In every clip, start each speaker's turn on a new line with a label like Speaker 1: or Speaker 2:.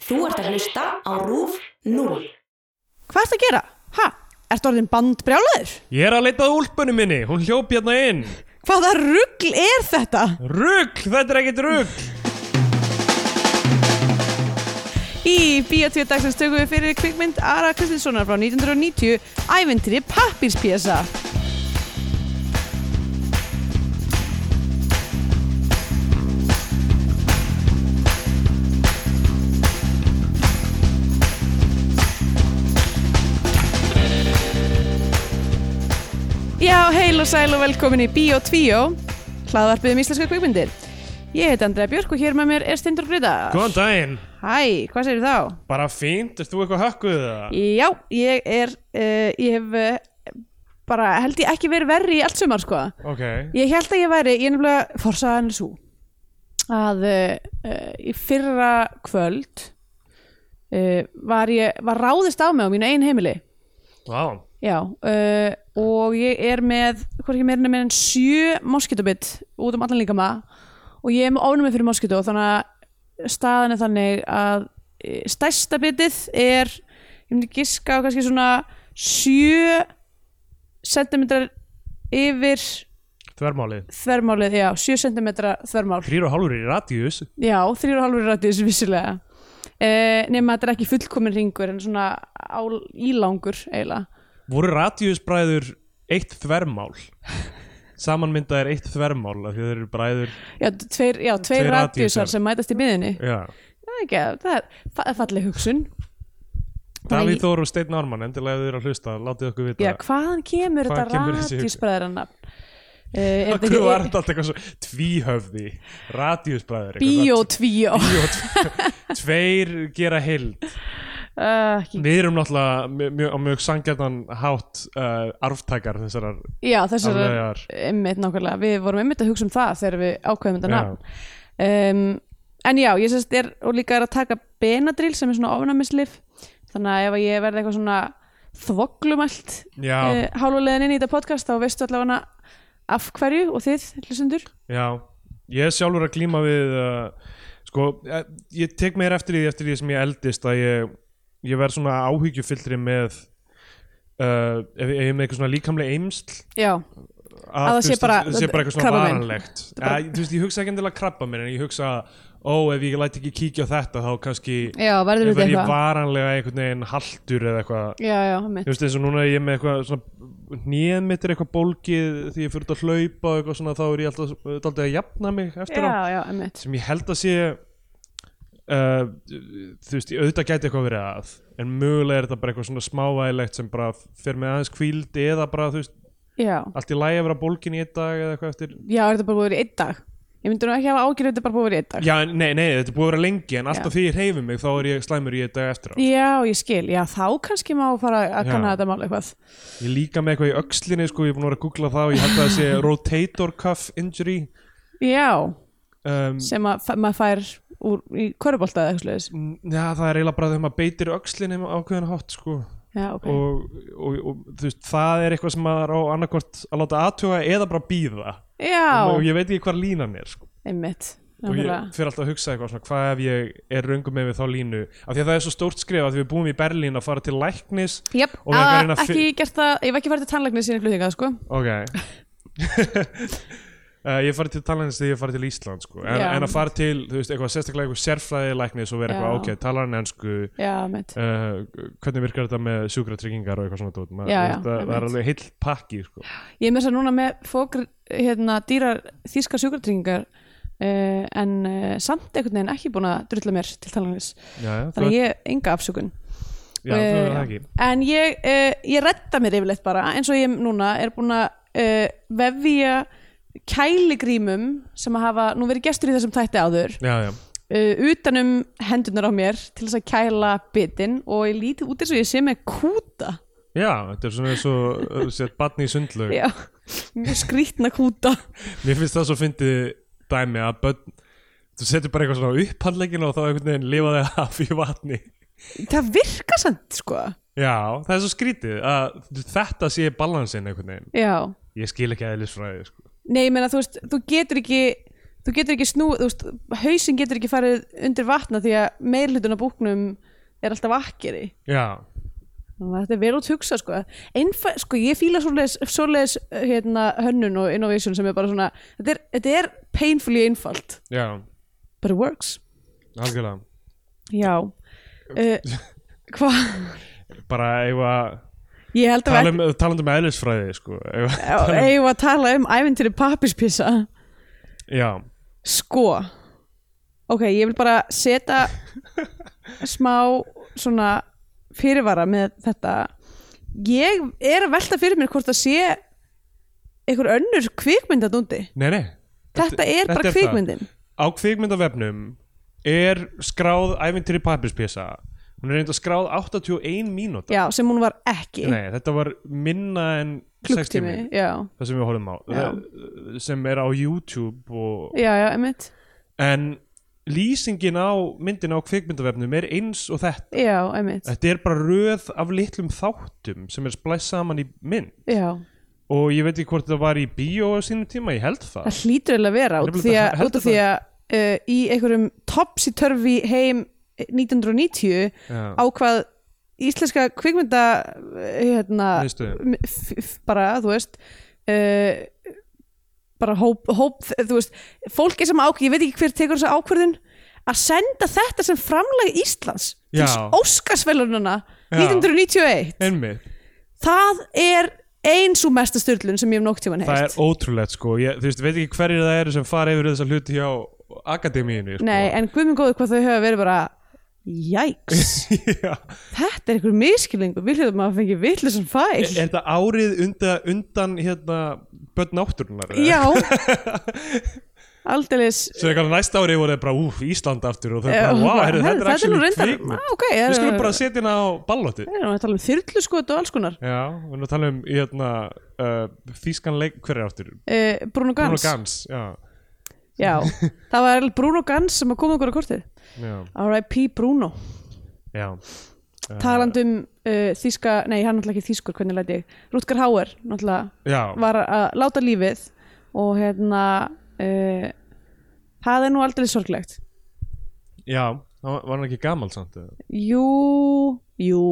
Speaker 1: Þú ert að hlusta á RÚF 0.
Speaker 2: Hvað ert að gera? Ha? Ertu orðin bandbrjálaður?
Speaker 3: Ég er að leitað úlpunni minni, hún hljóp hérna inn
Speaker 2: Hvaða ruggl er þetta?
Speaker 3: Rugg, þetta er ekkert rugg
Speaker 2: Í Bíotvíu dagsins tökum við fyrir kvikmynd Ara Kristinssonar frá 1990 Æventri pappírspjesa Já, heil og sæl og velkomin í Bíotvíu hlaðvarpið um íslenska kvikmyndir Ég heiti Andrea Björk og hér með mér er Stendur Gryta
Speaker 3: Góðan daginn,
Speaker 2: Hæ, hvað segir þá?
Speaker 3: bara fínt, erst þú eitthvað hökkuð það?
Speaker 2: Já, ég er, uh, ég hef uh, bara held ég ekki verið verri í allt sumar sko.
Speaker 3: Ok,
Speaker 2: Ég held að ég væri, ég er nefnilega forsaðan er svo að uh, uh, í fyrra kvöld uh, var ég, var ráðist á mig á mínu einn heimili.
Speaker 3: vá,
Speaker 2: Já, uh, og ég er með, hvað er ekki meirinu meirinu sjö moskítobitt út um allan líkama og ég er með ofnumir fyrir moskító þannig að staðan er þannig að eh, stærsta bitið er, ég myndi giska á kannski svona sjö sentimetrar yfir
Speaker 3: þvermáli
Speaker 2: þvermálið, já, sjö sentimetrar þvermál
Speaker 3: Þrýr og hálfur í radius
Speaker 2: Já, þrýr og halvur radíus vissilega uh, nema þetta er ekki fullkomin ringur en svona á, ílangur eiginlega
Speaker 3: Voru radiusbræður eitt þvermál? Samanmyndað er eitt þvermál af Því þeir eru bræður,
Speaker 2: Já, t- tveir, já, tveir
Speaker 3: Tveir
Speaker 2: radíusar
Speaker 3: radíusar.
Speaker 2: sem mætast í miðinni
Speaker 3: já
Speaker 2: Það er ekki, það er, það er fallið hugsun Þannig-
Speaker 3: Davíð Þór og Steinn Ármann, endilega ef þið eru að hlusta, látið okkur vita
Speaker 2: Já, hvaðan kemur
Speaker 3: Hvaðan
Speaker 2: þetta
Speaker 3: kemur þessi hugsun?
Speaker 2: radíusbræðrana? Uh, er
Speaker 3: Akkur
Speaker 2: þetta
Speaker 3: var
Speaker 2: ekki
Speaker 3: þetta allt eitthvað svo tvíhöfði, radiusbræður
Speaker 2: bíótvíó?
Speaker 3: Tveir gera hild
Speaker 2: Uh, ekki-
Speaker 3: Við erum náttúrulega mjö- mjög, á mjög sangjarnan hátt uh, arftækar þessarar
Speaker 2: Já, þessar
Speaker 3: aflegar
Speaker 2: einmitt nákvæmlega, við vorum einmitt að hugsa um það þegar við ákveðum þetta
Speaker 3: Já.
Speaker 2: nafn um, en já, ég sérst er og líka er að taka Benadryl sem er svona ofnæmislif þannig að ef að ég verði eitthvað svona þvoglumælt
Speaker 3: Já.
Speaker 2: uh, hálfulegðin inn í þetta podcast þá veistu allavega af hverju og þið hlustendur
Speaker 3: Já, ég er sjálfur að glíma við uh, sko, eh, ég tek meir eftir því eftir því sem ég eldist að ég, ég verð svona áhyggjufyllri með uh, ef, ef ég er með eitthvað svona líkamlega eimsl
Speaker 2: já, Að það
Speaker 3: þú
Speaker 2: sé
Speaker 3: veist,
Speaker 2: bara-
Speaker 3: sé bara eitthvað svona
Speaker 2: krabbamein.
Speaker 3: varanlegt bara... ja, þú veist, ég hugsa ekki endilega krabba mér en ég hugsa að, ó, ef ég læt ekki kíkja á þetta þá kannski
Speaker 2: já, verður
Speaker 3: verð
Speaker 2: þetta
Speaker 3: ég
Speaker 2: eitthvað
Speaker 3: varanlega einhvern veginn haldur eða eitthvað
Speaker 2: já, já, einmitt
Speaker 3: Þú veist eins og núna er ég með eitthvað svona hnið mitt er eitthvað bólgið því ég fyrir út að hlaupa og eitthvað svona þá er ég alltaf uh, dálítið að jafna mig eftir á
Speaker 2: já, já, einmitt
Speaker 3: sem ég held að sé uh, þú veist, ég auðvitað gæti eitthvað verið að en mögulega er þetta bara eitthvað svona smávægilegt sem bara fer með aðeins kvíld eða bara þú veist,
Speaker 2: já,
Speaker 3: allt í lægi að vera bólgin í einn dag eða eitthvað eftir
Speaker 2: já, er þetta bara búið að vera í einn dag ég myndi nú ekki hafa ágjörð þetta er bara búið að vera í einn dag
Speaker 3: Já, en- nei, nei, þetta er búið að vera lengi en alltaf
Speaker 2: Já.
Speaker 3: því ég reyfi mig þá er ég slæmur í einn dag eftir á
Speaker 2: Já, ég skil, já, þá kannski má fara að
Speaker 3: Já.
Speaker 2: kanna þetta mál eitthvað
Speaker 3: Ég er líka með eitthvað í öxlinni, sko, ég er búin að vera að googla það og ég held að það sé rotator cuff injury
Speaker 2: Já,
Speaker 3: um,
Speaker 2: sem að fa- maður fær úr, í körubólta eða eitthvað sluðis
Speaker 3: Mm, Já, það er eiginlega bara þegar maður beitir öxlinni með ákveðin hátt sko
Speaker 2: Já, ok,
Speaker 3: og, og, og þú veist, það er eitthvað sem maður á annarkvort að láta aðtuga eða bara býða
Speaker 2: já,
Speaker 3: og ég veit ekki hvar línan er sko
Speaker 2: einmitt
Speaker 3: og ég
Speaker 2: nákvæmlega.
Speaker 3: fyrir alltaf að hugsa eitthvað svona hvað ef ég er röngum með við þá línu af því að það er svo stórt skrif að við búum í Berlín að fara til læknis
Speaker 2: Jöp,
Speaker 3: og við erum
Speaker 2: að
Speaker 3: að reyna að
Speaker 2: Ah, ekki gert það, ég var ekki farið til tannlæknis síðan fluttingað, sko
Speaker 3: Ok uh, Ég farið til talarins þegar ég farið til Ísland sko. en,
Speaker 2: Já.
Speaker 3: en að fara til, þú veist, eitthvað sérstaklega eitthvað sérfræði læknis og vera eitthvað
Speaker 2: Já.
Speaker 3: ok, talarinn ennsku
Speaker 2: Já, einmitt,
Speaker 3: uh, hvernig virkar þetta með sjúkratryggingar og eitthvað svona tótt
Speaker 2: Já, já,
Speaker 3: það, það er
Speaker 2: einmitt.
Speaker 3: alveg heill pakki sko.
Speaker 2: ég er með þess að núna með fókr, hérna, dýrar þýskar sjúkratryggingar uh, en uh, samt einhvern veginn ekki búin að drulla mér til tannlæknis,
Speaker 3: já, já, það,
Speaker 2: þannig að ég enga afsökun
Speaker 3: já, það er
Speaker 2: Eh,
Speaker 3: það ekki
Speaker 2: En ég, uh, ég retta mér yfirleitt bara eins og ég núna er búin að uh, vefja kæligrímum sem að hafa nú verið gestur í þessum tætti áður
Speaker 3: já, já.
Speaker 2: uh, utanum hendunar á mér til þess að kæla bitin og ég lítið út eins og ég sé með kúta
Speaker 3: já, þetta er svona eins og uh, þú sért barni í sundlög
Speaker 2: Já, mjög skrýtna kúta
Speaker 3: mér finnst það svo fyndið dæmi að börn þú setur bara eitthvað svona upphandlegin og þá einhvern veginn lifa það af í vatni
Speaker 2: Það virkar samt sko
Speaker 3: já, það er svo skrítið að þetta sé balansin einhvern veginn
Speaker 2: Já,
Speaker 3: ég skil ekki eðlisfræði sko.
Speaker 2: nei, ég meina þú veist, þú getur ekki þú getur ekki snú, þú veist, hausin getur ekki farið undir vatna því að meirlutun af búknum er alltaf akkeri
Speaker 3: já,
Speaker 2: þannig að þetta er vel út hugsa sko. Einfa, sko ég fíla svoleiðis, svoleiðis hérna, hönnun og innovation sem er bara svona þetta er, þetta er painfully einfalt
Speaker 3: já,
Speaker 2: but it works
Speaker 3: algjörlega
Speaker 2: já uh, hva?
Speaker 3: bara eiga
Speaker 2: ég held að við
Speaker 3: talum, talandi um eðlisfræði sko, ef,
Speaker 2: ættum- eigum að tala um ævintýri pappispissa
Speaker 3: já,
Speaker 2: sko ok, ég vil bara setja smá svona fyrirvara með þetta ég er að velta fyrir mér hvort það sé einhver önnur kvikmynd að úti
Speaker 3: nei, nei
Speaker 2: þetta er
Speaker 3: þetta
Speaker 2: bara
Speaker 3: er það.
Speaker 2: kvikmyndin
Speaker 3: á kvikmyndavefnum er skráð ævintýri pappispjasa hún er reynda skráð 81 mínúta
Speaker 2: já, sem hún var ekki
Speaker 3: nei, þetta var minna en 60
Speaker 2: klukktími,
Speaker 3: mínútur
Speaker 2: já,
Speaker 3: það sem við horfum á
Speaker 2: Já.
Speaker 3: Það- sem er á YouTube og,
Speaker 2: já, já, emitt
Speaker 3: en lýsingin á myndin á kvikmyndavefnum er eins og þetta
Speaker 2: já, emitt,
Speaker 3: þetta er bara röð af litlum þáttum sem er splæst saman í mynd
Speaker 2: já
Speaker 3: og ég veit ekki hvort það var í bíó á sínum tíma, ég held það
Speaker 2: það hlýtur eiginlega að vera út af því að,
Speaker 3: Nefnilega,
Speaker 2: út af því að uh, í einhverjum topsy-turvy heim 1990
Speaker 3: Já.
Speaker 2: ákvað íslenska kvikmynda uh, hérna,
Speaker 3: Miðstöðin.
Speaker 2: m- f- f- bara, þú veist uh, bara hóp, hóp þú veist, fólki sem ákveð ég veit ekki hver tekur þessa ákvörðun að senda þetta sem framlag Íslands til
Speaker 3: Já.
Speaker 2: Óskarsvelununa
Speaker 3: Já.
Speaker 2: 1991
Speaker 3: einmitt,
Speaker 2: það er eins og mesta styrlun sem ég hef nokt tíman
Speaker 3: það
Speaker 2: heilt
Speaker 3: er ótrúlegt sko ég, þú veist, veit ekki hverjir það eru sem fara yfir þessa hluti hjá akademíinu sko.
Speaker 2: Nei, en guðminn góður hvað þau hafa verið bara Jæks,
Speaker 3: Já.
Speaker 2: þetta er einhver miskilingu Við hljóðum að fengi vitlisum
Speaker 3: er,
Speaker 2: fæl
Speaker 3: er þetta árið undan, undan hérna, börn náttúrunar eða?
Speaker 2: Já Aldeilis
Speaker 3: Svo eitthvað næsta ári voru þeir bara úf, Ísland aftur og þau bara,
Speaker 2: Eh,
Speaker 3: wow,
Speaker 2: bara,
Speaker 3: heyrðu,
Speaker 2: herru,
Speaker 3: þetta er
Speaker 2: þetta er nú
Speaker 3: actually
Speaker 2: reyndar-
Speaker 3: kvikmynd.
Speaker 2: Ah, ok,
Speaker 3: Við
Speaker 2: þetta
Speaker 3: skulum
Speaker 2: er-
Speaker 3: bara setja hérna á ballotti
Speaker 2: Það erum að tala um þyrlu sko og alls konar
Speaker 3: Já, við erum að tala um í hérna uh, Þískan leik, hver er aftur?
Speaker 2: uh, Bruno Gans,
Speaker 3: Bruno Gans, já,
Speaker 2: Já, það var Bruno Gans sem að koma okkur á kortið
Speaker 3: já,
Speaker 2: R.I.P. Bruno
Speaker 3: já.
Speaker 2: Talandi um uh, þýska, nei hann er náttúrulega ekki þýskur Hvernig læti ég, Rutger Hauer Náttúrulega
Speaker 3: já.
Speaker 2: var að láta lífið og hérna uh, það er nú aldrei sorglegt
Speaker 3: já, það var var hann ekki gamal samt eða?
Speaker 2: jú, jú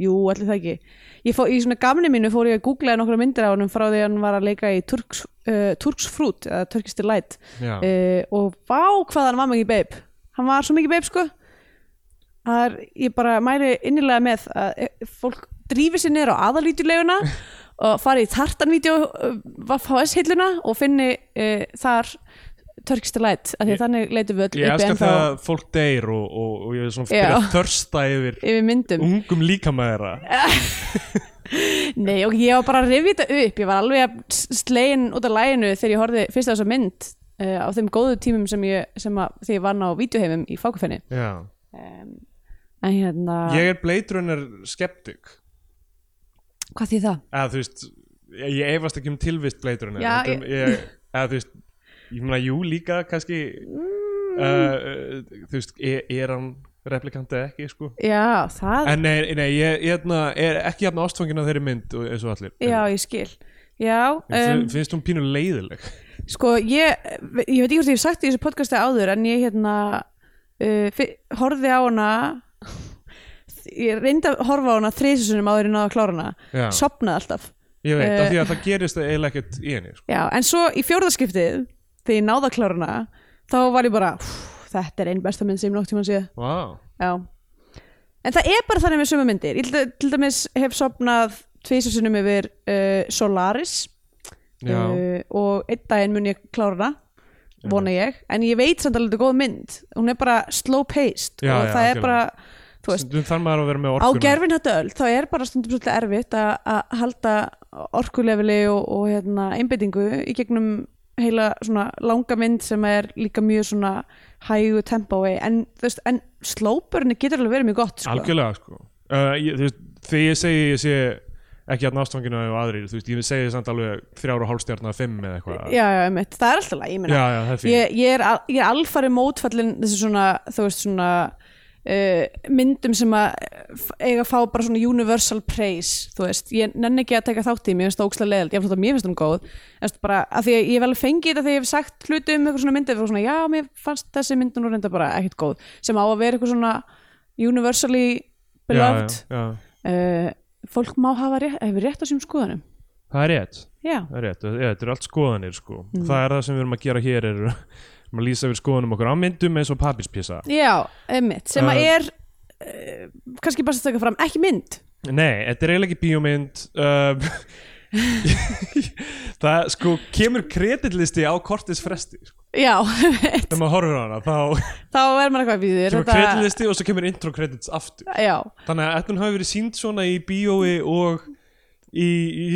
Speaker 2: jú, allir það ekki ég fó, í svona gamni mínu fór ég að googla nokkra myndir á hann frá því að hann var að leika í Turks, uh, Turks Fruit eða Turkish Delight
Speaker 3: Já,
Speaker 2: uh, og vá hvað hann var mikið beib hann var svo mikið beib sko það er, ég bara mæri innilega með að eh, fólk drífi sér neyra á aðalvítuleguna og fari í tartanvídeó uh, VHS heiluna og finni uh, þar törkistu læt af því að þannig leitum við öll uppi
Speaker 3: ég elskar
Speaker 2: ennþá
Speaker 3: það að fólk deyr og, og, og ég er svona
Speaker 2: Já.
Speaker 3: fyrir að þörsta yfir
Speaker 2: yfir myndum
Speaker 3: ungum líkamæðra
Speaker 2: Nei, og ég var bara að rifja þetta upp ég var alveg að slegin út af læginu þegar ég horfði fyrst á þessa mynd uh, á þeim góðu tímum sem ég, sem að, þegar ég vann á vídeoheimum í fákufenni
Speaker 3: Já,
Speaker 2: um, en hérna,
Speaker 3: ég er Blade Runner skeptik
Speaker 2: hvað því það?
Speaker 3: eða þú veist, ég, ég efast ekki um tilvist bleiturinn
Speaker 2: Já,
Speaker 3: ég, um ég, eða þú veist, ég meina jú líka kannski
Speaker 2: Mm.
Speaker 3: uh, uh, þú veist, er, er hann replikant eða ekki, sko
Speaker 2: Já, það,
Speaker 3: en nei, nei ég, ég hérna, er ekki jafn ástfangin á þeirri mynd og, eins og allir
Speaker 2: já, ég skil Já, um,
Speaker 3: Mér fin- finnst hún pínu leiðileg
Speaker 2: sko ég, ég veit ekki hvort ég hef sagt í þessu podcasti áður en ég hérna uh, fyr- horfði á hana ég reyndi að horfa á hana þriðsusunum áður en náða að klára hana
Speaker 3: Já.
Speaker 2: sopnaði alltaf
Speaker 3: ég veit,
Speaker 2: Eh.
Speaker 3: af því að það gerist eiginlega ekkert í henni sko.
Speaker 2: Já, en svo í fjórðaskiptið þegar ég náða að klára hana þá var ég bara, "Úff, þetta er einn besta mynd sem ég nótt tíma séð
Speaker 3: wow.
Speaker 2: Já En það er bara þannig með sömu myndir Ég til- til dæmis hef sopnað tvisasunum yfir uh, Solaris uh,
Speaker 3: Já.
Speaker 2: Eh, og einn daginn mun ég klára hana vona ég, en ég veit samt alveg þetta er góð mynd, hún er bara slow paced
Speaker 3: Já,
Speaker 2: og
Speaker 3: já,
Speaker 2: það er
Speaker 3: algjörlega.
Speaker 2: bara þú veist,
Speaker 3: stundum þarf maður að vera með
Speaker 2: á
Speaker 3: orkuna
Speaker 2: gerfin þetta öll þá er bara stundum svolítið erfitt að- að halda orkulefili og, og hérna, einbyttingu í gegnum heila svona langa mynd sem er líka mjög svona hægu tempói en, þú veist, en slópurni getur alveg verið mjög gott sko.
Speaker 3: algjörlega sko uh, ég, þú veist, þegar ég segi ég sé ekki að nástfanginu og aðrir, þú veist, ég segi samt alveg þrjár og hálfstjarnar fimm eða eitthvað
Speaker 2: já, já, einmitt. það er alltaf læg
Speaker 3: já, já, það er fínt
Speaker 2: ég, ég, er al- ég er alfari mótfallin þessu svona, þú veist, svona uh, myndum sem að eh, f- eiga að fá bara svona universal praise þú veist, ég nenni ekki að taka þátt í mér finnst það ókslega leðild, ég finnst það mér finnst það góð en þú veist, bara, af því að ég hef alveg fengið þetta þegar ég hef sagt hluti um eitthvað svona myndi eitthvað svona, já, mér fannst þessi myndin og reynda bara ekkit góð sem á að vera eitthvað svona universally beloved
Speaker 3: já, já, já.
Speaker 2: Uh, fólk má hafa rétt, eh, hefur rétt á sínum skoðanum
Speaker 3: það er rétt
Speaker 2: já,
Speaker 3: Það er rétt, já, þetta eru allt skoðanir sko
Speaker 2: Mm.
Speaker 3: Það er það sem við erum að gera hér er að lýsa við skoðanum okkur á myndum eins og pappispísa
Speaker 2: já, einmitt sem að
Speaker 3: Uh,
Speaker 2: er uh, kannski bara að taka fram, ekki mynd
Speaker 3: Nei, þetta er eiginlega ekki bíómynd um, Það sko kemur kreditlisti á kortis fresti sko.
Speaker 2: já,
Speaker 3: Þegar maður horfir á hana þá
Speaker 2: þá er maður eitthvað við
Speaker 3: kemur kreditlisti og svo kemur intro kredits aftur
Speaker 2: já,
Speaker 3: Þannig að þetta hafi verið sínd svona í bíói og í,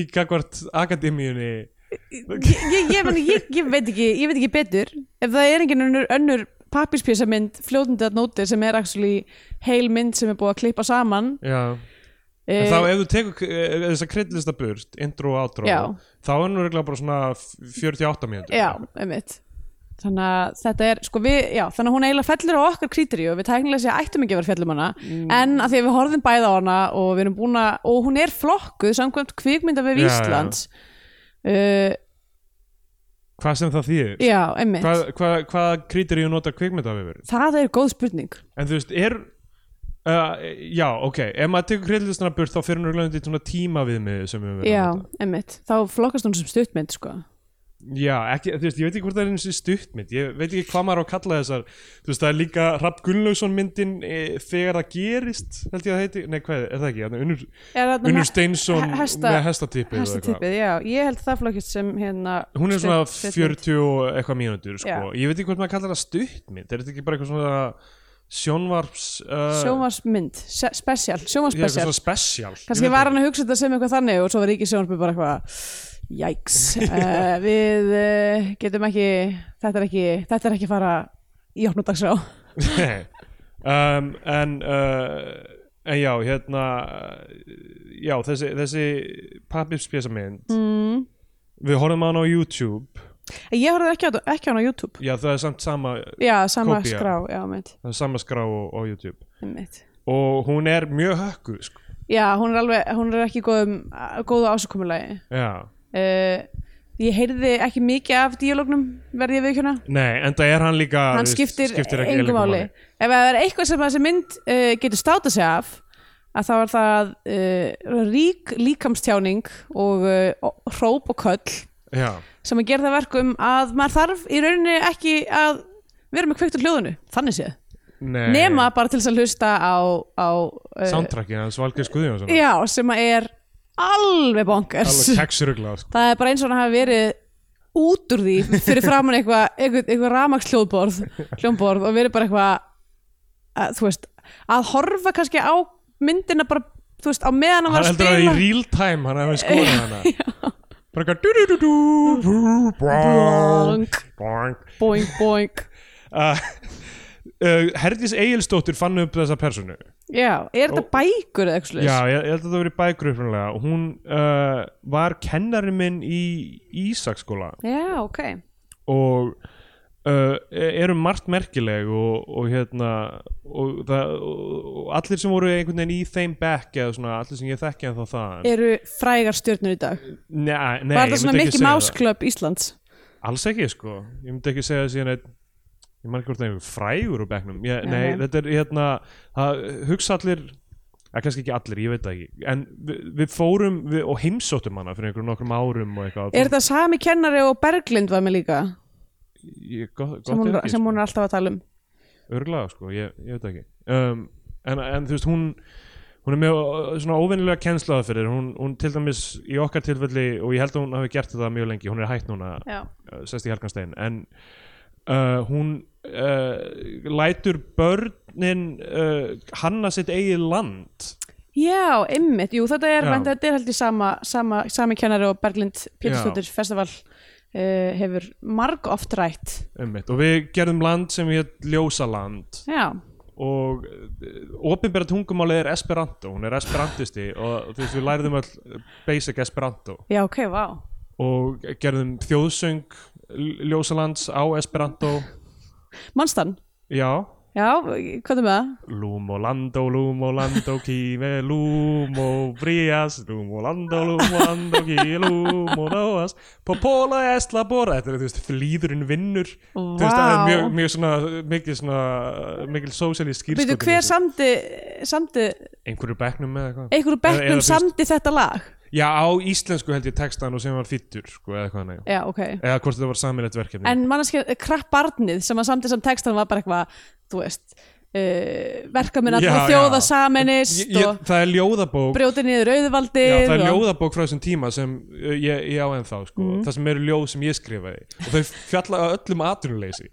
Speaker 3: í gagvart akademíunni
Speaker 2: ég, ég, ég, meina, ég, ég, veit ekki, ég veit ekki betur ef það er engin önnur, önnur pappispísamynd fljóðandi að nóti sem er actually heil mynd sem er búið að klippa saman
Speaker 3: Já En
Speaker 2: Eh,
Speaker 3: þá ef þú tekur eh, þessa kryddlista burt, intro og outro,
Speaker 2: Já.
Speaker 3: þá er nú regla bara svona f- 48 mínútur.
Speaker 2: já, einmitt þannig að þetta er, sko við, já, þannig að hún eiginlega fellur á okkar kríteri og við tæknilega sér ættum ekki að vera fjallum hana
Speaker 3: Mm.
Speaker 2: en að því að við horfðum bæða á hana og við erum búin að, og hún er flokkuð samkvæmt kvikmynda við
Speaker 3: Já, já.
Speaker 2: Íslands já,
Speaker 3: Hvað sem það þýðir?
Speaker 2: já einmitt
Speaker 3: Hvað, hvað, hvað krýtir ég nota kvikmynda við verið?
Speaker 2: það er góð spurning
Speaker 3: En þú veist, er... Uh, já, ok, ef maður tekur kryddlistana burt þá fyrir nú regla undir svona tíma við mig sem við verðum
Speaker 2: já,
Speaker 3: að nota.
Speaker 2: einmitt, þá flokkast hún sem stuttmynd sko
Speaker 3: Já, ekki, þú veist, ég veit ekki hvort það er eins og stuttmynd Ég veit ekki hvað maður á að kalla þessar Þú veist, það er líka Rapp Gunnlaugsson myndin e, Þegar það gerist, held ég að það heiti Nei, hvað er það ekki? Þarna Unnur,
Speaker 2: Er þarna
Speaker 3: Unnur
Speaker 2: he-
Speaker 3: Steinsson
Speaker 2: he- hesta-
Speaker 3: með hestatypið eða eitthvað.
Speaker 2: Hestatypið, já, ég held það flokkist sem hérna
Speaker 3: hún er svona
Speaker 2: stutt- stuttmynd.
Speaker 3: 40 og eitthvað mínútur sko.
Speaker 2: Já.
Speaker 3: ég veit ekki hvort maður kallar það stuttmynd er þetta ekki bara eitthvað svona sjónvarps uh,
Speaker 2: Sjónvarsmynd, se- special,
Speaker 3: já, eitthvað
Speaker 2: sjónvarsspecial
Speaker 3: svona spesial
Speaker 2: Kannski var hann að hugsa þetta sem eitthvað þannig og svo var Ríkis sjónvarpið bara eitthvað Jæks, uh, við uh, getum ekki þetta, er ekki, þetta er ekki fara í opnudagsrá
Speaker 3: um, en uh, en já, hérna já, þessi, þessi pappispjesamynd mm. við horfum á hann á YouTube
Speaker 2: Ég horfði ekki á, þetta- ekki á hann á YouTube
Speaker 3: já, það er samt sama,
Speaker 2: Já, sama
Speaker 3: Kópía.
Speaker 2: skrá, já, mitt,
Speaker 3: það er sama skrá á, á YouTube
Speaker 2: mitt.
Speaker 3: og hún er mjög hökku sko.
Speaker 2: Já, hún er alveg, hún er ekki góðum, góðu ásakomulagi
Speaker 3: já
Speaker 2: uh, Ég heyrði ekki mikið af díalógnum verði ég við hérna
Speaker 3: Nei, en það er hann líka
Speaker 2: hann
Speaker 3: þú veist,
Speaker 2: skiptir,
Speaker 3: ekki
Speaker 2: engu
Speaker 3: eiginlega
Speaker 2: máli ef það er eitthvað sem þessi mynd uh, getur státa sig af að þá er það uh, rík líkamstjáning og uh, hróp og köll
Speaker 3: Já,
Speaker 2: sem að gera það verkum að maður þarf í rauninni ekki að vera með kveikt á hljóðinu, þannig séð
Speaker 3: nei
Speaker 2: nema bara til þess að hlusta á, á uh,
Speaker 3: soundtrackin hans Valgeir Guðjónsson
Speaker 2: já, sem að er alveg bonkers
Speaker 3: alveg keksurugla sko.
Speaker 2: það er bara eins og hann hafi verið út úr því fyrir framann eitthvað eitthvað, eitthvað ramaksljóðborð hljómborð og verið bara eitthvað að, þú veist, að horfa kannski á myndina bara, þú veist, á meðan hann
Speaker 3: hann
Speaker 2: var að
Speaker 3: heldur að í
Speaker 2: spila
Speaker 3: real time hann hefði skorað hana bara eitthvað du-du-du-du, brrrr,
Speaker 2: Bonk,
Speaker 3: boing,
Speaker 2: boing, boing
Speaker 3: boing. Uh, Herdís Egilsdóttir fann upp þessa personu
Speaker 2: Já, er þetta
Speaker 3: Ó.
Speaker 2: bækur eða eitthvað slags?
Speaker 3: Já, ég, ég held að það verið bækur upprunalega og hún uh, var kennari minn í Ísaksskóla
Speaker 2: Já, ok
Speaker 3: og uh, eru margt merkileg og, og hérna og, það, og, og allir sem voru einhvern veginn í þeim bekk eða svona allir sem ég þekki en þá það
Speaker 2: Eru frægar stjörnur í dag?
Speaker 3: Nei, nei,
Speaker 2: var
Speaker 3: ég
Speaker 2: þetta svona
Speaker 3: myndi ekki
Speaker 2: Mickey
Speaker 3: segja
Speaker 2: Mouse
Speaker 3: það.
Speaker 2: Club Íslands?
Speaker 3: Alls ekki sko, ég myndi ekki segja síðan einn ég maður ekki hvort það er einhver frægur úr bekknum ég,
Speaker 2: Já,
Speaker 3: Nei,
Speaker 2: nei.
Speaker 3: þetta er hérna það, hugsa allir, eða kannski ekki allir ég veit það ekki, en við, við fórum við, og heimsóttum hana fyrir einhverjum nokkrum árum og eitthvað,
Speaker 2: Er þetta sami kennari og Berglind var með líka?
Speaker 3: ég, gott, gott
Speaker 2: Sem hún,
Speaker 3: ef ekki,
Speaker 2: sem hún er alltaf að tala um
Speaker 3: örglega sko, ég, ég veit það ekki um, en, en þú veist hún hún er með uh, svona óvinnilega kennslaða fyrir hún, hún til dæmis í okkar tilfelli og ég held að hún hafi gert þetta mjög lengi hún er hætt núna,
Speaker 2: Já,
Speaker 3: uh, sest í Helganstein en uh, hún uh, lætur börnin uh, hanna sitt eigið land
Speaker 2: Já, ymmit, jú þetta er,
Speaker 3: Já.
Speaker 2: vænt- þetta er held ég sama, sama, sami kennari og Berglind Pétursdóttir festival uh, hefur marg oft rætt
Speaker 3: um og við gerðum land sem við ljósaland
Speaker 2: Já,
Speaker 3: og ofinbæra tungumáli er esperanto, hún er esperantisti og þú veist við lærðum all basic esperanto
Speaker 2: já ok, vá
Speaker 3: og gerðum þjóðsöng Ljósalands á Esperanto
Speaker 2: Mannstan,
Speaker 3: já,
Speaker 2: Já, hvað er með það?
Speaker 3: Lumo Lando, Lumo Lando, Kime, Lumo Brías, Lumo Lando, Lumo Lando, Kime, Lumo Nóas, Popola, Eslabor, þetta er þú veist, flýðurinn vinnur, þú veist, það er
Speaker 2: Vá.
Speaker 3: mjög, mjög svona, mikil svona, mikil sósíalist skýrskot.
Speaker 2: Veitu, hver samdi, samdi
Speaker 3: Einhverju bekknum með eitthvað?
Speaker 2: einhverju bekknum
Speaker 3: Eða- eða þú veist-
Speaker 2: samdi þetta lag?
Speaker 3: Já, á íslensku held ég textan og sem var þýttur, sko, eða eitthvað, nei.
Speaker 2: Já, ok.
Speaker 3: Eða hvort þetta var samilegt verkefni.
Speaker 2: En manneskja, eh, krapp barnið sem að samdi sem textan var bara eitthvað, þú veist, uh, verka minn allra
Speaker 3: Já,
Speaker 2: þjóða
Speaker 3: já.
Speaker 2: saminist
Speaker 3: Ég- ég-
Speaker 2: og
Speaker 3: það er ljóðabók
Speaker 2: brjóti niður auðvaldi.
Speaker 3: Já, það er ljóðabók frá þessum tíma sem uh, ég, ég á ennþá, sko, það sem eru ljóð sem ég skrifaði og þau fjalla af öllum atrunuleysi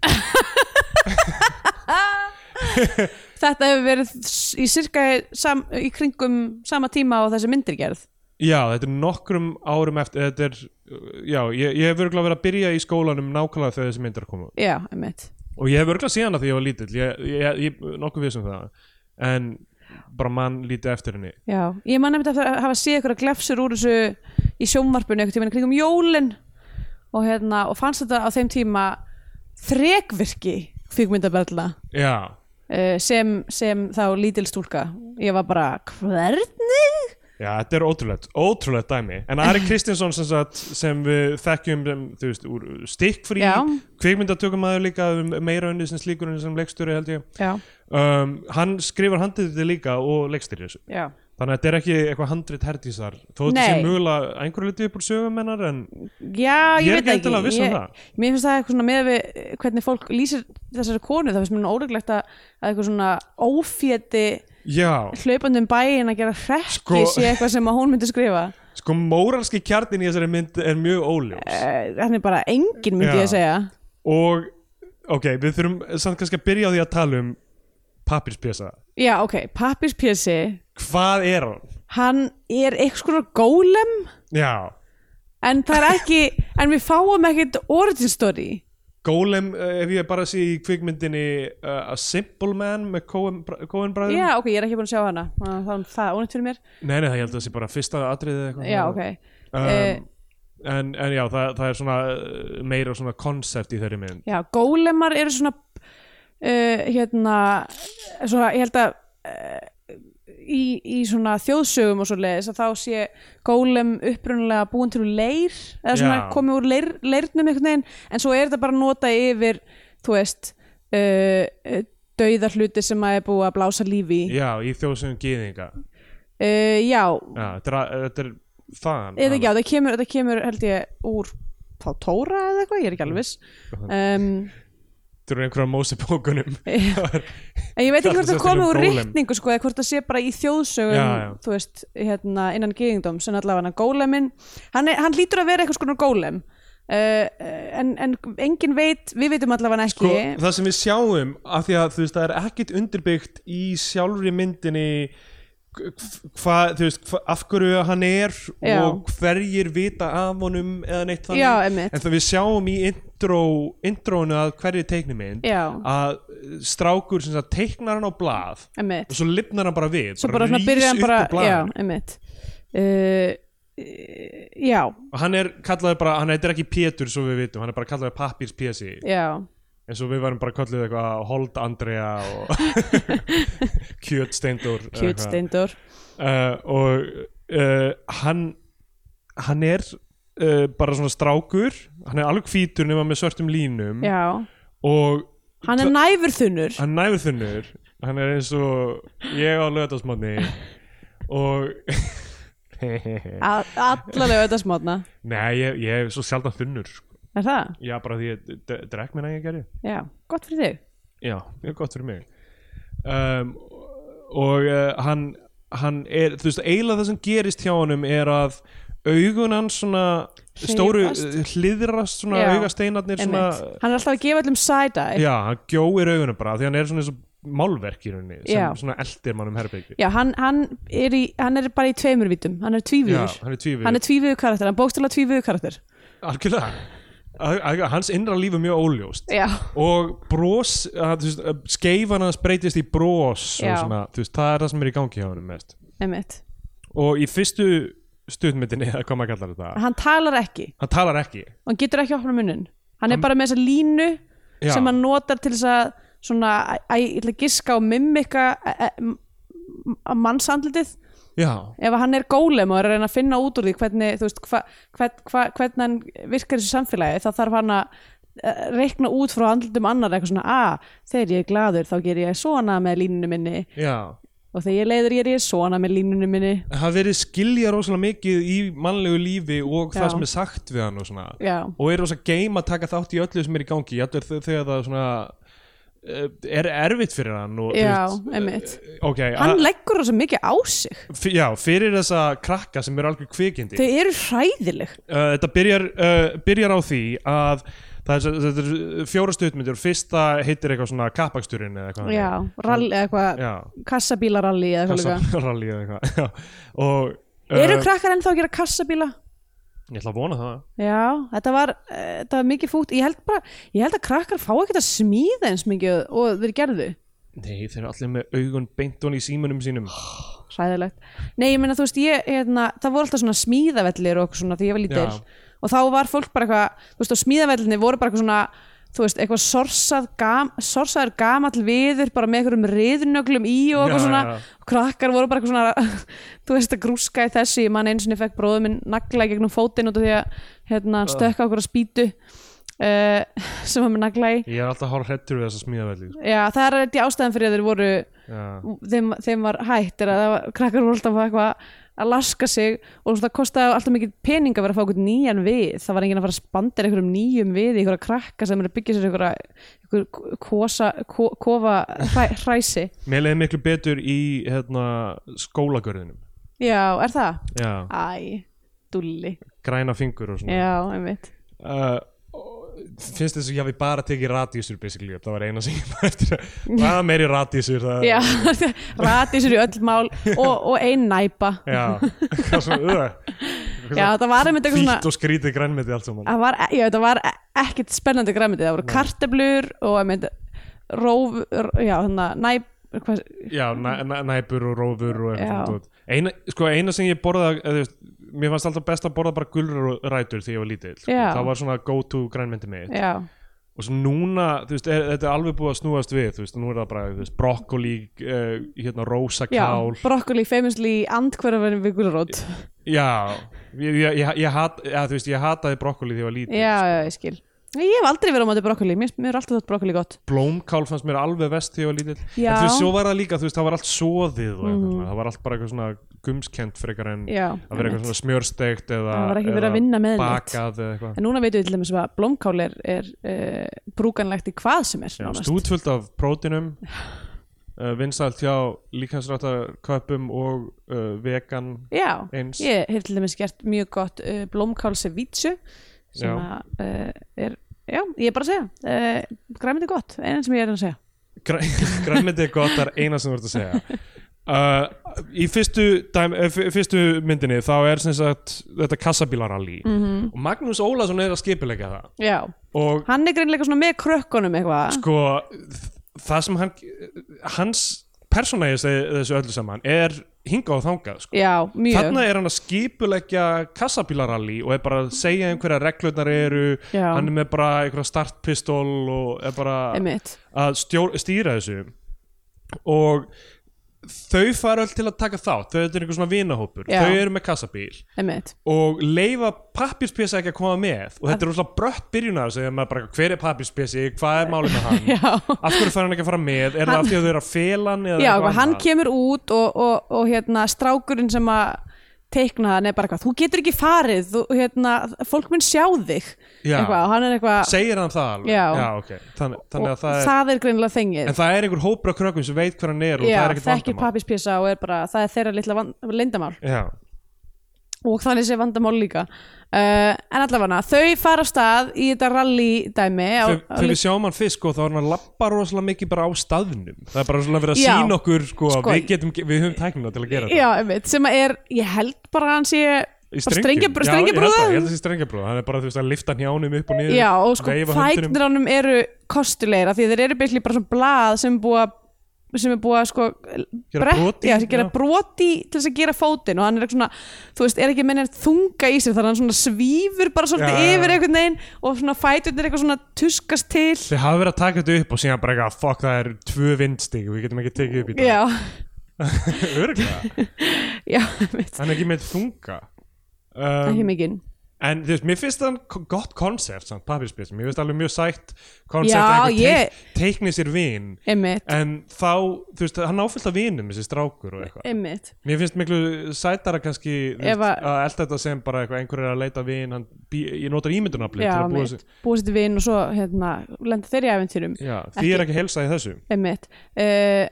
Speaker 2: Þetta hefur verið s- í cirka sam, í kringum sama tíma og þessi myndir gerð.
Speaker 3: Já, þetta er nokkrum árum eftir þetta er, uh, já, ég, ég hef örgulega verið að byrja í skólanum nákvæmlega þegar þessi myndar komu
Speaker 2: Já, einmitt.
Speaker 3: og ég hef örgulega síðan að því ég var lítill ég, ég, ég nokkuð vissum það en bara mann lítið eftir henni
Speaker 2: Já, ég man nefndi eftir að hafa séð ykkur glefsur úr þessu í sjónvarpinu einhvern tímann kringum jólin og, hérna, og fannst þetta á þeim tíma þrekvirki fíkmyndaberla
Speaker 3: Já,
Speaker 2: uh, sem, sem þá lítil stúlka ég var bara, hvernig?
Speaker 3: Já, þetta er ótrúlegt, ótrúlegt dæmi En Ari Kristinsson sem, sagt, sem við þekkjum sem, þú veist, úr stikkfrí
Speaker 2: Já.
Speaker 3: kvikmyndatökumæður líka um meira unnið sem slíkur en sem leikstjóri held ég
Speaker 2: Já,
Speaker 3: um, Hann skrifar handrið þetta líka og leikstýrir þessu
Speaker 2: já,
Speaker 3: Þannig að þetta er ekki eitthvað handrið herdísar þó þetta sé
Speaker 2: Nei.
Speaker 3: mjögulega einhverju litið upp úr sögum hennar en
Speaker 2: já ég,
Speaker 3: Ég er
Speaker 2: veit
Speaker 3: ekki
Speaker 2: það
Speaker 3: endilega viss um
Speaker 2: Ég-
Speaker 3: það.
Speaker 2: Mér finnst það eitthvað svona með við eh, hvernig fólk lýsir þessari konu það finnst mér nú óreglegt að að eitthvað svona óféti
Speaker 3: já,
Speaker 2: hlaupandi um bæin að gera hrekki
Speaker 3: Sko-
Speaker 2: sé eitthvað sem að hún myndi skrifa
Speaker 3: sko móralski kjarnin í þessari mynd er mjög óljós
Speaker 2: Eh, hann er bara engin myndi ég
Speaker 3: Já.
Speaker 2: að segja
Speaker 3: og ok, við þurfum samt kannski að byrja á því að tala um pappirspjasa
Speaker 2: já ok, pappis pjessi
Speaker 3: Hvað er hann?
Speaker 2: hann er eitthvað svona gólem
Speaker 3: Já
Speaker 2: en það er ekki, en við fáum ekkert origin story
Speaker 3: Golem, eh, ef ég bara sé í kvikmyndinni uh, A Simple Man með Coen br- Coen bræðum
Speaker 2: já ok, ég er ekki búin að sjá hana þannig að það er ónætt fyrir mér
Speaker 3: Nei, nei, það ég held að það sé bara fyrsta atriðið eitthvað
Speaker 2: já
Speaker 3: svona.
Speaker 2: ok,
Speaker 3: um,
Speaker 2: Eh.
Speaker 3: en, en já, það, það er svona eh, meira svona konsept í þeirri mynd
Speaker 2: já, gólemar eru svona uh, hérna svona, ég held að uh, í, í svona þjóðsögum og svo leiðis að þá sé gólem upprunalega búin til úr leir eða svona
Speaker 3: Já.
Speaker 2: komið úr leir, leirnum einhvern veginn en svo er þetta bara nota yfir þú veist uh, dauðar hluti sem að er búið að blása lífi í
Speaker 3: Já, í þjóðsögum gýðinga
Speaker 2: uh, já,
Speaker 3: Já, þetta er, að- þetta er það
Speaker 2: eða ekki já, það kemur, það kemur held ég úr þá tóra eða eitthvað, ég er ekki alveg viss um,
Speaker 3: Þetta eru einhverja mósebókunum Það er-
Speaker 2: En ég veit ekki
Speaker 3: Þetta
Speaker 2: hvort það
Speaker 3: sést
Speaker 2: komi
Speaker 3: alveg
Speaker 2: úr
Speaker 3: gólem.
Speaker 2: rítningu sko, eða hvort það sé bara í þjóðsögum
Speaker 3: Já, já.
Speaker 2: þú veist, hérna, innan gyðingdóm sem allavega hann góleminn, hann, er- hann lítur að vera eitthvað skonar gólem uh, en, en engin veit, við veitum allavega ekki
Speaker 3: Sko, það sem við sjáum af því að þú veist, það er ekkit undirbyggt í sjálfri myndinni h- hvað, þú veist, hva, af hverju hann er
Speaker 2: Já.
Speaker 3: og hverjir vita af honum eða neitt þannig
Speaker 2: Já, einmitt.
Speaker 3: en það við sjáum í intro, intronu að hverju teiknumynd
Speaker 2: Já.
Speaker 3: að eh, strákur sem sagt, teiknar hann á blað
Speaker 2: einmitt,
Speaker 3: og svo lifnar hann bara við
Speaker 2: svo bara svona byrja hann
Speaker 3: rís upp
Speaker 2: bara
Speaker 3: úr blaðinu.
Speaker 2: já, einmitt uh, já,
Speaker 3: og hann er kallaður bara, hann heitir ekki Pétur svo við vitum, hann er bara kallaður Pappirs Pési
Speaker 2: já
Speaker 3: eins og við varum bara kolluð eitthvað Hold Andrea og Kjöt Steindor eða
Speaker 2: kjút
Speaker 3: eitthvað.
Speaker 2: steindur
Speaker 3: uh, og uh, hann hann er uh, bara svona strákur hann er alveg hvítur nema með svörtum línum
Speaker 2: já,
Speaker 3: og
Speaker 2: hann er næfur þunnur
Speaker 3: hann næfur þunnur hann er eins og ég á löðasmotni og
Speaker 2: allavega þetta smátna,
Speaker 3: nei, ég, ég er svo sjaldan þunnur sko.
Speaker 2: er það?
Speaker 3: já, bara því ég d- drekk mér að ég gerði
Speaker 2: Já, gott fyrir þig
Speaker 3: Já, mjög gott fyrir mig um, og uh, hann, hann er, þú veist, eiginlega það sem gerist hjá honum er að augun hans svona stóru uh,
Speaker 2: Hreyfast.
Speaker 3: hliðrast svona
Speaker 2: Já,
Speaker 3: augasteinarnir svona,
Speaker 2: einmitt, hann er alltaf að gefa allum side-eye
Speaker 3: já, hann gjóir augunum bara því hann er svona eins og málverk í rauninni sem
Speaker 2: Já.
Speaker 3: svona eldir mann um herbyggju
Speaker 2: Já, hann, hann, er í, hann er bara í tveimur vítum Hann er tvívíður
Speaker 3: hann er tvífið,
Speaker 2: Hann er tvívíður karakter, hann bókstæla tvívíður karakter
Speaker 3: algjörlega Að- að- hans innra líf er mjög óljóst
Speaker 2: Já,
Speaker 3: og bros, að, þú veist, skeifan hans breytist í bros og
Speaker 2: Já.
Speaker 3: svona, þú veist, það er það sem er í gangi hjá honum mest
Speaker 2: einmitt
Speaker 3: og í fyrstu stuðmyndinni eða hvað maður kallar þetta
Speaker 2: Hann talar ekki,
Speaker 3: hann talar ekki
Speaker 2: hann getur ekki opna munnin Hann er bara með þessa línu
Speaker 3: Já.
Speaker 2: sem hann notar til þess að svona, æ, ég ætla að giska og mimika eh, eh, m- m- mannsandlitið
Speaker 3: já,
Speaker 2: ef hann er gólem og er að reyna að finna út úr því hvernig, þú veist, hva, hva, hva, hvernig hann virkar í þessu samfélagi, þá þarf hann að eh, reikna út frá andlutum annar eitthvað svona, að þegar ég er gladur þá ger ég svona með línunum minni
Speaker 3: já
Speaker 2: og þegar ég er leiður ger ég svona með línunum minni
Speaker 3: það verið skilja rosalega mikið í mannlegu lífi og
Speaker 2: Já.
Speaker 3: það sem er sagt við hann og svona
Speaker 2: Já.
Speaker 3: og er rosa game að taka þátt í öllu sem er í gangi játtur þegar það er svona eh, er erfitt fyrir hann og, þú
Speaker 2: Já,
Speaker 3: veist,
Speaker 2: einmitt.
Speaker 3: eh, okay,
Speaker 2: hann
Speaker 3: að-
Speaker 2: leggur rosa mikið á sig
Speaker 3: f- já, fyrir þessa krakka sem eru algjör kvikindi
Speaker 2: þau eru hræðileg
Speaker 3: uh, þetta byrjar, uh, byrjar á því að það er, þetta er fjóra stuðmyndir fyrsta heitir eitthvað svona kappaksturinn eða eitthvað
Speaker 2: já, rally eða eitthvað
Speaker 3: já
Speaker 2: kassabílaralli eða eitthvað líka
Speaker 3: kassaralli eða eitthvað já. og
Speaker 2: eru
Speaker 3: uh,
Speaker 2: krakkar ennþá að gera kassabíla?
Speaker 3: ég ætla að vona það
Speaker 2: Já, þetta var, eh, þetta var mikið fútt ég held, bara, ég held að krakkar fá ekkert að smíða eins mikið og þeir gerðu
Speaker 3: nei, þeir eru allir með augun beintón í símunum sínum
Speaker 2: hræðilegt. Nei, ég meina þú veist ég, hérna, það voru alltaf svona smíðavellir og eitthvað svona því ég var lítil og þá var fólk bara eitthvað, þú veist, og smíðavellinni voru bara eitthvað svona, þú veist, eitthvað sorsað gam, sorsaður gamall viður bara með einhverjum riðnöglum í og eitthvað
Speaker 3: Já,
Speaker 2: svona,
Speaker 3: já.
Speaker 2: krakkar voru bara eitthvað svona, þú veist, að grúska í þessu ég man eins og ég fekk bróðum minn nagla í gegnum fótinn út af því að,
Speaker 3: Ah.
Speaker 2: hérna, hann stökka okkur að spýtu uh, sem var með nagla í.
Speaker 3: ég er alltaf hár hrettur við þessa smíðavelli sko.
Speaker 2: Já, það er þetta ástæðan fyrir að þeir voru
Speaker 3: Já.
Speaker 2: þeim, þeim var hætt er að það var, krakkar voru alltaf eitthvað að laska sig og það kostaði alltaf mikið pening að vera að fá einhvern nýjan við það var enginn að fara að spandir einhverjum nýjum við í einhverja krakka sem er að byggja sér einhverja einhver kosa, ko, kofa hræ, hræsi
Speaker 3: mér leiði miklu betur í hérna, skólagörðinum
Speaker 2: já, er það?
Speaker 3: já,
Speaker 2: Æ, dulli
Speaker 3: græna fingur og svona
Speaker 2: já, einmitt
Speaker 3: uh, og finnst þess að ég hafi bara tekið radísur basically, það var eina sem ég bara eftir að- það meiri radísur það,
Speaker 2: já, ratið sér í öll mál og, og ein næpa
Speaker 3: já, hvað svona uh,
Speaker 2: já, það var einmitt eitthvað svona
Speaker 3: fýtt og skrítið grænmeti allt saman
Speaker 2: það var, já, það var e- ekkert spennandi græmiti, það voru karteblur og ég meint róf, r- já, þannig að næp hvað,
Speaker 3: Já, næ, næ, næpur og rófur og
Speaker 2: Já.
Speaker 3: eitthvað svona dót. eina, sko, eina sem ég borða eða, þú veist, Mér fannst alltaf best að borða bara gulrætur þegar ég var lítill sko.
Speaker 2: Já.
Speaker 3: Það var svona go to grænmyndi mitt
Speaker 2: já,
Speaker 3: Og svo núna, þú veist, er, þetta er alveg búið að snúast við Þú veist, nú er það bara, þú veist, brokkoli uh, hérna,
Speaker 2: já,
Speaker 3: rósakál
Speaker 2: brokkoli famously andhverfarinn við gulrót já,
Speaker 3: Já, ég, ég, ég, ég, hat, ja, þú veist, ég hataði brokkoli þegar ég var lítill
Speaker 2: já, ég skil Nei, ég hef aldrei verið á móti brokkoli, mér, mér er alltaf þátt brokkoli gott
Speaker 3: Blómkál fannst mér alveg vest þegar ég var lítill
Speaker 2: Já. Mm.
Speaker 3: En þú veist, svo var það líka, þú veist, það var allt soðið og eitthvað svona. Það var allt bara eitthvað svona gumskent frekar en
Speaker 2: já,
Speaker 3: að vera eitthvað
Speaker 2: einmitt.
Speaker 3: svona smjörsteikt eða,
Speaker 2: Það var ekki verið
Speaker 3: eða
Speaker 2: að vinna með neitt.
Speaker 3: bakað eða eitthvað
Speaker 2: en núna veitum við til þess að blómkál er, er uh, brúkanlegt í hvað sem er
Speaker 3: Já,
Speaker 2: nánast.
Speaker 3: stútfullt af prótinum uh, vinsalt hjá líkansrættarköpum og uh, vegan
Speaker 2: já,
Speaker 3: eins
Speaker 2: Ég hef til dæmis gert mjög gott uh, blómkál ceviche sem
Speaker 3: Já.
Speaker 2: að, uh, er, já, ég er bara að segja uh, græmið er gott, einn sem ég er að segja
Speaker 3: Græ, grænmeti er gott, það er eina sem þú ert að segja Uh, í fyrstu, dæm, eh, f- fyrstu myndinni þá er sem sagt þetta kassabílaralli
Speaker 2: Mhm.
Speaker 3: -hmm. og Magnús Ólason er að skipilegja það
Speaker 2: Já,
Speaker 3: og
Speaker 2: hann er greinlega svona með krökkunum eitthvað
Speaker 3: sko þ- það sem hann hans personægis þessu öllu saman er hingað og þangað sko.
Speaker 2: Já, mjög
Speaker 3: Þarna er hann að skipuleggja kassabílaralli og er bara að segja einhverja reglurnar eru,
Speaker 2: Já.
Speaker 3: hann er með bara einhverja startpistól og er bara
Speaker 2: Einmitt.
Speaker 3: að stjór, stýra þessu og þau fara öll til að taka þátt, þau þetta er einhver svona vinahópur,
Speaker 2: Já.
Speaker 3: þau eru með kassabíl
Speaker 2: Einmitt.
Speaker 3: og leifa pappirspjesa ekki að koma með og þetta er rosalega brött byrjunar sem maður bara, hver er pappirspjesi, hvað er málið með hann
Speaker 2: Já,
Speaker 3: af hverju fær hann ekki að fara með, er það af því að þau eru að fela hann eða
Speaker 2: já
Speaker 3: eitthvað
Speaker 2: eitthvað, hann
Speaker 3: annað?
Speaker 2: kemur út og, og, og hérna strákurinn sem að teikna hann er bara eitthvað, þú getur ekki farið þú, hérna, fólk mun sjá þig
Speaker 3: Já.
Speaker 2: eitthvað, og hann er eitthvað
Speaker 3: segir hann það alveg
Speaker 2: Já.
Speaker 3: ok. þannig, þannig
Speaker 2: og
Speaker 3: að það er
Speaker 2: það er greinlega þengið
Speaker 3: En það er einhver hópur af krökkum sem veit hver hann er og
Speaker 2: Já,
Speaker 3: það er ekkert
Speaker 2: þekkir
Speaker 3: vandamál.
Speaker 2: pappispísa og er bara, það er þeirra litla lindamál
Speaker 3: Já,
Speaker 2: og þannig sé vandamál líka uh, en allavega, þau fara af stað í þetta rally dæmi á,
Speaker 3: Þeg-
Speaker 2: á,
Speaker 3: þegar við sjáum hann fyrst sko þá er hann að labba rosalega mikið bara á staðnum það er bara svona verið að
Speaker 2: Já.
Speaker 3: sína okkur sko,
Speaker 2: Sko,
Speaker 3: við, getum, við höfum tæknina til að gera
Speaker 2: já, einmitt, sem að er, ég held bara að hann sé
Speaker 3: þetta
Speaker 2: bara strengja- strengjabrúða.
Speaker 3: Já, ég held það, ég held þessi strengjabrúða hann er bara þú veist að lifta hnjánum upp og niður
Speaker 2: já, og sko
Speaker 3: veifa höndunum.
Speaker 2: fætnir honum eru kostulegra því þeir eru byrli bara svona blað sem er búið að sem er búið að sko
Speaker 3: Gera
Speaker 2: brett-
Speaker 3: brot í,
Speaker 2: já, sem gera
Speaker 3: já.
Speaker 2: broti til þess að gera fótinn og hann er ekki svona, þú veist, er ekki mennir þunga í sér þannig að hann svona svífur bara svolítið
Speaker 3: Já, já, já.
Speaker 2: yfir einhvern veginn og svona fæturnir eitthvað svona tuskast til
Speaker 3: Þið hafa verið að taka þetta upp og síðan bara eitthvað fuck það er tvö vindstig við getum ekki tekið upp í
Speaker 2: já,
Speaker 3: dag örgulega,
Speaker 2: já, mitt
Speaker 3: hann er ekki með þunga
Speaker 2: ekki
Speaker 3: um,
Speaker 2: mikinn
Speaker 3: en þú veist, mér finnst það ko- gott konsept samt papirspism, mér finnst alveg mjög sætt konsept
Speaker 2: Já,
Speaker 3: að
Speaker 2: ég-
Speaker 3: teik, teikni sér vin
Speaker 2: einmitt,
Speaker 3: en þá, þú veist, hann áfyllt að vinum þessi strákur og eitthvað
Speaker 2: einmitt
Speaker 3: Mér finnst miklu sætara kannski þú
Speaker 2: Ef
Speaker 3: veist,
Speaker 2: að-
Speaker 3: að elda þetta sem bara eitthvað einhverjur er að leita vin, hann bí, ég notar ímyndunafli
Speaker 2: já, mitt, búið sér til vinn og svo hérna, lendi þeirri æventýrum
Speaker 3: Já, því er ekki helsa í þessu
Speaker 2: einmitt uh,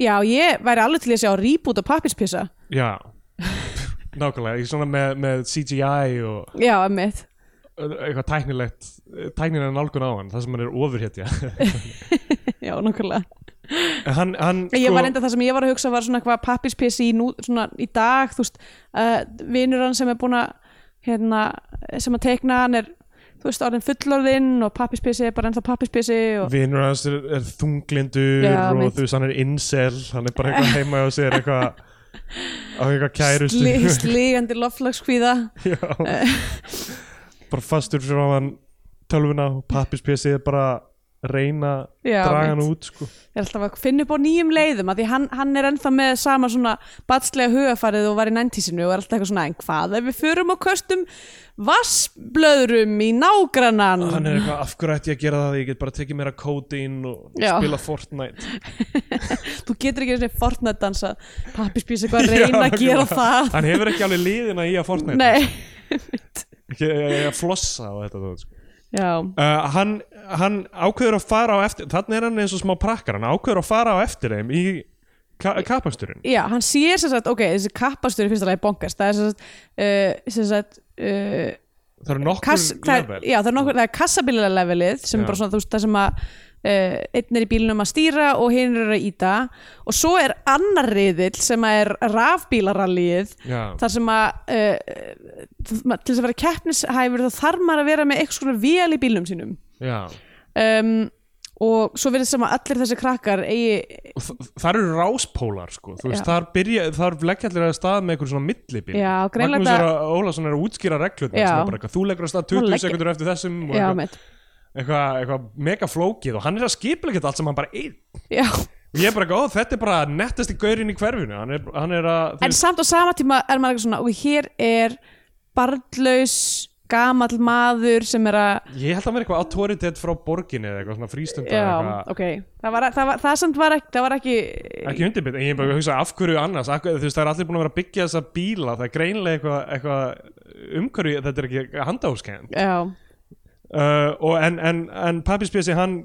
Speaker 2: já, ég væri alveg til að sjá reboot og pappirspisa
Speaker 3: Já, nákvæmlega ekki svona með, með CGI og
Speaker 2: já, einmitt
Speaker 3: eitthvað tæknilegt tæknilega nálgun á hann, það sem hann er ofurhetja
Speaker 2: já, nákvæmlega
Speaker 3: En hann, hann sko-
Speaker 2: Ég var enda það sem ég var að hugsa var svona eitthvað pappispissi í, nú, svona, í dag þú veist, uh, vinur hann sem er búin að hérna, sem að teikna hann er, þú veist, orðin fullorðinn og pappispissi er bara ennþá pappispissi og
Speaker 3: vinur hans er, er þunglindur
Speaker 2: Já,
Speaker 3: og
Speaker 2: mitt.
Speaker 3: þú veist, hann er incel hann er bara eitthvað heima og sér eitthvað á eitthvað kærustu
Speaker 2: sli, slígandi loflagskvíða
Speaker 3: Já Bara fastur frá hann tölvuna og pappispjessi er bara að reyna að
Speaker 2: Já,
Speaker 3: draga
Speaker 2: mitt.
Speaker 3: hann út sko.
Speaker 2: er alltaf að finna upp á nýjum leiðum að því hann, hann er ennþá með sama svona batslega hugafarið og var í næntísinu og er alltaf eitthvað svona, en hvað ef við förum og köstum vassblöðrum í nágrannan
Speaker 3: Hann er eitthvað, af hverju ætti ég að gera það ég get bara tekið mér að kódin og
Speaker 2: Já.
Speaker 3: spila Fortnite
Speaker 2: þú getur ekki þessi Fortnite dansa pappispísi hvað reyna
Speaker 3: Já,
Speaker 2: að gera
Speaker 3: nákvæmlega.
Speaker 2: það
Speaker 3: Hann hefur ekki alveg liðina í að Fortnite
Speaker 2: Nei
Speaker 3: Ekki, eh, að flossa og þetta það, sko.
Speaker 2: Já,
Speaker 3: uh, hann, hann ákveður að fara á eftir þannig er hann eins og smá prakkar hann ákveður að fara á eftir þeim í ka kapasturinn
Speaker 2: já hann sér sem sagt, ok, þessi kappastur finnst alveg bongast, það er sem sagt, uh, sem sagt uh,
Speaker 3: það eru nokkur
Speaker 2: kass, það, er-
Speaker 3: level
Speaker 2: já, það er nokkur, það er kassabíla levelið sem
Speaker 3: Já.
Speaker 2: er bara svona þú veist það sem að uh, einn er í bílunum að stýra og hinn er að íta og svo er annar riðill sem að er rafbílarallið
Speaker 3: Já.
Speaker 2: þar sem að uh, til þess að vera keppnishæfur þá þarf maður að vera með eitthvað svona vél í bílnum sínum
Speaker 3: Já.
Speaker 2: um, og svo verðist sem að allir þessi krakkar eigi,
Speaker 3: og þ- þar eru ráspólar sko. þú veist,
Speaker 2: Já.
Speaker 3: þar, byrja, þar leggja allir að stað með einhver svona millibíl
Speaker 2: Já, greinlega
Speaker 3: Magnús er
Speaker 2: þetta-
Speaker 3: að, Ólason er að útskýra reglurnar
Speaker 2: Já.
Speaker 3: sem er bara eitthvað, þú leggur að stað
Speaker 2: Hann
Speaker 3: 20
Speaker 2: leggja-
Speaker 3: sekundur eftir þessum og
Speaker 2: já,
Speaker 3: eitthvað,
Speaker 2: með,
Speaker 3: eitthvað, eitthvað mega flókið og hann er að skipla ekkert allt sem hann bara einn
Speaker 2: já.
Speaker 3: og ég er bara, eitthvað, ó, þetta er bara nettasti gaurinn í hverfinu hann er, hann er að, þú
Speaker 2: en samt á sama tíma er maður eitthvað svona og hér er barnlaus gamall maður sem er að
Speaker 3: veist, ég held að hann vera eitthvað autoritet frá borginni eða eitthvað svona frístunda
Speaker 2: já,
Speaker 3: eitthvað,
Speaker 2: ok, það var, það var, það samt var ekki það var ekki,
Speaker 3: ekki undirbytt, en ég er bara að hugsa af hverju annars, af hverju, þú veist, það er allir búin að vera að byggja þessa bíla, það er greinlega eitthvað, eitthvað umhverju, þetta er ekki handahóskend
Speaker 2: já,
Speaker 3: uh, og en, en, en pappi spjössi hann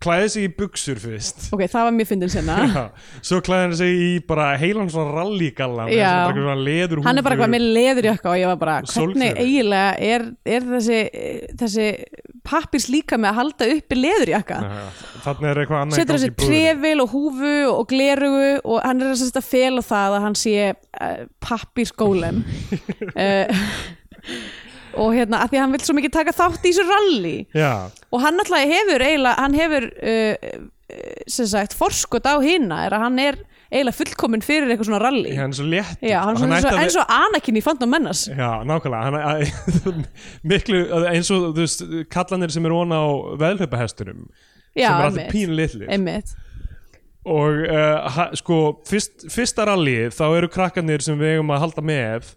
Speaker 3: klæði sig í buksur fyrst
Speaker 2: ok, það var mjög fyndin senna
Speaker 3: Já, svo klæði hann sig í bara heilan svona rallygalla með
Speaker 2: Já.
Speaker 3: svona bara eitthvað svona leður
Speaker 2: hann er bara eitthvað með leðurjökka og ég var bara
Speaker 3: Sólgleraugu.
Speaker 2: hvernig eiginlega er, er þessi, þessi pappirs líka með að halda uppi leðurjökka
Speaker 3: þannig er eitthvað annað í
Speaker 2: setur
Speaker 3: gangi
Speaker 2: þessi
Speaker 3: í brúðinni.
Speaker 2: trefil og húfu og glerugu og hann er þess að fela það að hann sé uh, pappirskólem uh, og hérna að því að hann vil svo mikið taka þátt í þessu rally
Speaker 3: Já,
Speaker 2: og hann náttúrulega hefur eiginlega hann hefur uh, uh, sem sagt forskot á hina er að hann er eiginlega fullkominn fyrir eitthvað svona rally
Speaker 3: hann er svo létt
Speaker 2: Já, hann er svona eins og, eins og anakin í Phantom Menace
Speaker 3: Já, nákvæmlega hann, að, miklu, að eins og þú veist, kallanir sem eru ofan á veðlöpahestunum sem
Speaker 2: Já,
Speaker 3: er allir
Speaker 2: einmitt.
Speaker 3: pínlitlir
Speaker 2: einmitt,
Speaker 3: og uh, ha, sko fyrst, fyrsta rallið þá eru krakkanir sem við eigum að halda með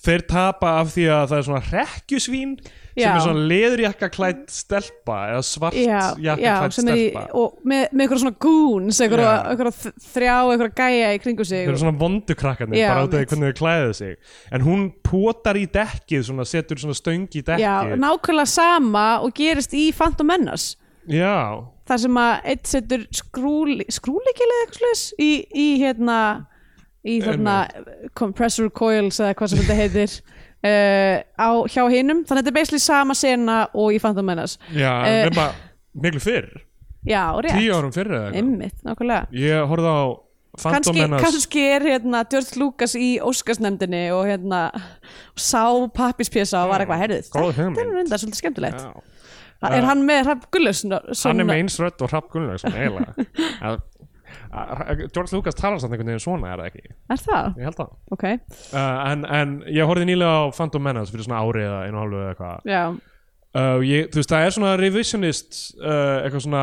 Speaker 3: þeir tapa af því að það er svona rekkjusvín sem
Speaker 2: Já.
Speaker 3: er svona leðurjakka klætt stelpa eða svart
Speaker 2: já,
Speaker 3: jakka
Speaker 2: já
Speaker 3: klætt
Speaker 2: sem er í,
Speaker 3: stelpa
Speaker 2: og með, með eitthvað svona goons eitthvað,
Speaker 3: Já.
Speaker 2: eitthvað þrjá, eitthvað gæja í kringu sig
Speaker 3: þeir eru svona vondu krakkanir
Speaker 2: Já,
Speaker 3: bara út af því
Speaker 2: mitt.
Speaker 3: hvernig þau klæðu sig en hún potar í dekkið svona setur svona stöng í
Speaker 2: Já,
Speaker 3: dekkið
Speaker 2: nákvæmlega sama og gerist í Phantom Menace
Speaker 3: já,
Speaker 2: þar sem að eitt setur skrúli, skrúleikil eða eitthvað slags í, í hérna í þarna compressor coils eða hvað sem þetta heitir uh, á, hjá hinum, þannig að þetta er basically sama sena og í Phantom Menace
Speaker 3: já
Speaker 2: Eh.
Speaker 3: nema miklu fyrr,
Speaker 2: Já, rétt,
Speaker 3: tíu árum fyrr eða eitthvað
Speaker 2: einmitt, nákvæmlega
Speaker 3: ég horfði á Phantom
Speaker 2: Kanski,
Speaker 3: Menace
Speaker 2: kannski er hérna George Lucas í Óskarsnefndinni og hérna sá pappispjesa og var eitthvað herrið
Speaker 3: Góð
Speaker 2: þetta er
Speaker 3: hugmynd.
Speaker 2: nú reyndar svolítið skemmtilegt
Speaker 3: Já.
Speaker 2: er hann með Hrafn Gullus
Speaker 3: hann er með eins rödd og Hrafn Gunnlaugsson eiginlega Að- George Lucas talar samt einhvern veginn svona er það ekki
Speaker 2: Er það?
Speaker 3: ég held það
Speaker 2: Ok,
Speaker 3: uh, en, en ég horfði nýlega á Phantom Menace fyrir svona ári eða einu og hálfu eða eitthvað
Speaker 2: já,
Speaker 3: uh, ég, þú veist það er svona revisionist uh, eitthvað svona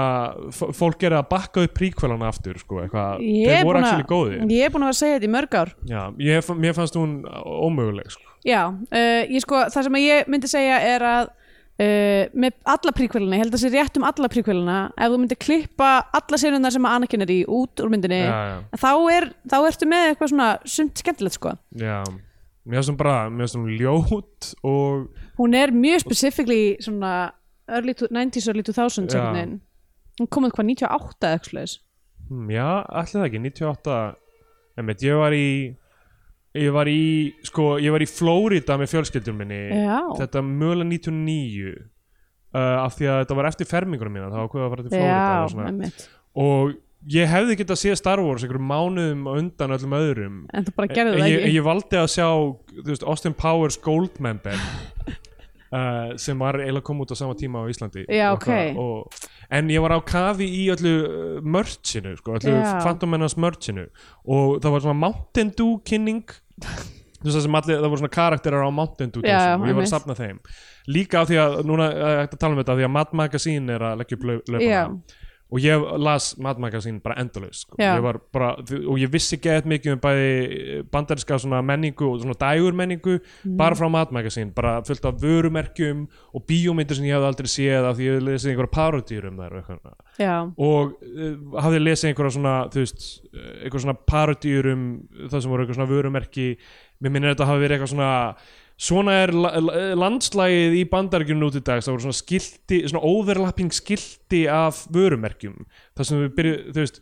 Speaker 3: f- fólk er að bakka upp príkvælana aftur sko eitthvað
Speaker 2: Ég er
Speaker 3: þeir voru
Speaker 2: búin að-
Speaker 3: actually góðir
Speaker 2: ég er búin að vera að segja þetta í mörg ár
Speaker 3: já ég, f- mér fannst hún ómöguleg sko
Speaker 2: Já, uh, ég sko, það sem að ég myndi segja er að uh, með alla príkvælina, ég held að sé rétt um alla príkvælina ef þú myndir klippa alla seriunar sem að Anakin er í út úr myndinni
Speaker 3: Já,
Speaker 2: Þá, er, þá ertu með eitthvað svona sumt skemmtilegt sko
Speaker 3: já mér finnst hún bara mér finnst hún ljót og
Speaker 2: Hún er mjög specifíkli svona early to, 90s, early 2000s
Speaker 3: Já.
Speaker 2: einhvern veginn. Hún komið hvað 98 eða eitthvað svoleiðis.
Speaker 3: Hmm, Já, allir það ekki, 98 Emmeit, ég var í Ég var í, sko, ég var í Flórida með fjölskyldur minni
Speaker 2: Já.
Speaker 3: Þetta mögulega 99 uh, Af því að þetta var eftir fermingunum mína Það var hvað að fara til Flórida
Speaker 2: Já,
Speaker 3: og, svona.
Speaker 2: einmitt.
Speaker 3: og ég hefði getað séð Star Wars einhverjum mánuðum á undan öllum öðrum
Speaker 2: en þú bara gerði
Speaker 3: En
Speaker 2: það
Speaker 3: ég,
Speaker 2: ekki
Speaker 3: ég valdi að sjá þú veist, Austin Powers Goldmember uh, sem var eiginlega kom út á sama tíma á Íslandi
Speaker 2: Já,
Speaker 3: og eitthvað,
Speaker 2: ok.
Speaker 3: og, en ég var á kafi í öllu uh, mörtsinu, sko, öllu
Speaker 2: Já.
Speaker 3: fantomennans mörtsinu og það var svona Mountain Dew kynning þú veist það sem allir, það voru svona karakterar á Mountain Dew
Speaker 2: Já, já,
Speaker 3: dósum og ég var
Speaker 2: einmitt.
Speaker 3: að safna þeim líka af því að, núna eh, ætti að tala um þetta af því að Mad Magazine er að leggja upp lau- laupana
Speaker 2: Já.
Speaker 3: og ég las Mad Magazine bara endalaus sko.
Speaker 2: Já.
Speaker 3: ég var bara, og ég vissi gett mikið um bæði bandarinska svona menningu og svona dægurmenningu bara frá Mad Magazine, bara fullt af vörumerkjum og bíómyndir sem ég hafði aldrei séð af því ég hafði lesið einhverja parodýr um þær og eitthvað
Speaker 2: Já,
Speaker 3: og uh, hafði lesið einhverja svona þú veist, eh, einhverja svona parodýr um það sem voru einhverja svona vörumerki mér minnir þetta hafi verið eitthvað svona svona er la- la- landslægið í bandaríkjunum út í dags, það voru svona skilti svona overlapping skilti af vörumerkjum, það sem við byrjuð þú veist,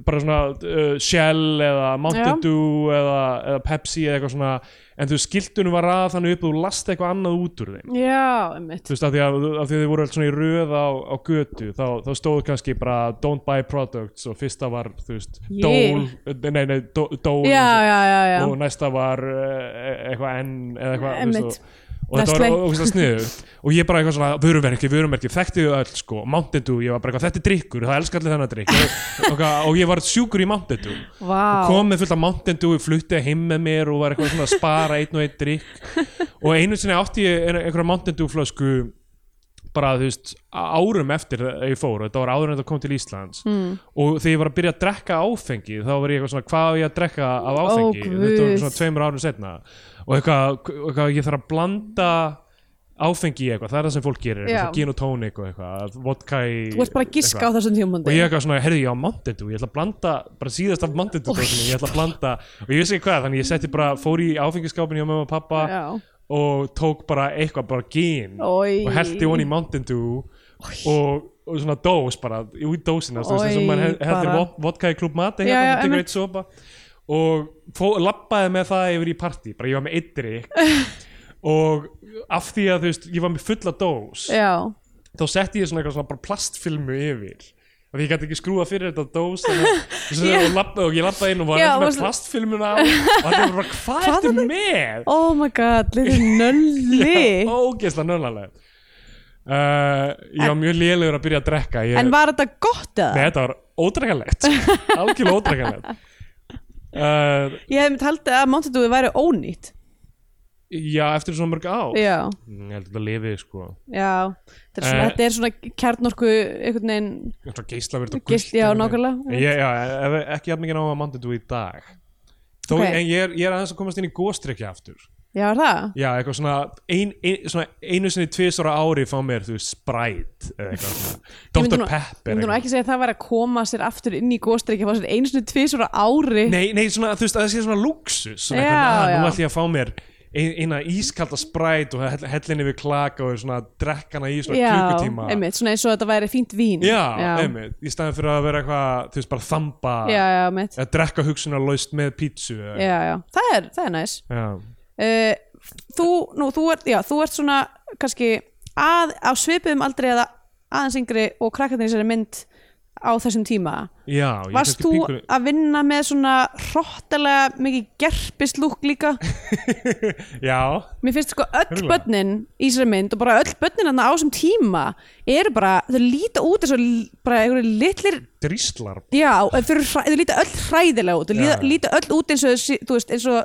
Speaker 3: bara svona uh, Shell eða
Speaker 2: Já.
Speaker 3: Mountain Dew eða, eða Pepsi eða eitthvað svona en þú veist, skiltunum var rað þannig upp að þú last eitthvað annað út úr þeim
Speaker 2: já, einmitt
Speaker 3: þú veist, af því að, af því að þið voru alls svona í röð á, á götu, þá, þá stóð kannski bara don't buy products og fyrsta var þú veist,
Speaker 2: Yeah.
Speaker 3: dól nei, nei, dó- dól
Speaker 2: Já, já, já, já
Speaker 3: og næsta var uh, eitthvað enn eða eitthvað, þú
Speaker 2: Einmitt.
Speaker 3: veist, og, og þetta var
Speaker 2: Nestle.
Speaker 3: ógæslega sniðu og ég bara eitthvað svona, vörumerki, vörumerki þekkti þau öll, sko, Mountain Dew, ég var bara eitthvað þetta er drikkur, það elskar allir þennan drikk og, og, og ég var sjúkur í Mountain Dew
Speaker 2: Vá,
Speaker 3: og kom með fullt af Mountain Dew flutti heim með mér og var eitthvað svona að spara einn og einn drikk og einu sinni átti ég ein- einhverja Mountain Dew flösku bara þú veist árum eftir að ég fór, þetta var áður en þetta kom til Íslands mm.
Speaker 2: Hmm.
Speaker 3: og þegar ég var að byrja að drekka áfengi þá var ég eitthvað svona hvað á ég að drekka af áfengi,
Speaker 2: Ó,
Speaker 3: þetta var
Speaker 2: guð.
Speaker 3: svona tveimur árum setna og eitthvað, eitthvað ég þarf að blanda áfengi í eitthvað, það er það sem fólk
Speaker 2: Já.
Speaker 3: gerir eitthvað, svona gin og tónik og eitthvað, vodka í
Speaker 2: þú ert bara að giska á þessum
Speaker 3: og
Speaker 2: tímundi
Speaker 3: ég eitthvað svona, herði ég á Mountain Dew ég ætla að blanda, bara síðast af Mountain Dew dósinni, ég ætla að blanda, og ég vissi ekki hvað þannig ég setti bara, fór í áfengiskápin hjá mamma og pappa
Speaker 2: Já.
Speaker 3: og tók bara eitthvað, bara gín
Speaker 2: Oj.
Speaker 3: og hellti honi í Mountain Dew og, og svona dós bara, úr dósina þú veist,
Speaker 2: Oj,
Speaker 3: þess að maður he-
Speaker 2: bara.
Speaker 3: hellir vo- vodka í klub mati
Speaker 2: Já, já,
Speaker 3: hérna, þetta er
Speaker 2: einmitt.
Speaker 3: eitt sopa og fó, labbaði með það yfir í partí bara ég var með eitt drikk og af því að þú veist, ég var með fulla dós
Speaker 2: Já,
Speaker 3: þá setti ég svona eitthvað svona bara plastfilmu yfir og ég gæti ekki skrúa fyrir þetta dós þannig að- þessu yeah. og, labba, og ég labbaði inn og var
Speaker 2: Já,
Speaker 3: yeah, með
Speaker 2: varstu-
Speaker 3: plastfilmuna á og hann var bara hvað
Speaker 2: Hvað
Speaker 3: ertu
Speaker 2: er þetta?"
Speaker 3: með?
Speaker 2: oh my god, litur nölli
Speaker 3: Ógeðslega nöðlanlega uh, Ég var mjög lélegur að byrja að drekka ég,
Speaker 2: En var þetta gott
Speaker 3: Nei,
Speaker 2: eða?
Speaker 3: þetta var ódrekkanlegt algjörlega ódrekkanlegt uh,
Speaker 2: Ég hefði mér haldið að Mountain Dew væri ónýtt
Speaker 3: Já, eftir svona mörg á
Speaker 2: Já,
Speaker 3: Mm, Ég held að þetta lifi sko
Speaker 2: já Þetta er svona,
Speaker 3: Eh.
Speaker 2: þetta er svona kjarnorku einhvern veginn
Speaker 3: Ég ætla að geisla verið þetta
Speaker 2: Geisl- já, nákvæmlega.
Speaker 3: ég, já, ef, Ekki jafn mikið ná að Mountain Dew í dag Þó,
Speaker 2: Ok.
Speaker 3: En ég er, ég er aðeins að komast inn í góstrykkja aftur
Speaker 2: Já, er það?
Speaker 3: Já, eitthvað svona, ein, ein, svona einu sinni tvisar á ári fá mér, þú veist, Sprite eða eitthvað svona,
Speaker 2: Ég myndi
Speaker 3: Dr.
Speaker 2: nú- Ég
Speaker 3: Pepper
Speaker 2: myndi nú
Speaker 3: eitthvað.
Speaker 2: ekki segja að það væri að koma sér aftur inn í góstríkja Fá sér einu svona tvisur á ári
Speaker 3: Nei, nei, svona, þú veist, að það sé svona luxus svona,
Speaker 2: Já,
Speaker 3: eitthvað, að,
Speaker 2: já.
Speaker 3: Nú ætlum ég að fá mér ein- eina ískalda Sprite og hell- hellinni við klaka og svona drekkana í svona
Speaker 2: Já,
Speaker 3: klukkutíma
Speaker 2: einmitt, svona eins og þetta væri fínt vín
Speaker 3: Já,
Speaker 2: já.
Speaker 3: einmitt, í staðan fyrir að vera eitthvað, þú veist, bara þamba
Speaker 2: Já, já, einmitt
Speaker 3: eða drekka hugsunar laust með pítsu eða-
Speaker 2: Já, já, það er, það er næs
Speaker 3: Já.
Speaker 2: Eh, þú, nú, þú, ert, já, þú ert svona kannski að, á svipuðum aldrei eða aðeins yngri og krakkarnir í þessari mynd á þessum tíma
Speaker 3: já, ég
Speaker 2: Varst
Speaker 3: kannski
Speaker 2: þú
Speaker 3: pingu-
Speaker 2: að vinna með svona hrottalega mikið gerpislúk líka?
Speaker 3: já,
Speaker 2: Mér finnst sko öll
Speaker 3: Huglega.
Speaker 2: börnin í þessari mynd og bara öll börnin hann á þessum tíma eru bara, þau líta út eins og l- bara einhverju litlir,
Speaker 3: dríslar
Speaker 2: já, en þau, eru hræ, þau líta öll hræðilega út, þau líta,
Speaker 3: Já.
Speaker 2: líta öll út eins og, þau sé- þú veist, eins og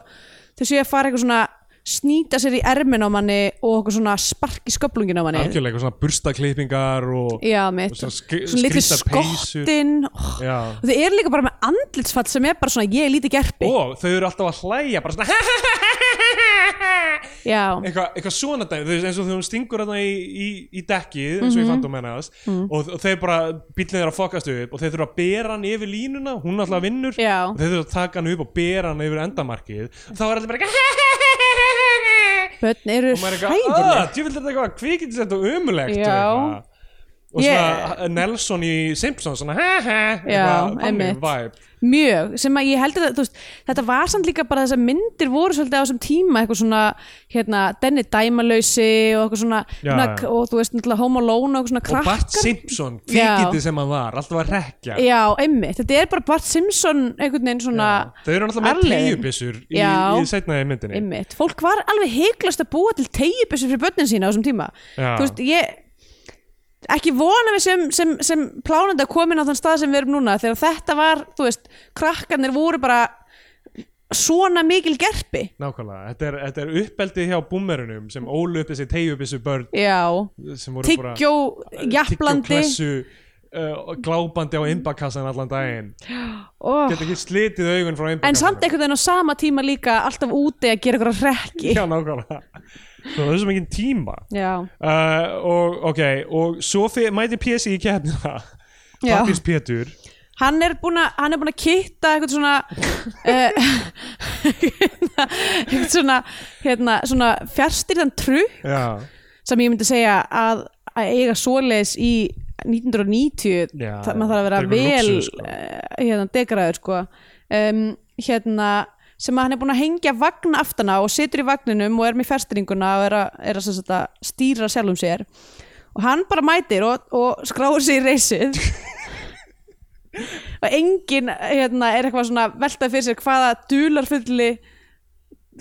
Speaker 2: þau séu að fara eitthvað svona snýta sér í ermin á manni og okkur svona spark í sköplungin á manni.
Speaker 3: algjörlega, eitthvað svona burstaklippingar og
Speaker 2: Já, mitt.
Speaker 3: Og svona skri-
Speaker 2: litlir
Speaker 3: skrýtnar peysur.
Speaker 2: skottin. Oh.
Speaker 3: já
Speaker 2: Og þau eru líka bara með andlitsfatt sem er bara svona ég er lítið gerpi.
Speaker 3: og þau eru alltaf að hlæja bara svona
Speaker 2: Já.
Speaker 3: eitthvað eitthvað svona dæmi þú veist eins og þegar hún stingur þarna í, í, í dekkið
Speaker 2: Mhm.
Speaker 3: eins og ég fand á mennaðast og, og þeir bara, bíllinn er að fokast upp og þeir þurfa að bera hann yfir línuna hún alltaf vinnur
Speaker 2: Mm. Já.
Speaker 3: og þeir þurfa að taka hann upp og bera hann yfir endamarkið þá er allir bara eitthvað
Speaker 2: Börn eru
Speaker 3: og maður er
Speaker 2: hræðileg.
Speaker 3: eitthvað, djúvill þetta er eitthvað kvikindisett og umulegt
Speaker 2: Já.
Speaker 3: og svona
Speaker 2: Ég-
Speaker 3: Nelson í Simpsons svona ha ha
Speaker 2: Já,
Speaker 3: eitthvað þannig
Speaker 2: einmitt.
Speaker 3: vibe.
Speaker 2: mjög, sem að ég heldur að þú veist, þetta var samt líka bara þess að myndir voru svolítið á þessum tíma, eitthvað svona hérna, Denni dæmalausi og eitthvað svona,
Speaker 3: Já,
Speaker 2: svona
Speaker 3: já.
Speaker 2: og þú veist, náttúrulega Home Alone og eitthvað svona
Speaker 3: og
Speaker 2: krakkar
Speaker 3: Bart Simpson,
Speaker 2: Já.
Speaker 3: kvikindi sem hann var alltaf að rekja
Speaker 2: Já, einmitt, þetta er bara Bart Simpson einhvern veginn svona
Speaker 3: þau eru alltaf með
Speaker 2: arfleifðin.
Speaker 3: tegjubissur í,
Speaker 2: Já.
Speaker 3: í setnaði myndinni
Speaker 2: einmitt, fólk var alveg heiklast að búa til tegjubissu fyrir börnin sína á þessum tíma
Speaker 3: Já.
Speaker 2: þú veist, ég ekki vona við sem, sem, sem plánandi að komin á þann stað sem við erum núna þegar þetta var, þú veist, krakkarnir voru bara svona mikil gerpi
Speaker 3: Nákvæmlega, þetta er, þetta er uppeldi hjá búmerunum sem ólu upp þessi tegju upp þessu börn
Speaker 2: já,
Speaker 3: sem voru
Speaker 2: tyggjó, jaflandi
Speaker 3: klessu uh, glábandi á imbakassan allan daginn
Speaker 2: oh.
Speaker 3: Geta ekki slitið augun frá
Speaker 2: en
Speaker 3: imbakassan
Speaker 2: samt einhvern veginn á sama tíma líka alltaf úti að gera eitthvað rekki
Speaker 3: Já, nákvæmlega Svo það er svo mikið tíma
Speaker 2: já,
Speaker 3: uh, og, Ok, og svo fyr- mætir PSI í keppnina
Speaker 2: Já.
Speaker 3: Pappís Pétur
Speaker 2: hann er búinn að hann er búinn að kitta eitthvað svona uh, eitthvað svona hérna, svona fjárstyrðan trukk
Speaker 3: Já,
Speaker 2: sem ég myndi segja að, að eiga svoleiðis í 1990
Speaker 3: Já,
Speaker 2: það, maður þarf að vera
Speaker 3: þetta er einhver
Speaker 2: vel
Speaker 3: lúxus, sko.
Speaker 2: eh, hérna, degraður sko. um, hérna sem að hann er búinn að hengja vagn aftana og situr í vagninum og er með festringuna og er að, er að, sem sagt að stýra sjálfum sér og hann bara mætir og, og skráir sig í reysið og enginn hérna, er eitthvað svona veltað fyrir sér hvaða dularfulli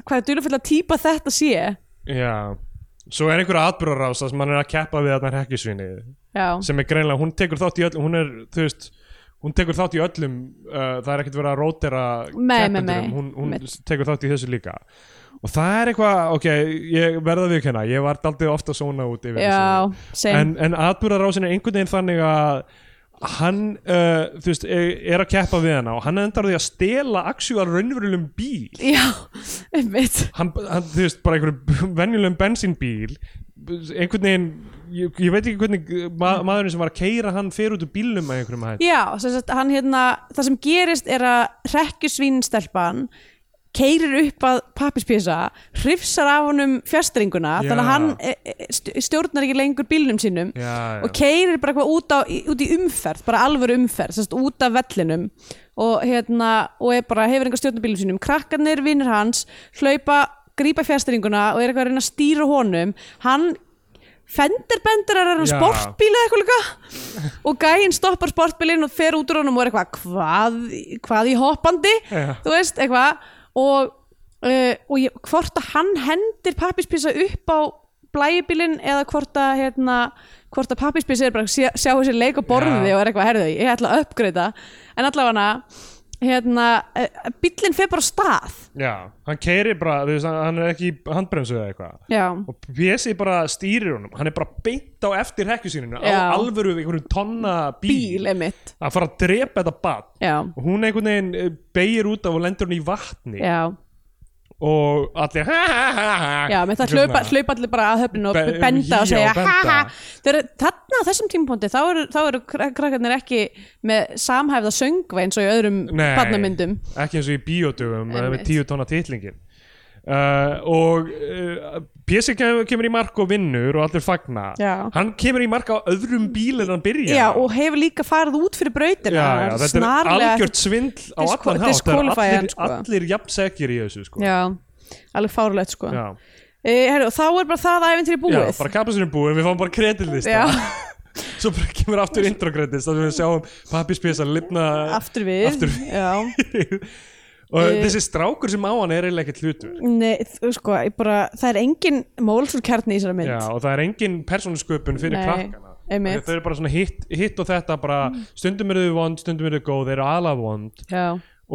Speaker 2: hvaða dularfulla típa þetta sé
Speaker 3: já Svo er einhverja atbyrðarása sem hann er að keppa við þarna hrekkjusvinni
Speaker 2: Já.
Speaker 3: sem er greinlega, hún tekur þátt í öllum hún er, þú veist, hún tekur þátt í öllum uh, það er ekkert verið að rótera
Speaker 2: Nei, nei, nei.
Speaker 3: keppendunum, hún, hún
Speaker 2: Einmitt.
Speaker 3: tekur þátt í þessu líka og það er eitthvað, ok, ég verða við hérna, ég var daldið ofta svona út yfir
Speaker 2: Já,
Speaker 3: þessu
Speaker 2: sem
Speaker 3: en, en atbúrarásin er einhvern veginn þannig að hann, uh, þú veist, er er að keppa við hana og hann endar á því að stela actual raunverulegum bíl
Speaker 2: Já, einmitt
Speaker 3: hann, hann þú veist, bara einhverjum venjulegum bensínbíl einhvern veginn, ég, ég veit ekki hvernig ma maðurinn sem var að keira hann fer út úr bílnum með einhverjum hætt
Speaker 2: Já, sem sagt, hann hérna, það sem gerist er að rekkjusvínstelpan keirir upp að pappispísa hrifsar af honum fjastringuna
Speaker 3: Já.
Speaker 2: þannig að hann eh, eh, stj- stjórnar ekki lengur bílnum sínum
Speaker 3: Já, já.
Speaker 2: og keirir bara eitthvað út, á, í- út í umferð bara alvöru umferð, sem sagt, út af vellinum og hérna, og er bara hefur einhver stjórnar bílnum sínum, krakkarnir, vinnir hans hlaupa, grípa fjastringuna og er eitthvað að reyna að stýra honum hann fenderbendur er hann
Speaker 3: Já.
Speaker 2: sportbíl eða eitthvað líka og gæinn stoppar sportbílinn og fer út úr honum og er eitthvað hvað, hvað í hoppandi
Speaker 3: Já.
Speaker 2: þú veist, eitthvað og, uh, og ég, hvort að hann hendir pappispísa upp á blæjubilinn eða hvort að hérna, hvort að pappispísa er bara að sjá, sjá þessi leik á borði
Speaker 3: Já.
Speaker 2: og er eitthvað, herðu, ég ætla að uppgreita en allavega hérna, uh, bíllinn fer bara á stað
Speaker 3: já, hann keiri bara, þú veist, hann- hann er ekki í handbremsu eða eitthvað
Speaker 2: já,
Speaker 3: og PSI bara stýrir honum, hann er bara beint á eftir hekkjusíninu,
Speaker 2: Já.
Speaker 3: á alvöru einhverjum tonna bíl,
Speaker 2: bíl emitt
Speaker 3: að fara að drepa þetta bad
Speaker 2: já,
Speaker 3: og hún einhvern veginn eh, beygir út af og lendur hann í vatni
Speaker 2: já
Speaker 3: og allir ha ha ha ha
Speaker 2: Já, með það hlaupa, hlaupa allir bara að höfninu og
Speaker 3: Be-
Speaker 2: benda og
Speaker 3: hía
Speaker 2: segja
Speaker 3: og benda.
Speaker 2: haha Þannig á þessum tímpóndi þá eru, þá eru krak- krakkarnir ekki með samhæfða söngva eins og í öðrum
Speaker 3: Nei,
Speaker 2: barnamyndum
Speaker 3: ekki eins og í bíódögum eh, með
Speaker 2: Einmitt.
Speaker 3: tíu tonna titlingin uh, og uh, Pési kem, kemur í mark og vinnur og allir fagna
Speaker 2: Já.
Speaker 3: hann kemur í mark á öðrum bíl en hann
Speaker 2: Já,
Speaker 3: byrja
Speaker 2: og hefur líka farið út fyrir brautina
Speaker 3: Já, já, þetta er
Speaker 2: snarlega-
Speaker 3: algjört svindl á
Speaker 2: Disko-
Speaker 3: allan hátt það
Speaker 2: disqualify
Speaker 3: er
Speaker 2: hann,
Speaker 3: allir,
Speaker 2: sko.
Speaker 3: allir jafnsegir í þessu sko.
Speaker 2: Já, alveg fárlegt sko
Speaker 3: Já.
Speaker 2: e, heru, Þá er bara það æfintýri
Speaker 3: Já,
Speaker 2: búið
Speaker 3: bara kapasinu búið, við fáum bara kredillista
Speaker 2: Já.
Speaker 3: svo bara kemur aftur introgrætis þannig við sjáum pappispjesa lifna
Speaker 2: aftur við,
Speaker 3: Aftur
Speaker 2: Já.
Speaker 3: og
Speaker 2: Eh,
Speaker 3: þessi strákur sem á hann er eiginlega ekkert hlutverk
Speaker 2: Nei, þú- sko, ég bara, það er engin mólsúr kjarni í þessari mynd
Speaker 3: Já, og það er engin persónusköpun fyrir
Speaker 2: Nei,
Speaker 3: krakkana
Speaker 2: einmitt.
Speaker 3: þau eru bara svona hitt, hitt og þetta bara stundum eru þau vond, stundum eru þau góð þau eru alveg vond
Speaker 2: Já.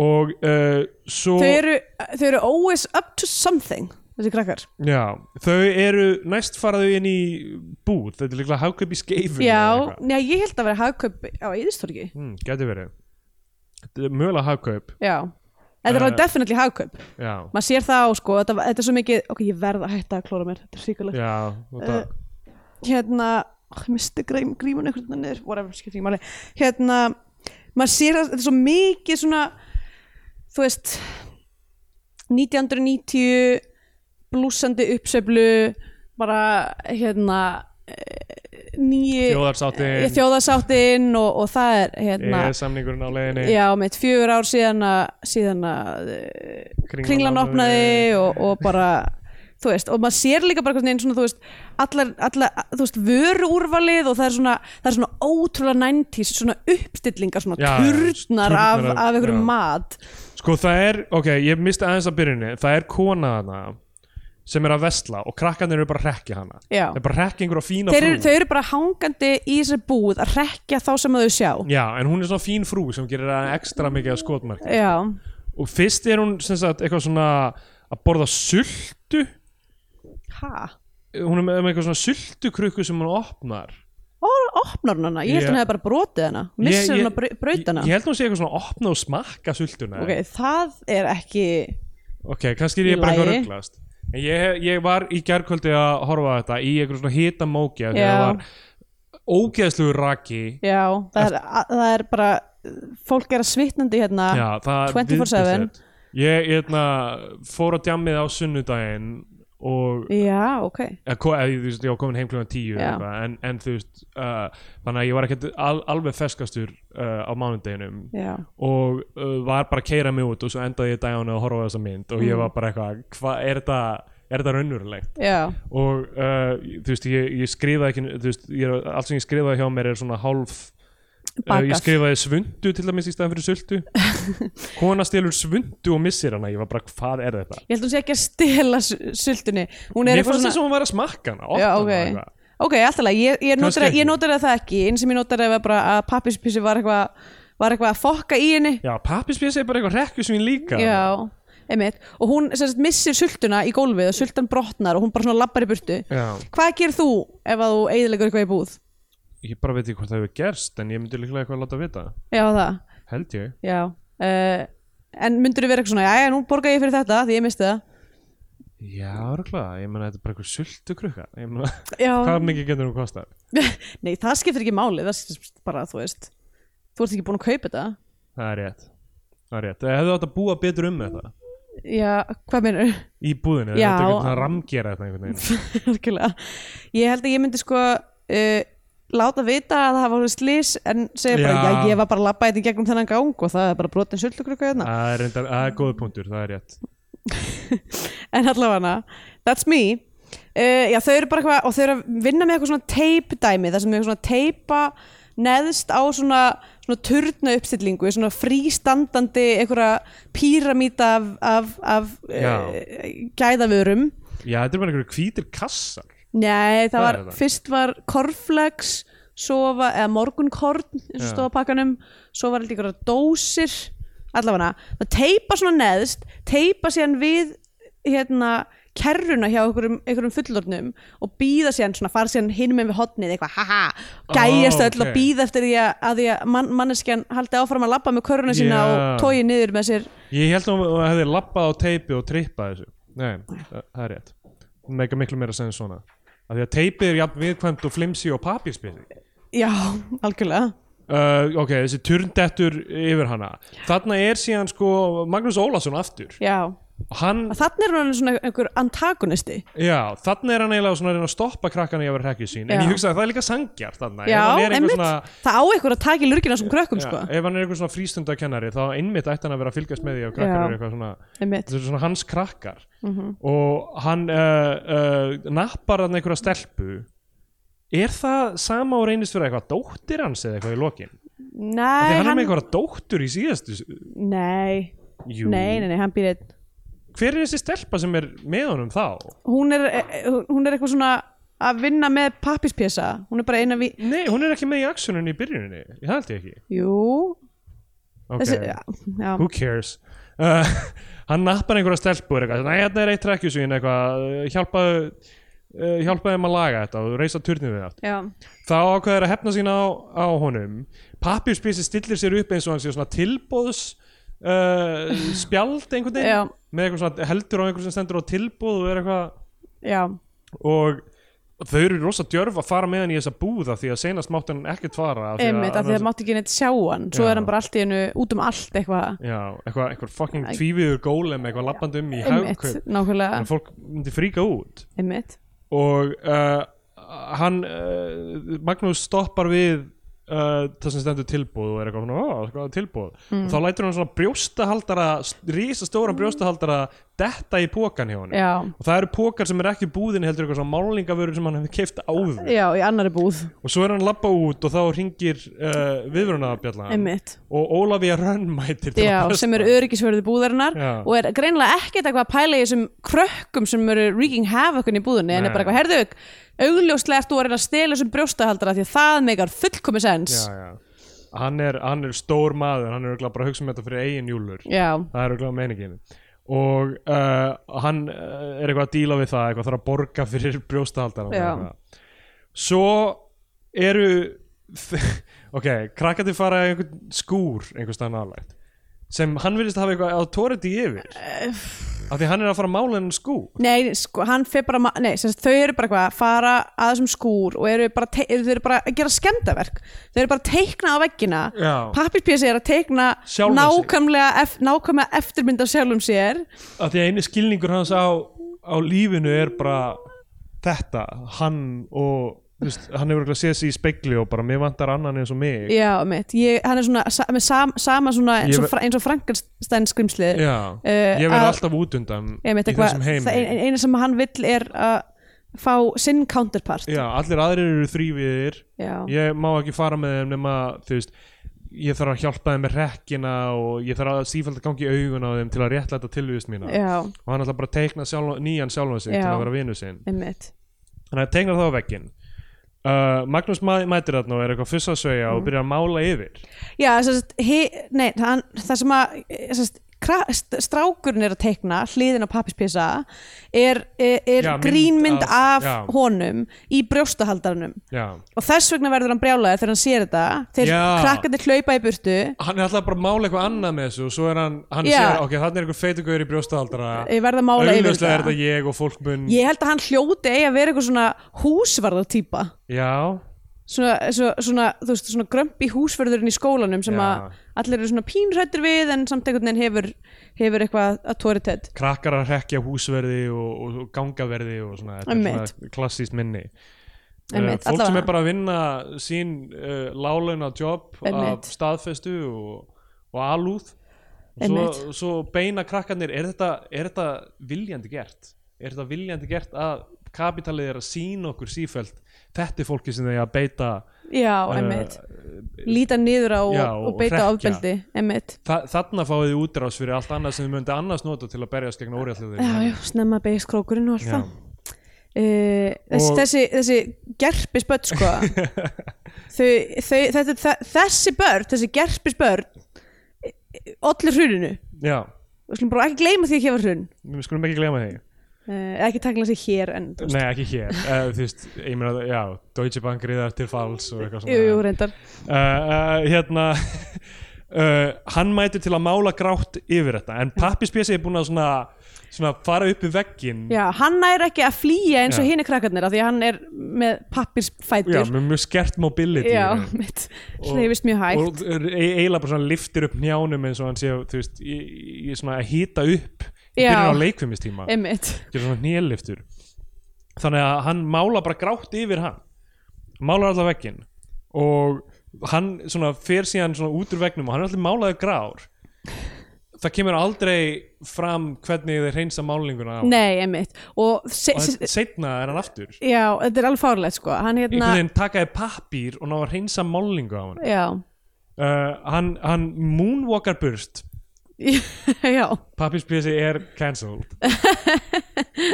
Speaker 3: og uh, svo
Speaker 2: Þau, eru, þau eru always up to something þessi krakkar
Speaker 3: Já, þau eru næst faraðu inn í búð, þetta er líklega hagkaup í skeifun
Speaker 2: Já, já, ég held að vera hagkaup á Íðistorgi
Speaker 3: mm, Gæti verið Þetta er Mögulega hagkaup
Speaker 2: Já, þetta er
Speaker 3: Eh.
Speaker 2: alveg definitely hagkaup
Speaker 3: Já,
Speaker 2: Maður sér það á sko, þetta, þetta er svo mikið Ok, ég verð að hætta að klóra mér, þetta er svíkulegt
Speaker 3: já og það,
Speaker 2: Hérna, ó, ég misti grím, grímun einhvern veginn niður Whatever, skiptir ekki máli Hérna, maður sér að þetta er svo mikið svona Þú veist 1990 blúsandi uppseflu Bara, hérna Nýju eh,
Speaker 3: Þjóðarsáttin.
Speaker 2: Þjóðarsáttin og, og það er hérna
Speaker 3: er E samningurinn á leiðinni
Speaker 2: Já, mitt fjögur ár síðan að síðan að eh,
Speaker 3: Kringlan
Speaker 2: kringlan
Speaker 3: opnaði.
Speaker 2: opnaði og, og bara þú veist, og maður sér líka bara hvernig einn svona, þú veist, allar, allar þú veist, vöruúrvalið og það er svona það er svona ótrúlega 90s, svona uppstillingar svona
Speaker 3: Já, já,
Speaker 2: turnar af,
Speaker 3: turnar af-
Speaker 2: af einhverjum
Speaker 3: já.
Speaker 2: mat
Speaker 3: Sko það er, ok, ég misti aðeins að byrjunni Það er kona hana sem er að vesla og krakkarnir eru bara að rekja hana
Speaker 2: Já.
Speaker 3: Það er bara að rekja einhverja fína
Speaker 2: þeir, eru-
Speaker 3: frú
Speaker 2: þau eru bara hangandi í þessari búð að rekja þá sem þau sjá
Speaker 3: Já, en hún er svona fín frú sem gerir hana ekstra mikið að skotmarki
Speaker 2: Já,
Speaker 3: Og fyrst er hún sem sagt eitthvað svona að borða sultu
Speaker 2: hæ?
Speaker 3: Hún er með, með eitthvað svona sultukrukku sem hún opnar
Speaker 2: Og opnar hún hana, ég held
Speaker 3: Ég-
Speaker 2: hún hefði bara brotið hana missir hún að braut hana
Speaker 3: Ég, ég held hún sé eitthvað svona að opna og smakka sultuna
Speaker 2: Ok, það er ekki
Speaker 3: ok, kannski
Speaker 2: Í
Speaker 3: er ég bara eitthvað
Speaker 2: lagi.
Speaker 3: rugglast En ég, ég var í gærkvöldi að horfa á þetta í eitthvað svona hitamóki af því að
Speaker 2: Já.
Speaker 3: það var ógeðslugur raki
Speaker 2: Já, það er, að, það er bara fólk er að svitnandi hérna
Speaker 3: Já, það er
Speaker 2: 24/7.
Speaker 3: viðbjóðslegt. Ég hérna, fór á djammið á sunnudaginn og
Speaker 2: Já, ok
Speaker 3: eða ko- eða, þú veist, ég var komin heim klukkan tíu
Speaker 2: Já.
Speaker 3: eitthvað, en, en þú veist uh, þannig að ég var ekkert al, alveg feskastur uh, á mánudeginum
Speaker 2: Já,
Speaker 3: og uh, var bara að keira mig út og svo endaði ég dagana að horfa á þessa mynd og
Speaker 2: Mm.
Speaker 3: ég var bara eitthvað, hvað er þetta er þetta raunverulegt
Speaker 2: já,
Speaker 3: og uh, þú veist, ég, ég skrifaði ekki þú veist, ég, er- allt sem ég skrifaði hjá mér er svona hálf uh,
Speaker 2: Bakað.
Speaker 3: ég skrifaði svundu til dæmis í staðan fyrir sultu kona stelur svundu og missir hana ég var bara, hvað er þetta?
Speaker 2: ég held hún sé ekki að stela su- sultunni Hún er
Speaker 3: Mér
Speaker 2: eitthvað
Speaker 3: fannst þess
Speaker 2: svona
Speaker 3: að hún var að smakka hana,
Speaker 2: Já,
Speaker 3: opna hana og
Speaker 2: ok,
Speaker 3: eitthvað.
Speaker 2: ok, alltaf ég, ég,
Speaker 3: Kannski
Speaker 2: notara, ég
Speaker 3: ekki.
Speaker 2: notara það ekki eins sem ég notara var bara að pappispissi var eitthvað var eitthvað að fokka í henni
Speaker 3: Já, pappispjössi er bara eitthvað rekkjusvín líka
Speaker 2: Já, einmitt og hún sem sagt, missir sultuna í gólfið og sultan brotnar og hún bara svona labbar í burtu
Speaker 3: Já.
Speaker 2: Hvað gerir þú ef að þú eiðilegur eitthvað í búð?
Speaker 3: Ég bara veit ekki hvort það hefur gerst en ég myndi líklega eitthvað að láta vita
Speaker 2: Já, það
Speaker 3: Held ég
Speaker 2: Já uh, En myndur þú vera eitthvað svona Jæja, nú borga ég fyrir þetta því ég misti það
Speaker 3: Já, örgulega, ég meina þetta er bara eitthvað sultukrukka Ég meina,
Speaker 2: Já.
Speaker 3: hvað mikið getur hún kostar?
Speaker 2: Nei, það skiptir ekki máli Það skiptir bara, þú veist Þú ert ekki búin að kaupa þetta
Speaker 3: Það er rétt Það er rétt, það hefðu átt að búa betur um þetta
Speaker 2: Já, hvað meinur?
Speaker 3: Í búðinu,
Speaker 2: Já.
Speaker 3: þetta er eitthvað ramgera þetta einhvern veginn
Speaker 2: ég held að ég myndi sko uh, Láta vita að það var slís En segja bara,
Speaker 3: Já.
Speaker 2: já, ég var bara að labba þetta í gegnum þennan gang Og það er bara brotin sullukrukka hérna
Speaker 3: Það er, reyndar- það er góð punktur, það er rétt
Speaker 2: En allavega, that's me uh, Já, þau eru bara eitthvað Og þau eru að vinna með eitthvað svona teip dæmi Það sem þau svona teipa neðst á svona, svona turna uppstillingu Svona frístandandi einhverja píramíta af, af, af
Speaker 3: Já.
Speaker 2: uh, gæðavörum
Speaker 3: Já, þetta er bara einhverju hvítir kassar
Speaker 2: Nei, það
Speaker 3: Hvað
Speaker 2: var,
Speaker 3: er það?
Speaker 2: fyrst var korflex sofa, eða morgunkorn eins og
Speaker 3: Já.
Speaker 2: stóð á pakkanum svo var alltaf ykkur dósir allavega, það teipa svona neðst teipa síðan við hérna, kerruna hjá einhverjum, einhverjum fullornum og býða síðan svona fara síðan hinum með við hotnið eitthvað haha, gæjast
Speaker 3: Ó,
Speaker 2: öll og
Speaker 3: ok.
Speaker 2: býða eftir því að, að, því að man, manneskjan haldi áfram að labba með köruna sína
Speaker 3: Já.
Speaker 2: og tói niður með sér
Speaker 3: Ég held að hún hefði labbað á teipi og trippað þessu Nei, það, það er rétt Mega miklu meira sem svona Af því að teipið er jafn viðkvæmt og flimsi og papírspisi
Speaker 2: já, algjörlega
Speaker 3: uh, ok, þessi turndettur yfir hana þarna er síðan sko Magnús Ólason aftur
Speaker 2: já,
Speaker 3: hann,
Speaker 2: þannig er hann svona einhver antagonisti
Speaker 3: já, þarna er hann eiginlega svona að reyna að stoppa krakkana í að vera hrekkju sín en
Speaker 2: Já.
Speaker 3: ég hugsa að það er líka sangjart þarna ef
Speaker 2: Já,
Speaker 3: hann er einhver
Speaker 2: einmitt,
Speaker 3: svona,
Speaker 2: það á ykkur að taka í lurgina sem krökkum
Speaker 3: já,
Speaker 2: sko
Speaker 3: ef hann er einhver svona frístundakennari þá einmitt ætti hann að vera að fylgjast með því ef krakkar
Speaker 2: Já. Mhm.
Speaker 3: eru eitthvað svona
Speaker 2: einmitt,
Speaker 3: þetta er svona hans eh, krakkar og hann uh, uh, nappar hann einhverja stelpu er það sama og reynist fyrir eitthvað dóttir hans eða eitthvað í lokin
Speaker 2: Nei,
Speaker 3: Þegar hann er með eitthvað dóttur í síðastu
Speaker 2: Nei,
Speaker 3: Jú.
Speaker 2: nei, nei, nei, hann býr einn
Speaker 3: Hver er þessi stelpa sem er með honum þá?
Speaker 2: Hún er, eh, hún er eitthvað svona að vinna með pappispjessa Hún er bara eina ví
Speaker 3: Nei, hún er ekki með í aksjónunni í byrjuninni Ég held ég ekki
Speaker 2: Jú,
Speaker 3: okay.
Speaker 2: þessi, já, já
Speaker 3: Who cares uh, Hann nappar einhverja stelpur eitthvað Nei, hérna er eitt trekkjusvín eitthvað uh, Hjálpaðu uh, hjálpaðu þeim að laga þetta og reysa turnið við það
Speaker 2: Já,
Speaker 3: þá ákveður að hefna sína á, á honum pappjúspísi stillir sér upp eins og hann sé svona tilbóðs uh, spjald einhvern veginn
Speaker 2: Já.
Speaker 3: með eitthvað svona heldur á einhver sem stendur á tilbóð og er eitthvað
Speaker 2: já,
Speaker 3: og þau eru rosa djörf að fara með hann í þessa búða því að seinast mátt hann ekkert fara af því
Speaker 2: einmitt, af því að mátti ekki neitt sjá hann Svo
Speaker 3: Já.
Speaker 2: er hann bara allt í hennu út um allt eitthvað
Speaker 3: Já, eitthvað, eitthvað fucking
Speaker 2: Æ.
Speaker 3: tvíviður gólem eitthvað lappandi um í
Speaker 2: Einmitt,
Speaker 3: hagkaup
Speaker 2: nákvæmlega,
Speaker 3: en fólk myndi fríka út
Speaker 2: einmitt
Speaker 3: og uh, hann uh, Magnús stoppar við uh, það sem stendur tilbúð og er eitthvað svona, "Ó, hvað er tilbúð
Speaker 2: Mm.
Speaker 3: og þá lætur hann svona brjóstahaldara rísastóra brjóstahaldara detta í pókan hjá hann
Speaker 2: Já,
Speaker 3: og það eru pókar sem er ekki í búðinni heldur eitthvað svona málingavörur sem hann hefði keift áður
Speaker 2: já, í annari búð,
Speaker 3: og svo er hann labba út og þá ringir uh, viðvörunabjallan
Speaker 2: einmitt
Speaker 3: og Ólafía Rönn mætir til
Speaker 2: Já,
Speaker 3: að
Speaker 2: sem eru
Speaker 3: passa.
Speaker 2: öryggisvörðu búðarinnar
Speaker 3: Já.
Speaker 2: og er greinilega ekkert eitthvað að pæla í þessum krökkum sem eru wreaking havoc inn í búðinni en er
Speaker 3: Nei.
Speaker 2: bara eitthvað, herðu augljóslega ert þú að reyna að stela þessum brjóstahaldara því að það megar fullkomis ens
Speaker 3: já, já. Hann, er, hann er stór maður hann er örugglega bara að hugsa um þetta fyrir eigin júlur
Speaker 2: Já,
Speaker 3: það er auðvitað meiningin og uh, hann uh, er eitthvað að díla við það eitthvað þarf að borga fyrir brjóstahaldar
Speaker 2: Já.
Speaker 3: svo eru ok, krakkandi fara í einhvern skúr einhvers staðar nálægt sem hann vilist hafa eitthvað að tóriti yfir af því hann er að fara að mála hennan skúr
Speaker 2: Nei, sko, hann fer bara, ma- nei, sem sagt, þau eru bara eitthvað að fara að þessum skúr og eru bara, te- eru, þau eru bara að gera skemmdaverk þau eru bara að teikna á veggina
Speaker 3: Já.
Speaker 2: pappispjössi er að teikna
Speaker 3: Sjálfan sig.
Speaker 2: nákvæmlega, ef, nákvæmlega eftirmynd af sjálfum sér
Speaker 3: af því að eini skilningur hans á, á lífinu er bara þetta, hann og þú veist, hann hefur örugglega séð sér í spegli og bara mér vantar annan eins og mig
Speaker 2: Já, mitt, ég, hann er svona sa, með sam, sama svona eins og,
Speaker 3: Ég ve-
Speaker 2: fra, eins og Frankenstein skrimslið
Speaker 3: Já,
Speaker 2: Eh,
Speaker 3: ég verð
Speaker 2: að-
Speaker 3: alltaf út undan
Speaker 2: Ég veit
Speaker 3: í
Speaker 2: eitthvað-
Speaker 3: þessum heimi
Speaker 2: það ein- eina sem hann vill er að fá sinn counterpart
Speaker 3: Já, allir aðrir eru þrýviðir
Speaker 2: Já.
Speaker 3: ég má ekki fara með þeim nema þú veist, ég þarf að hjálpa þeim með rekkina og ég þarf að sífælt að gangi augun á þeim til að réttlæta tilvist mína
Speaker 2: Já,
Speaker 3: og hann ætla bara að teikna sjálf, nýjan sjálfan sig
Speaker 2: Já.
Speaker 3: til að vera vinu sinn
Speaker 2: einmitt
Speaker 3: þannig að teikna þá á vegginn uh, Magnús ma mætir þarna og er eitthvað fussasauja
Speaker 2: Mm.
Speaker 3: og byrjar að mála yfir
Speaker 2: Já, þess að nei, hann, það sem að þess að strákurinn er að teikna hliðin á pappispisa er, er, er
Speaker 3: Já, mynd
Speaker 2: grínmynd
Speaker 3: af-
Speaker 2: af,
Speaker 3: já.
Speaker 2: honum í brjóstahaldaranum
Speaker 3: Já.
Speaker 2: og þess vegna verður hann brjálaður þegar hann sér þetta þeir
Speaker 3: Já.
Speaker 2: krakkandi hlaupa í burtu
Speaker 3: Hann er alltaf bara að mála eitthvað annað með þessu og svo er hann, hann
Speaker 2: Já.
Speaker 3: sér, ok, þannig er eitthvað feitugauður í brjóstahaldara
Speaker 2: Ég verð að mála yfir
Speaker 3: Augljóslega er
Speaker 2: þetta.
Speaker 3: þetta ég og fólk mun
Speaker 2: ég held að hann hljóti eigi að vera eitthvað svona húsvarðartýpa
Speaker 3: Já,
Speaker 2: svona, svona, svona, þú veist, svona grömpi húsverðurinn í skólanum sem
Speaker 3: Já.
Speaker 2: að allir eru svona pínrættir við en samt einhvern veginn hefur, hefur eitthvað að tóri tett
Speaker 3: krakkar að rekja húsverði og, og, og gangaverði og svona, þetta er
Speaker 2: Einmitt.
Speaker 3: svona klassíst minni
Speaker 2: Einmitt,
Speaker 3: Eh, fólk sem
Speaker 2: allavega.
Speaker 3: er bara að vinna sín uh, lálauna jobb
Speaker 2: Einmitt.
Speaker 3: af staðfestu og, og alúð svo,
Speaker 2: Einmitt.
Speaker 3: svo beina krakkarnir er þetta, er þetta viljandi gert er þetta viljandi gert að kapitalið er að sína okkur sífælt þetta er fólki sem þeir að beita
Speaker 2: Já,
Speaker 3: Eh,
Speaker 2: emmitt Líta niður á og,
Speaker 3: já,
Speaker 2: og
Speaker 3: og
Speaker 2: beita
Speaker 3: hrekkja.
Speaker 2: ofbeldi Emmitt
Speaker 3: Þa, þarna fáið þið útrás fyrir allt annað sem þið myndi annars nota til að berjast gegn óréttliði
Speaker 2: Já, já, snemma beigist krókurinn og allt
Speaker 3: Já.
Speaker 2: það Uh, þessi,
Speaker 3: Og-
Speaker 2: þessi, þessi gerpisbörn sko þau, þau, þetta, þa- þessi börn þessi gerpisbörn ollir hruninu
Speaker 3: já,
Speaker 2: við skulum bara ekki gleyma því að hér var hrun
Speaker 3: við skulum ekki glema því
Speaker 2: uh, ekki tangla sér hér en þú veist,
Speaker 3: Nei, ekki hér, uh, þú veist, ég meina, já, Deutsche Bank riðar til fals og eitthvað svona
Speaker 2: jú, jú, reyndar
Speaker 3: uh, uh, Hérna, uh, hann mætir til að mála grátt yfir þetta En pappispjesi er búin að svona, svona fara upp í vegginn
Speaker 2: Já, hann nær ekki að flýja eins og
Speaker 3: Já.
Speaker 2: hinn er krakkarnir af því að hann er með pappirsfætur
Speaker 3: Já, með mjög skert mobility
Speaker 2: Já,
Speaker 3: og-
Speaker 2: mitt, hreyfist mjög hægt
Speaker 3: Og e- eiginlega bara svona liftir upp njánum eins og hann sé, þú veist, í, í svona að hýta upp Í
Speaker 2: Já.
Speaker 3: byrjun á leikfimistíma
Speaker 2: einmitt,
Speaker 3: gerir svona hnéliftur þannig að hann mála bara grátt yfir hann málar allar vegginn og hann svona fer síðan svona út úr veggnum og hann er allir málaður grár það kemur aldrei fram hvernig þeir reynsa málninguna á
Speaker 2: Nei, einmitt og, se,
Speaker 3: og
Speaker 2: se,
Speaker 3: þetta- seinna er hann aftur
Speaker 2: Já, þetta er alveg fárlegt sko Hann hérna
Speaker 3: einhvern veginn takaði pappír og ná að reynsa málningu á hann
Speaker 2: Já,
Speaker 3: uh, hann, hann moonwalkar burst
Speaker 2: já
Speaker 3: pappírspjösi er cancelled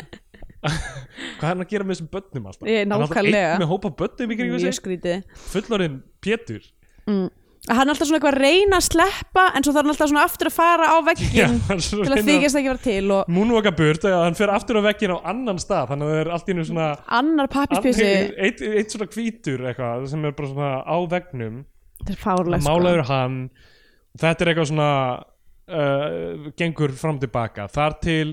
Speaker 3: hvað er hann að gera með þessum börnum alltaf
Speaker 2: Ég,
Speaker 3: hann er alltaf
Speaker 2: nákvæmlega. Mm,
Speaker 3: einn með hópa börnum í kringu
Speaker 2: Mjög
Speaker 3: sig
Speaker 2: skrítið
Speaker 3: fullorinn Pétur
Speaker 2: Hann er alltaf svona eitthvað að reyna að sleppa En svo þarf hann alltaf svona aftur að fara á
Speaker 3: Já,
Speaker 2: veggin
Speaker 3: hann er svo
Speaker 2: Til að
Speaker 3: reynir
Speaker 2: þykjast ekki vera til og
Speaker 3: moonwalka burt og hann fer aftur á vekkinn á annan stað þannig að það er allt í einu svona
Speaker 2: annar pappispjösi
Speaker 3: eitt, eitt svona hvítur eitthvað sem er bara svona á vegnum
Speaker 2: Þetta er fárlegt sko
Speaker 3: málaður hann þetta er eitthvað svona uh, gengur fram tilbaka þar til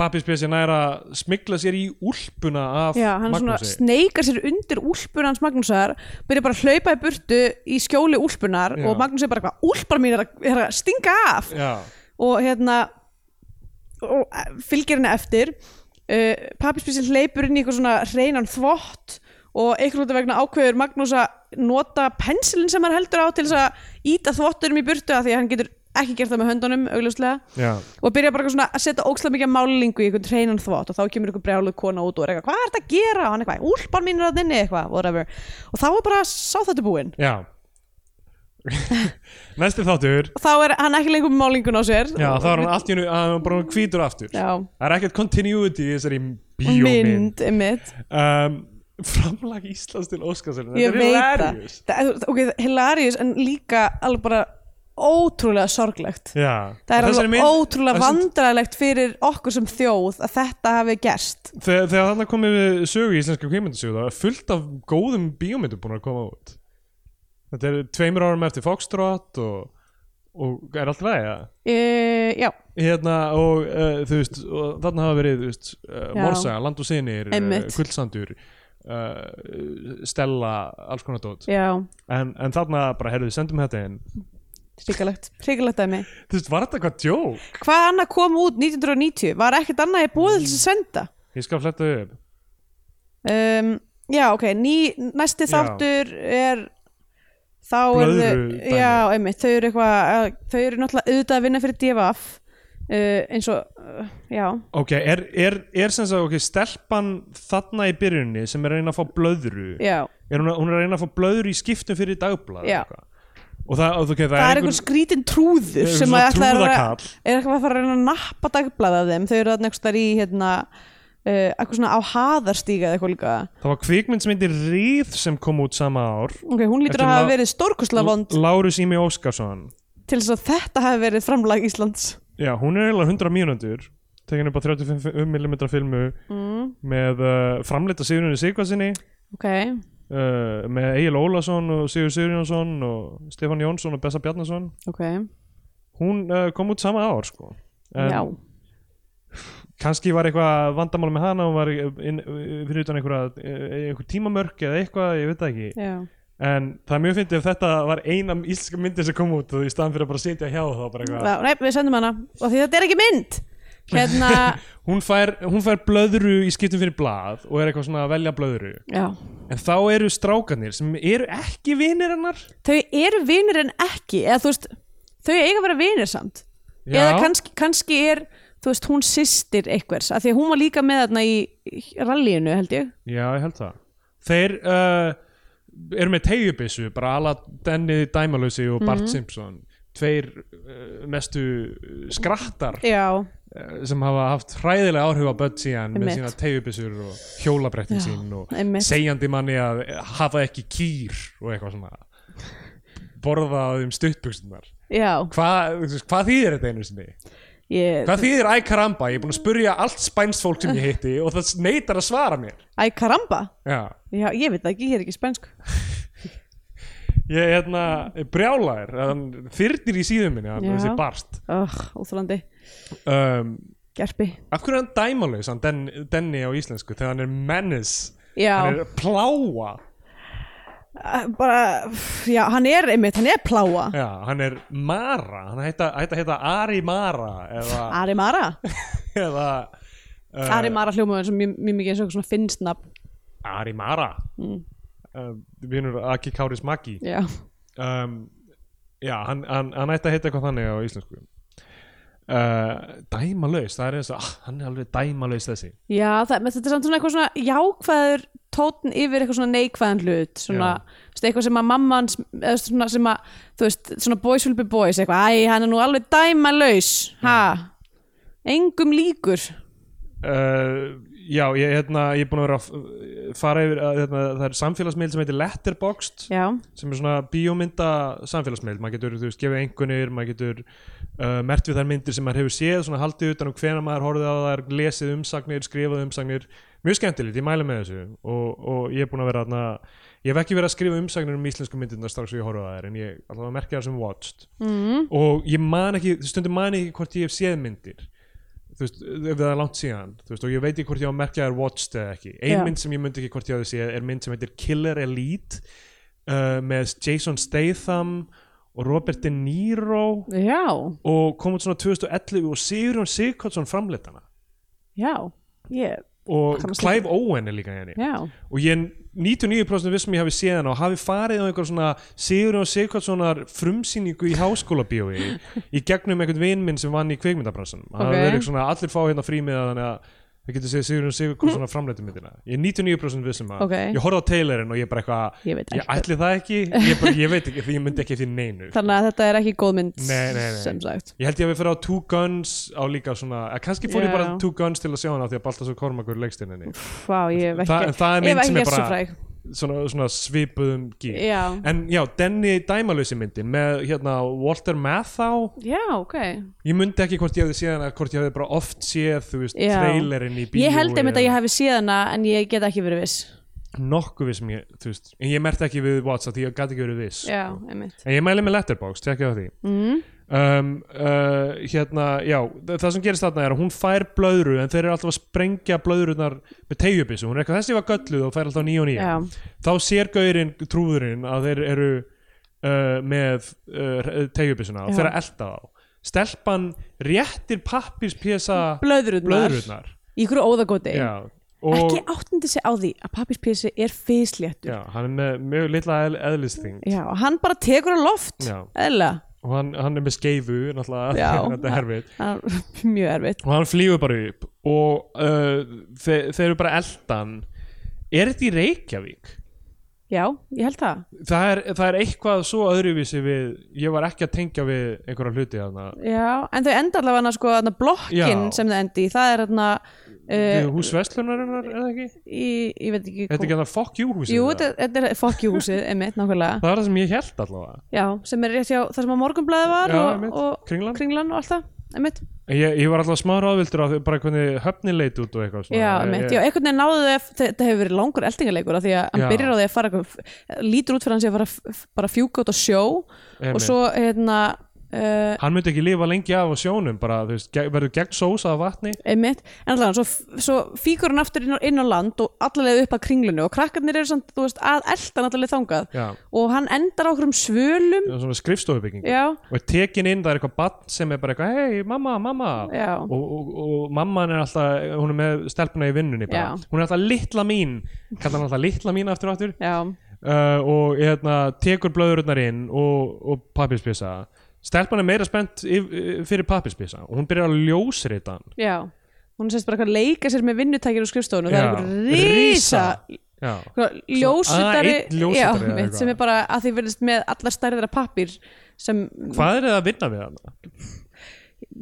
Speaker 3: pappispesi næra smikla sér í úlpuna af
Speaker 2: Já, hann svona
Speaker 3: Magnúsi
Speaker 2: sneikar sér undir úlpun hans Magnúsar, byrja bara að hlaupa í burtu í skjóli úlpunar
Speaker 3: Já.
Speaker 2: og Magnús er bara eitthvað, úlpar mín er að, er að stinga af
Speaker 3: Já,
Speaker 2: og hérna og eh, fylgir henni eftir uh, pappispísin hleypur inn í eitthvað svona hreinan þvott og einhvern veginn vegna ákveður Magnús að nota pensilin sem hann heldur á til þess að íta þvotturum í burtu af því að hann getur ekki gert það með höndunum augljóslega
Speaker 3: já,
Speaker 2: og byrja bara eitthvað svona að setja ókslega mikið málingu í einhvern hreinan þvott og þá kemur einhver brjáluð kona út og er eitthvað, hvað er þetta að gera? Og hann eitthvað, úlpan mín er að inni eitthvað, whatever og þá er bara sá þetta búinn
Speaker 3: já. næsti þáttur
Speaker 2: og þá er hann ekki lengur með málingun á sér
Speaker 3: já, þá er hann allt í einu að hann bara hvítur aftur
Speaker 2: Já.
Speaker 3: það er ekkert continuity í þessari bíómynd
Speaker 2: mynd, mitt
Speaker 3: um, framlag Íslands til Óskarsson
Speaker 2: ég veit það Það- þú- ok, hilarious en líka alveg bara ótrúlega sorglegt
Speaker 3: Já,
Speaker 2: það er
Speaker 3: Og þessari
Speaker 2: alveg
Speaker 3: mynd-
Speaker 2: ótrúlega
Speaker 3: þessum-
Speaker 2: vandræðilegt fyrir okkur sem þjóð að þetta hafi gerst
Speaker 3: þegar, þegar þannig komið við sögu í íslenska kvímyndasögu þá er fullt af góðum bíómyndum búin að koma út þetta er tveimur árum eftir Foxtrot og, og er allt ræði
Speaker 2: uh, já,
Speaker 3: hérna og uh, þú veist og þarna hafa verið þú veist uh,
Speaker 2: Já.
Speaker 3: Morsa, Land og Sinir, uh,
Speaker 2: Einmitt.
Speaker 3: Kuldsandur uh, Stella alls konar dót
Speaker 2: já,
Speaker 3: en, en þarna bara herðu sendum þetta inn
Speaker 2: ríkalegt ríkalegt dæmi
Speaker 3: þú veist var þetta hvað djók
Speaker 2: hvað annað kom út 1990 var ekkert annað í búið til að senda
Speaker 3: ég skal fletta þau upp
Speaker 2: um, já ok ný, næsti
Speaker 3: Já.
Speaker 2: þáttur er þá
Speaker 3: Blöðru
Speaker 2: er
Speaker 3: dæmi.
Speaker 2: já, einmitt, þau eru eitthvað að- þau eru náttúrulega auðvitað að vinna fyrir DFF uh, eins og uh, já,
Speaker 3: ok, er, er, er sem sagt ok, stelpan þarna í byrjunni sem er að reyna að fá blöðru
Speaker 2: já
Speaker 3: er hún, að- hún er að reyna að fá blöður í skiptum fyrir dagblad
Speaker 2: Já.
Speaker 3: og það, og, okay, það,
Speaker 2: það er einhver skrítin trúður
Speaker 3: einhver
Speaker 2: sem
Speaker 3: svona
Speaker 2: að ætla að
Speaker 3: trúðakall.
Speaker 2: er eitthvað að fara að reyna að nappa dagblaða af þeim þau eru þarna einhvers staðar í hérna uh, eitthvað svona á haðarstíga eða eitthvað líka
Speaker 3: það var kvikmynd sem heitir Ríð sem kom út sama ár
Speaker 2: ok, hún lítur
Speaker 3: Þetta
Speaker 2: að
Speaker 3: er
Speaker 2: hafa
Speaker 3: la-
Speaker 2: verið stórkustlega vond
Speaker 3: Lárus Ími Óskarsson
Speaker 2: til þess að þetta hafi verið framlag Íslands
Speaker 3: já, hún er eiginlega 100 mínútur tekin upp á 35mm filmu með uh, framleita Sigurinu Sigvarsinni
Speaker 2: Mm, ok,
Speaker 3: uh, með Egil Ólason og Sigur Sigurjónsson og Stefán Jónsson og Bessa Bjarnason
Speaker 2: ok,
Speaker 3: hún uh, kom út sama ár sko En
Speaker 2: já
Speaker 3: kannski var eitthvað vandamál með hana hún var inn, fyrir utan einhverja, e, einhver tímamörk eða eitthvað, ég veit það ekki
Speaker 2: já,
Speaker 3: En það er mjög fyndið ef þetta var eina íslenska myndin sem kom út og í staðan fyrir að bara sitja hjá þá bara eitthvað.
Speaker 2: Þá, nei, við sendum hana og því þetta er ekki mynd hérna,
Speaker 3: Hún fær, hún fær blöðru í skiptum fyrir blað og er eitthvað svona að velja blöðru.
Speaker 2: já
Speaker 3: En þá eru strákanir sem eru ekki vinir hennar.
Speaker 2: þau eru vinir en ekki eða þú veist, þau eiga að vera vinir samt
Speaker 3: Já.
Speaker 2: eða kannski, kannski er þú veist, hún systir einhvers af því að hún var líka með þarna í rallíinu held ég,
Speaker 3: Já, ég held það. Þeir uh, eru með tegjubissu, bara ala Denny Dæmalösi og Bart
Speaker 2: Mhm.
Speaker 3: Simpson. Tveir uh, mestu skrattar
Speaker 2: já,
Speaker 3: eh, sem hafa haft hræðilega áhrif á börn síðan
Speaker 2: Einmitt.
Speaker 3: með sína tegjubissur og hjólabrettin
Speaker 2: Já,
Speaker 3: sín og
Speaker 2: einmitt.
Speaker 3: segjandi manni að hafa ekki kýr og eitthvað svona borða á þeim stuttbuksunar
Speaker 2: já
Speaker 3: hvað hva þýðir þetta einu sinni?
Speaker 2: ég,
Speaker 3: hvað þýðir ækaramba? Ég er búin að spurja allt spænst fólk sem ég hitti og það neytar að svara mér
Speaker 2: æ karamba
Speaker 3: Já,
Speaker 2: já, ég veit það ekki, ég er ekki spænsk
Speaker 3: ég er hérna brjálæður, hann þyrnir í síðum minni hann
Speaker 2: Já.
Speaker 3: þessi barst
Speaker 2: oh, óþólandi,
Speaker 3: um,
Speaker 2: gerpi
Speaker 3: af hverju er hann dæmalus, hann den, denni á íslensku þegar hann er menace
Speaker 2: já,
Speaker 3: hann er pláa
Speaker 2: bara já, hann er einmitt, hann er pláa
Speaker 3: Já, hann er Mara hann hætti að hætta að heita Ari Mara eða,
Speaker 2: Ari Mara,
Speaker 3: eða uh,
Speaker 2: Ari Mara hljómaður sem mjög mjög mikið eins og eitthvað svona finnsnafn
Speaker 3: Ari Mara mm. uh, vinur Aki Káris Maggi
Speaker 2: já,
Speaker 3: um, Já, hann, hann, hann hætti að heita eitthvað þannig á íslensku uh, dæmalaus, það er eins og ah, hann er alveg dæmalaus þessi
Speaker 2: Já, það, menn þetta er samt svona eitthvað svona jákvæður tótn yfir eitthvað svona neikvæðan hlut svona, þú veist, eitthvað sem að mamman eða svona sem að, þú veist, svona boys will be boys, eitthvað, æ, hann er nú alveg dæmalaus, ha engum líkur
Speaker 3: uh, já, ég, hérna, ég er búin að vera að f- fara yfir, að, hérna, það er samfélagsmiðl sem heitir Letterboxd
Speaker 2: Já,
Speaker 3: sem er svona bíómynda samfélagsmiðl maður getur, þú veist, gefið einhvernir maður getur uh, mert við þær myndir sem maður hefur séð svona haldið utan um hvena maður horfið á þær lesið umsagnir, skrifað umsagnir mjög skemmtilegt, ég mæli með þessu og, og ég er búin að vera þarna ég hef ekki verið að skrifa umsagnir um íslensku myndirna strax og ég horfið á þær en ég allavega merkja þar sem watched mm. og ég man ekki, þú stundum man ég ekki hvort ég hef séð myndir þú veist, ef það er langt síðan þú veist, og ég veit ekki hvort ég á að merkja þær watched eða ekki ein
Speaker 2: Já.
Speaker 3: mynd sem ég myndi ekki hvort ég á að séð er mynd sem heitir Killer Elite uh, með Jason Statham og Robert De Niro
Speaker 2: já,
Speaker 3: og kom út svona 2011 og Sigurjón Sigurðsson framleitana
Speaker 2: já ég,
Speaker 3: og
Speaker 2: Kannast
Speaker 3: Clive Owen er líka í henni
Speaker 2: já,
Speaker 3: og ég er 99% vissum um ég hafi séð hana og hafi farið á einhver svona Sigurjón Sigurðssonar frumsýningu í háskóla bíói í gegnum einhvern vin minn sem vann í kveikmyndabransanum hann
Speaker 2: Ok.
Speaker 3: okay. verið svona allir fá hérna frímiða þannig að það getur séð Sigurjón Sigurðssonar framleitumyndina ég er 99% vissum um að
Speaker 2: Mm. Ok.
Speaker 3: ég horfði á Taylorin og ég bara eitthvað
Speaker 2: ég veit
Speaker 3: Ég
Speaker 2: ekki
Speaker 3: ætli það ekki, ég, bara, ég veit ekki, því ég myndi ekki því neinu
Speaker 2: þannig að þetta er ekki góð mynd
Speaker 3: Nei, nei, nei.
Speaker 2: sem sagt
Speaker 3: Ég held ég að við fyrir á Two Guns á líka svona, að kannski fór ég
Speaker 2: Já.
Speaker 3: bara Two Guns til að sjá hana af því að Baltasar Kormakur leggst inn henni
Speaker 2: Vá, ég hef
Speaker 3: Þa,
Speaker 2: ekki,
Speaker 3: Það er
Speaker 2: ég hef
Speaker 3: mynd
Speaker 2: ekki
Speaker 3: sem er
Speaker 2: gert svo
Speaker 3: bara
Speaker 2: fræg
Speaker 3: svona, svona svipuðum gíl
Speaker 2: Já,
Speaker 3: En já, Denny Dæmalösi myndin með hérna Walter Matthau
Speaker 2: já, ok
Speaker 3: Ég myndi ekki hvort ég hefði séð hana, hvort ég hefði bara oft séð, þú veist,
Speaker 2: Já.
Speaker 3: trailerinn í bíó
Speaker 2: Ég held einmitt að ég
Speaker 3: eða
Speaker 2: hefði séð hana en ég get ekki verið viss
Speaker 3: Nokkuð við sem ég, þú veist, en ég merkti ekki við WhatsApp því ég gæti ekki verið viss
Speaker 2: Já, einmitt
Speaker 3: En ég mæli með Letterboxd, tekja á því
Speaker 2: mm.
Speaker 3: um, uh, hérna, já, þa- það sem gerist þarna er að hún fær blöðru en þeir eru alltaf að sprengja blöðrunar með tegjubissu, hún er eitthvað þessi var gölluð og fær alltaf nýja og nýja,
Speaker 2: Já,
Speaker 3: þá sér gaurinn trúðurinn að þeir eru uh, með uh, tegjubissuna og
Speaker 2: Já.
Speaker 3: þeir að elta þá stelpan réttir pappirspjesa
Speaker 2: blöðrurnar
Speaker 3: blöðrunar
Speaker 2: Í hverju óðagóti
Speaker 3: já,
Speaker 2: Ekki
Speaker 3: og
Speaker 2: áttandi sig á því að pappispísi er fysléttur
Speaker 3: já, hann er með mjög litla eð, eðlisþing
Speaker 2: Já, og hann bara tekur á loft
Speaker 3: Já.
Speaker 2: Eðla
Speaker 3: og hann, hann er með skeifu náttúrulega,
Speaker 2: Já.
Speaker 3: þetta er herfið
Speaker 2: Mjög erfitt
Speaker 3: og hann flýgur bara upp og uh, þe þeir eru bara eldan er þetta í Reykjavík?
Speaker 2: Já, ég held það
Speaker 3: Það er, það er eitthvað svo öðruvísi við ég var ekki að tengja við einhverja hluti þarna
Speaker 2: Já, en þau enda allavega hana sko hana blokkin
Speaker 3: Já.
Speaker 2: sem það endi í Það er hana
Speaker 3: uh,
Speaker 2: uh,
Speaker 3: hús Vestlunarinnar eða ekki?
Speaker 2: í, Ég veit ekki
Speaker 3: Er Þetta ekki að það fuck you húsið
Speaker 2: Jú,
Speaker 3: það?
Speaker 2: þetta þetta er fuck you húsið, einmitt, nákvæmlega
Speaker 3: það er það sem ég held allavega
Speaker 2: Já, sem er rétt hjá þar sem að morgunblæði var
Speaker 3: Já,
Speaker 2: og,
Speaker 3: einmitt.
Speaker 2: og
Speaker 3: Kringlan?
Speaker 2: kringlan og allt það Einmitt
Speaker 3: En ég, ég var allavega smá ráðvildur af bara hvernig höfnin leit út og eitthvað svona.
Speaker 2: Já,
Speaker 3: Ég-
Speaker 2: einmitt,
Speaker 3: ég-
Speaker 2: já, einhvern veginn náðu þau þetta hefur verið langur eldingarleikur af því að hann
Speaker 3: Já.
Speaker 2: byrjar á því að fara eitthvað, lítur út fyrir hann sé að fara f- f- bara að fjúka út á sjó og
Speaker 3: einmitt.
Speaker 2: svo hérna uh,
Speaker 3: hann myndi ekki lifa lengi af á sjónum bara, þú veist, ge- verður gegn sósa af vatni
Speaker 2: einmitt, en allan svo, f- svo fíkur hann aftur inn á, inn á land og allalega upp að kringlunni og krakkarnir eru samt, þú veist, að eldan allalega þangað
Speaker 3: Já.
Speaker 2: og hann endar á okkur um svölum
Speaker 3: Það er svona skrifstofubygging
Speaker 2: Já,
Speaker 3: og er tekin inn, það er eitthvað barn sem er bara eitthvað, hei mamma, mamma
Speaker 2: Já.
Speaker 3: og, og, og mamman er alltaf hún er með stelpuna í vinnunni bara
Speaker 2: Já.
Speaker 3: hún er alltaf litla mín, kallar hann alltaf litla mín aftur og aftur
Speaker 2: já,
Speaker 3: uh, og hérna, tekur blöðurnar inn og, og pappispisa stelpan er meira spennt yf- fyrir pappispisa og hún byrjar að ljósrita hann
Speaker 2: já hún sést bara eitthvað leika sér með vinnutækir og skrifstofun og það er
Speaker 3: Já.
Speaker 2: eitthvað risa
Speaker 3: Já.
Speaker 2: ljósutari,
Speaker 3: A1 ljósritari
Speaker 2: Sko, já,
Speaker 3: eða
Speaker 2: mitt,
Speaker 3: eitthvað.
Speaker 2: sem er bara að því verðist með allar stærðara pappir sem
Speaker 3: hvað er það að vinna við hann?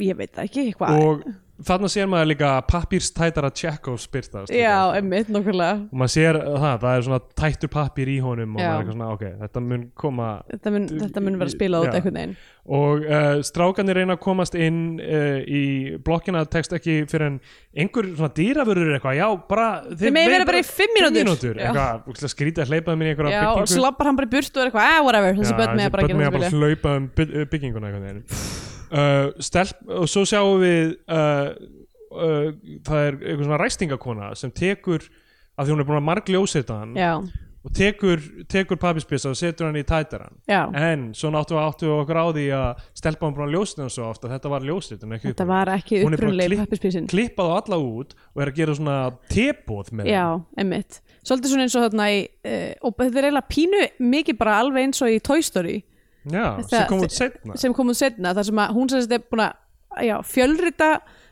Speaker 2: ég veit það ekki eitthvað
Speaker 3: og þarna sér maður líka pappirstætara Tjekov spyrtast
Speaker 2: já, emmitt nokkulega
Speaker 3: og maður sér uh, það, það er svona tættur pappir í honum og
Speaker 2: Já.
Speaker 3: maður er eitthvað svona, ok, þetta mun koma
Speaker 2: þetta mun, þetta mun vera spilað út
Speaker 3: Já.
Speaker 2: einhvern veginn
Speaker 3: og uh, strákanir reyna að komast inn uh, í blokkina tekst ekki fyrir en einhver svona dýravörur eða eitthvað, já, bara
Speaker 2: Þið megið vera bara í fimm mínútur.
Speaker 3: mínútur
Speaker 2: Já.
Speaker 3: eitthvað, ógeðslega skrítið að hleypa þeim inn í einhverja
Speaker 2: já, og
Speaker 3: byggingu
Speaker 2: svo lappar hann bara í burtu og er eitthvað, ah, whatever, þessi
Speaker 3: Já,
Speaker 2: börn með
Speaker 3: þessi
Speaker 2: að bara
Speaker 3: börn
Speaker 2: gera
Speaker 3: mega
Speaker 2: það
Speaker 3: bara hlaupa um by- uh, bygginguna einhvern veginn uh, stelp, og svo sjáum við uh, uh, það er einhver svona ræstingakona sem tekur af því hún er búin að margljósita hann
Speaker 2: já,
Speaker 3: og tekur, tekur pappispisa og setur hann í tætaran
Speaker 2: já,
Speaker 3: en svo náttu áttu við okkur á því að stelpa hann bara ljósið hann svo ofta þetta var ljósið hann ekki
Speaker 2: þetta var ekki
Speaker 3: Hún er bara
Speaker 2: upprunlega
Speaker 3: klipp-
Speaker 2: pappispísin
Speaker 3: klippað á alla út og er að gera svona tebóð með
Speaker 2: já, emmitt svolítið svona eins og þarna í uh, og þetta er eiginlega pínu mikið bara alveg eins og í Toy Story
Speaker 3: þeim. já,
Speaker 2: Það-
Speaker 3: sem kom út setna
Speaker 2: sem kom út setna þar sem að hún sem þetta er búin að já, fjölrita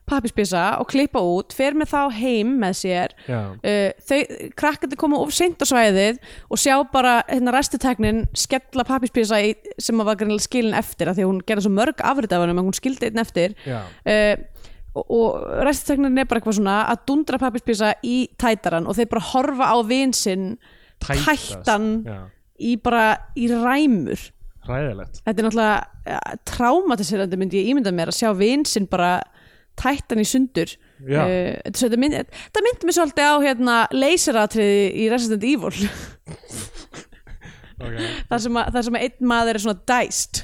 Speaker 2: pappispisa og klippa út, fer með þá heim með sér
Speaker 3: Já.
Speaker 2: uh, þau, krakkandi koma of seint á svæðið og sjá bara hérna ræstuteknin skella pappispisa í, sem var greinilega skilin eftir af því að hún gerði svo mörg afrit af hennum en hún skildi einn eftir
Speaker 3: Já.
Speaker 2: uh, og, og ræstuteknin er bara eitthvað svona að dundra pappispisa í tætaran og þeir bara horfa á vin sinn
Speaker 3: Tætast.
Speaker 2: tættan
Speaker 3: Já.
Speaker 2: í bara í ræmur
Speaker 3: Ræðilegt
Speaker 2: þetta er náttúrulega ja, traumatiserandi myndi ég ímynda mér að sjá vinsinn bara tættan í sundur
Speaker 3: Já.
Speaker 2: Eh, þetta, þetta, mynd, þetta myndi mér svolítið á hérna, leyseratriði í Resident Evil
Speaker 3: okay.
Speaker 2: þar sem, að, þar sem að einn maður er svona dæst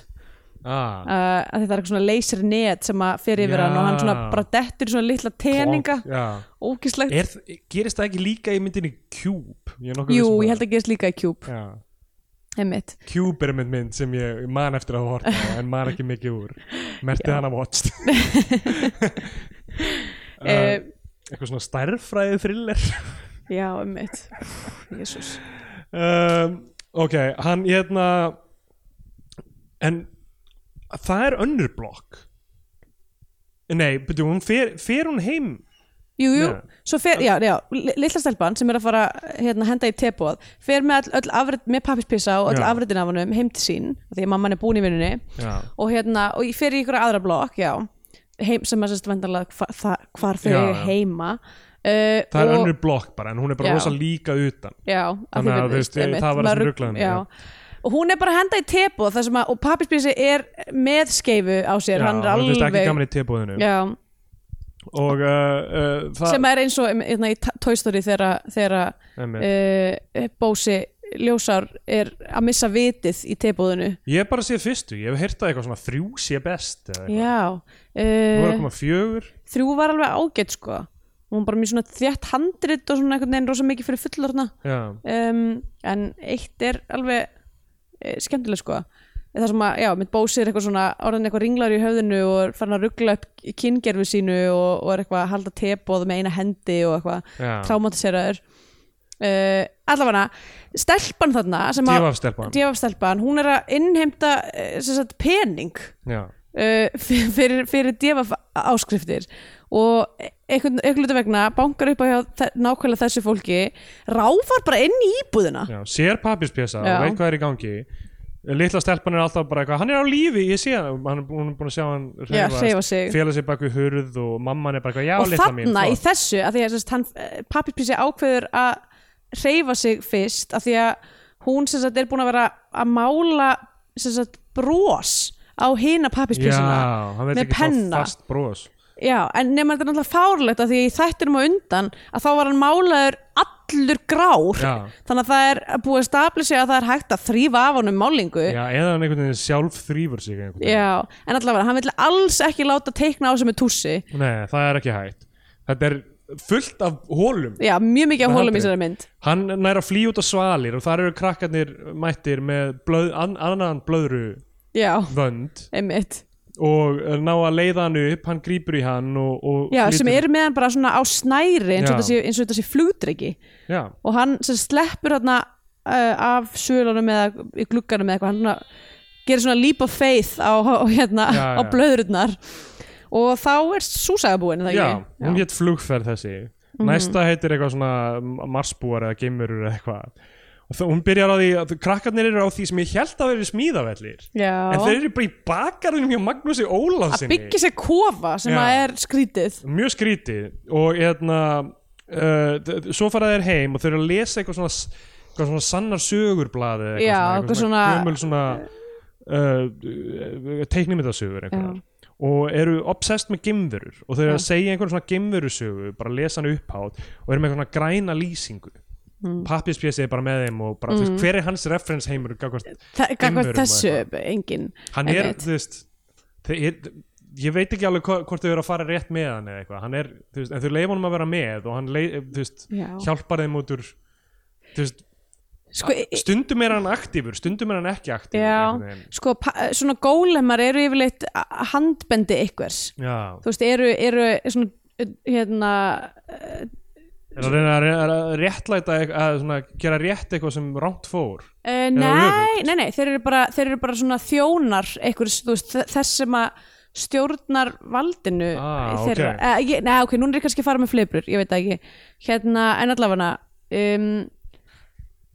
Speaker 3: ah.
Speaker 2: uh, að þetta er eitthvað svona leysernet sem að fer yfir
Speaker 3: Já.
Speaker 2: hann og hann svona bara dettur í svona litla teninga
Speaker 3: Já.
Speaker 2: ógislegt,
Speaker 3: er, Gerist það ekki líka í myndinni Cube? Ég
Speaker 2: jú ég held að gerist líka í Cube
Speaker 3: um Já.
Speaker 2: einmitt,
Speaker 3: Cube er mynd mynd sem ég man eftir að horta en man ekki mikið úr Mertið hann að watched uh,
Speaker 2: uh,
Speaker 3: Eitthvað svona stærfræði thriller
Speaker 2: já einmitt Jésús
Speaker 3: um, Ok, hann hérna En það er önnur blokk Nei, betur, hún fer, fer hún heim
Speaker 2: Jú, jú,
Speaker 3: Nei.
Speaker 2: svo fer, já, já, li- litla stelpan sem er að fara hérna henda í tebóð fer með öll, öll afrit, með pappispissa og öll
Speaker 3: Já.
Speaker 2: afritin af honum heim til sín af því að mamman er búin í vinnunni
Speaker 3: Já.
Speaker 2: og hérna, og ég fer í ykkur aðra blokk, já heim, sem að sérst vendarlega hva, það, hvar þau
Speaker 3: Já,
Speaker 2: eru
Speaker 3: já.
Speaker 2: heima uh,
Speaker 3: Það er
Speaker 2: og,
Speaker 3: önnur blokk bara, en hún er bara
Speaker 2: Já.
Speaker 3: rosa líka utan
Speaker 2: já, að því
Speaker 3: Þannig að
Speaker 2: virðist,
Speaker 3: þú veist,
Speaker 2: einmitt,
Speaker 3: það var það
Speaker 2: maður
Speaker 3: sem
Speaker 2: rugl-
Speaker 3: ruglaði mig,
Speaker 2: já. og hún er bara að henda í tebóð þar sem að, og pappispissa er með skeifu á sér, hann er
Speaker 3: hún finnst ekki
Speaker 2: alveg
Speaker 3: gaman í tebúðinu
Speaker 2: já,
Speaker 3: og uh, uh, það
Speaker 2: sem er eins og einmitt, hérna, í Ta- Toy Story þegar þegar
Speaker 3: Einmitt.
Speaker 2: uh, Bósi Ljósar er að missa vitið í tebúðinu
Speaker 3: Ég hef bara séð fyrstu, ég hef heyrtað eitthvað svona þrjú sé best eða eitthvað.
Speaker 2: Já,
Speaker 3: Nú er að
Speaker 2: uh,
Speaker 3: koma fjögur
Speaker 2: þrjú var alveg ágætt sko hún var bara mjög svona þjætt handrit og svona einhvern veginn rosa mikið fyrir fullorna
Speaker 3: Já,
Speaker 2: um, en eitt er alveg uh, skemmtileg sko það sem að, já, mitt bósið er eitthvað svona orðin eitthvað ringlar í höfðinu og er farin að ruggla upp kyngerfi sínu og, og er eitthvað að halda tebóð með eina hendi og eitthvað
Speaker 3: já,
Speaker 2: traumatiseraður uh, allavega stelpan þarna sem að
Speaker 3: tífaf stelpan
Speaker 2: djafafstelpan, hún er að innheimta eh, sem sagt, pening
Speaker 3: Já,
Speaker 2: uh, fyrir, fyrir djafaf áskriftir og einhvern einhvern hluta vegna bankar upp á hjá þe- nákvæmlega þessu fólki ráfar bara inn í íbúðina
Speaker 3: já, sér pappispjasa
Speaker 2: Já.
Speaker 3: og veit hvað er í gangi Litla stelpan er alltaf bara eitthvað, hann er á lífi, ég sé hann hann- Hún er búin að sjá hann
Speaker 2: Já,
Speaker 3: hreyfast,
Speaker 2: hreyfa sig.
Speaker 3: Fela sig bak við hurð og mamman er bara eitthvað, já,
Speaker 2: og
Speaker 3: litla mín sko.
Speaker 2: þarna í
Speaker 3: flott.
Speaker 2: þessu að því að sérst, hann pappispísi ákveður að hreyfa sig fyrst að því að hún sem sagt er búin að vera að mála sem sagt brós á hina
Speaker 3: Já,
Speaker 2: pappispísina
Speaker 3: hann veit
Speaker 2: með
Speaker 3: ekki
Speaker 2: penna.
Speaker 3: fá fast bros
Speaker 2: Já, en nema þetta er náttúrulega fárlegt að því að í þættinum á undan að þá var hann málaður allur grár
Speaker 3: Já.
Speaker 2: þannig að það er búið að stabla sig að það er hægt að þrýfa af honum málingu
Speaker 3: Já, eða hann einhvern veginn sjálf þrýfur sig einhvern veginn.
Speaker 2: Já, en allavega, hann vill alls ekki láta teikna á sig með tússi
Speaker 3: Nei, það er ekki hægt Þetta er fullt af hólum
Speaker 2: Já, mjög mikið á
Speaker 3: Með
Speaker 2: hólum í
Speaker 3: handrit.
Speaker 2: þessari mynd
Speaker 3: Hann nær að flýja út á svalir og þar eru krakkarnir mættir með blöð, an, annan blöðru
Speaker 2: Já,
Speaker 3: vönd
Speaker 2: einmitt
Speaker 3: og eh, ná að leiða hann upp, hann grýpur í hann og, og
Speaker 2: Já,
Speaker 3: flýtur-
Speaker 2: sem er meðan bara svona á snæri eins og
Speaker 3: Já.
Speaker 2: þetta sé, eins og þetta sé flugdryggi
Speaker 3: Já,
Speaker 2: og hann sem sleppur hann uh, af sölunum eða í glugganum eða eitthvað, hann svona gerir svona leap of faith á, á, hérna,
Speaker 3: Já,
Speaker 2: á
Speaker 3: já.
Speaker 2: blöðrurnar og þá er súsagabúin
Speaker 3: já, hún hétt flugferð þessi
Speaker 2: Mhm.
Speaker 3: Næsta heitir eitthvað svona marsbúar eða geimurur eða eitthvað og það, hún byrjar á því að krakkarnir eru á því sem ég held að vera smíðavellir en
Speaker 2: já.
Speaker 3: þeir eru bara í bakarunum hjá Magnúsi
Speaker 2: að
Speaker 3: Ólafsinni
Speaker 2: byggja sér kofa sem
Speaker 3: Já.
Speaker 2: að er skrítið
Speaker 3: mjög skrítið og hérna uh, d- d- svo fara þeir heim og þeir eru að lesa eitthvað svona, s- eitthvað svona sannar sögurbladi eitthvað
Speaker 2: Já, eitthvað
Speaker 3: svona, eitthvað svona
Speaker 2: svona-
Speaker 3: gömul svona uh, teiknimyndasögur einhverjar og eru obsessed með gimverur og þeir eru að segja einhvern svona gimverusögu bara lesa hann upphátt og eru með eitthvað svona græna lýsingu mm. er bara með þeim og bara, mm. hver er hans reference heimur gagvart,
Speaker 2: Þa-
Speaker 3: Geimverum
Speaker 2: gagvart
Speaker 3: og
Speaker 2: þessu engin
Speaker 3: hann er,
Speaker 2: Einmitt.
Speaker 3: þú veist þeir, er, ég veit ekki alveg hva- hvort þau eru að fara rétt með hann eða eitthvað, hann er, þú veist, en þau leifum honum að vera með og hann, leif, þú veist,
Speaker 2: Já.
Speaker 3: hjálpar þeim út úr þú veist,
Speaker 2: sko, í-
Speaker 3: stundum er hann aktífur stundum er hann ekki aktífur
Speaker 2: já,
Speaker 3: einhvern veginn.
Speaker 2: sko pa- svona gólemar eru yfirleitt a- handbendi ykkvers
Speaker 3: já,
Speaker 2: þú veist, eru, eru svona uh, hérna
Speaker 3: er að reyna að- að að réttlæta eit- að svona, gera rétt eitthvað sem rámt fór
Speaker 2: Uh,
Speaker 3: öfugt?
Speaker 2: nei, nei, nei, þeir eru bara, þeir eru bara svona þjónar einhvers, þú veist, þ- þess sem að eh, stjórnar valdinu
Speaker 3: Ah,
Speaker 2: þeirra
Speaker 3: ok.
Speaker 2: okay. Nei, ok, núna er ég kannski að fara með flibrur, ég veit það ekki hérna, en allavega um,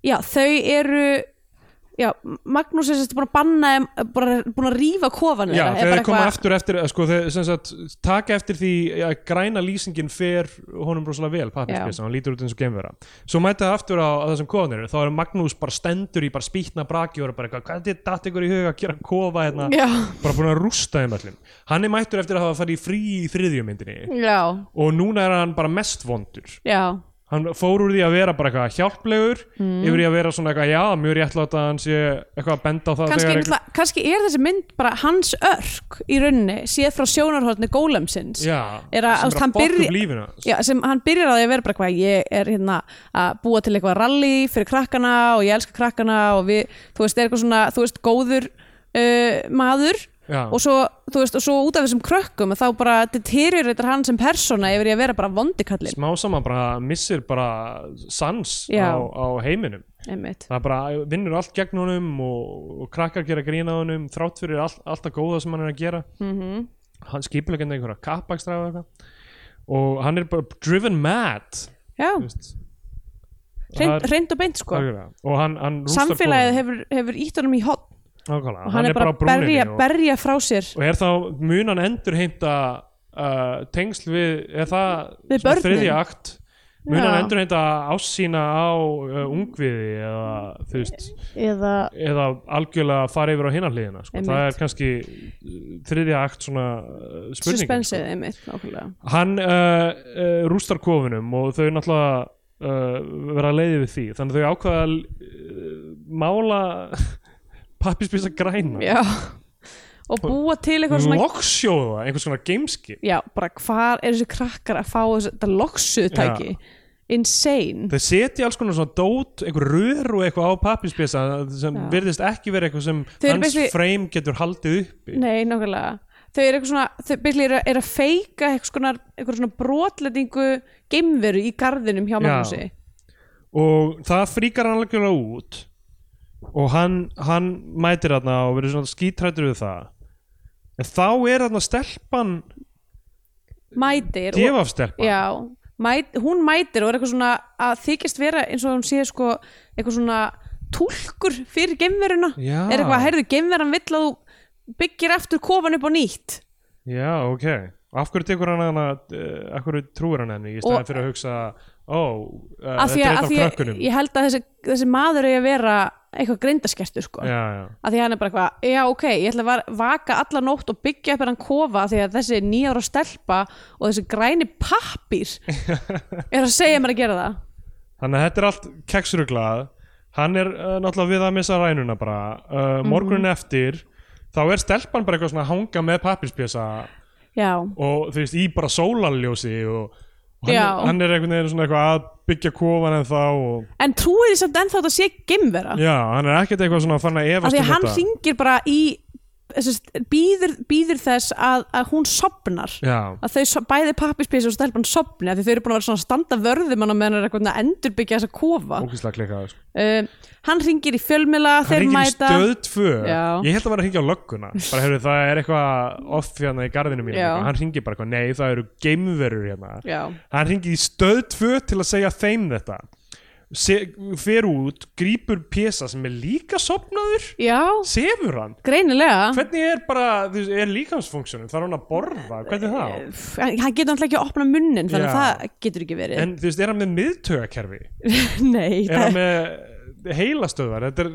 Speaker 2: já, þau eru já, Magnús er sérst búin að banna þeim- bara, búin að rífa kofan
Speaker 3: Já,
Speaker 2: þeirra, er
Speaker 3: þegar
Speaker 2: bara
Speaker 3: þeir koma
Speaker 2: eitthvað-
Speaker 3: aftur eftir sko, þeir, sem sagt, taka eftir því að græna lýsingin fer honum rosalega vel pappinspisa, hann lítur út eins og geimvera svo mæta það aftur á, á þessum kofanir þá er Magnús bara stendur í bara spýtna braki og er bara eitthvað, hvað er þetta datt ykkur í huga að gera kofa hérna,
Speaker 2: Já.
Speaker 3: bara búin að rústa þeim öllum hann er mættur eftir að hafa farið í frí í þriðjumyndinni
Speaker 2: já,
Speaker 3: og núna er hann bara mest vondur
Speaker 2: já,
Speaker 3: hann fór úr því að vera bara eitthvað hjálplegur
Speaker 2: Mm.
Speaker 3: yfir í að vera svona eitthvað, já, mjög réttlátt að hann sé eitthvað að benda á það
Speaker 2: kannski,
Speaker 3: þegar
Speaker 2: einhver... kannski er þessi mynd bara hans örk í rauninni, séð frá sjónarhóttni gólemsins
Speaker 3: Já,
Speaker 2: er að,
Speaker 3: sem
Speaker 2: ást, hann
Speaker 3: bara botn upp
Speaker 2: byrji-
Speaker 3: lífinu hans.
Speaker 2: Já, sem hann byrjar á því að vera bara hvað ég er hérna að búa til eitthvað rally fyrir krakkana og ég elska krakkana og við, þú veist, er eitthvað svona, þú veist, góður uh, maður
Speaker 3: Já.
Speaker 2: og svo, þú veist, og svo út af þessum krökkum þá bara deteriorator hann sem persóna yfir í að vera bara vondikallin
Speaker 3: smá saman bara missir bara sans
Speaker 2: Já.
Speaker 3: á, á heiminum
Speaker 2: einmitt,
Speaker 3: það bara vinnur allt gegn honum og, og krakkar gera grín á honum þrátt fyrir all, allt að góða sem hann er að gera mm
Speaker 2: Mhm.
Speaker 3: -hmm. hann skipur ekki einhverja kappakstra og eitthvað og hann er bara driven mad
Speaker 2: já,
Speaker 3: þú veist. Það
Speaker 2: reynd,
Speaker 3: er-
Speaker 2: reynd og beint sko
Speaker 3: algjörlega. og hann, hann rústar
Speaker 2: samfélagið
Speaker 3: kofanum.
Speaker 2: hefur, hefur ítt honum í hotn
Speaker 3: Nákvæmlega.
Speaker 2: og hann, er bara að
Speaker 3: brúninni
Speaker 2: berja,
Speaker 3: og,
Speaker 2: berja frá sér
Speaker 3: og er þá mun hann endurheimta uh, tengsl við er það
Speaker 2: Við
Speaker 3: svona
Speaker 2: börnin.
Speaker 3: þriðja akt mun hann
Speaker 2: Já.
Speaker 3: endurheimta ásýna á uh, ungviði eða þú veist
Speaker 2: eða,
Speaker 3: eða algjörlega fara yfir á hinna hliðina sko.
Speaker 2: Einmitt.
Speaker 3: það er kannski uh, þriðja akt svona uh, spurningin sko.
Speaker 2: suspensið einmitt, nákvæmlega
Speaker 3: hann uh, uh, rústar kofinum og þau náttúrulega uh, vera leiði við því þannig að þau ákvaða að uh, mála pappispisa græna
Speaker 2: já, og búa til eitthvað svona
Speaker 3: loksjóða einhvers konar gameskip
Speaker 2: já, bara hvar er þessi krakkar að fá þessi- þetta loksutæki insane
Speaker 3: þeir setja alls konar svona dót einhver rör og eitthvað á pappispisa sem
Speaker 2: Já.
Speaker 3: virðist ekki verið eitthvað sem
Speaker 2: Þau eru
Speaker 3: hans
Speaker 2: basically-
Speaker 3: frame getur haldið uppi
Speaker 2: nei, nákvæmlega þau eru eitthvað svona, þau byrjulega eru, að- eru að feika eitthvað svona, eitthvað svona brotletningu geimveru í garðinum hjá Magnúsi
Speaker 3: og það fríkar hann algjörlega út og hann, hann mætir þarna og verður svona skítrættur við það en þá er þarna stelpan
Speaker 2: mætir og-
Speaker 3: gefafstelpan
Speaker 2: já, mæt, hún mætir og er eitthvað svona að þykist vera eins og hún sé sko eitthvað svona túlkur fyrir geimveruna
Speaker 3: Já.
Speaker 2: er eitthvað, heyrðu, geimveran vill að þú byggir aftur kofan upp á nýtt
Speaker 3: já, ok af hverju tekur hann hana uh, af hverju trúir hann henni í
Speaker 2: Og-
Speaker 3: staðan fyrir að hugsa ó, uh,
Speaker 2: af
Speaker 3: þetta
Speaker 2: því að,
Speaker 3: er eitt
Speaker 2: að
Speaker 3: af
Speaker 2: því
Speaker 3: krökkunum
Speaker 2: að ég held að þessi, þessi maður eigi að vera eitthvað grindaskertu sko
Speaker 3: já, já,
Speaker 2: af því að hann er bara eitthvað, já ok, ég ætla að var- vaka alla nótt og byggja upp hann kofa af því að þessi nýjára stelpa og þessi græni pappir er að segja mér að gera það
Speaker 3: þannig að þetta er allt keksruglað hann er uh, náttúrulega við að missa rænuna bara uh,
Speaker 2: Mhm.
Speaker 3: morgunin eftir þá er stelpan bara eitthvað svona að hanga með pappirspjösa
Speaker 2: já,
Speaker 3: og þú veist, í bara sólarljósi og og hann,
Speaker 2: Já.
Speaker 3: hann er einhvern veginn svona eitthvað að byggja kofan en þá og,
Speaker 2: en trúið þið samt ennþá að þetta sé gimmvera,
Speaker 3: já, hann er ekkert eitthvað svona fann að
Speaker 2: af
Speaker 3: efast
Speaker 2: því
Speaker 3: um
Speaker 2: að hann
Speaker 3: þetta
Speaker 2: hringir bara í býður, býður þess að, að hún sopnar
Speaker 3: já,
Speaker 2: að þau so- bæði pappispísi og stelpan sopni af því þau eru búin að vera svona að standa vörðum hann á meðan hann er eitthvað að endurbyggja þessa kofa
Speaker 3: ókýrslega klikkað sko.
Speaker 2: um, hann ringir í fjölmila
Speaker 3: hann
Speaker 2: þeir
Speaker 3: hringir í
Speaker 2: mæta
Speaker 3: stöð 2
Speaker 2: Já.
Speaker 3: ég held að vera að hringja á lögguna bara hefur það er eitthvað off hérna í gardinu mínu
Speaker 2: Já.
Speaker 3: eitthvað. hann hringir bara eitthvað, nei það eru geimverur hérna
Speaker 2: já,
Speaker 3: hann hringir í stöð 2 til að segja þeim þetta Se, fer út, grípur pjesa sem er líka sopnaður
Speaker 2: já
Speaker 3: sefur hann
Speaker 2: greinilega
Speaker 3: Hvernig er bara, þú veist, er líkamsfunksjónum? Þarf hann að borða? Hvernig er það?
Speaker 2: F- hann hann getur náttúrulega ekki að opna munnin þannig að
Speaker 3: Já.
Speaker 2: það getur ekki verið
Speaker 3: En þú veist, er hann með miðtögakerfi?
Speaker 2: nei,
Speaker 3: Er hann
Speaker 2: það,
Speaker 3: með heilastöðvar? Þetta er,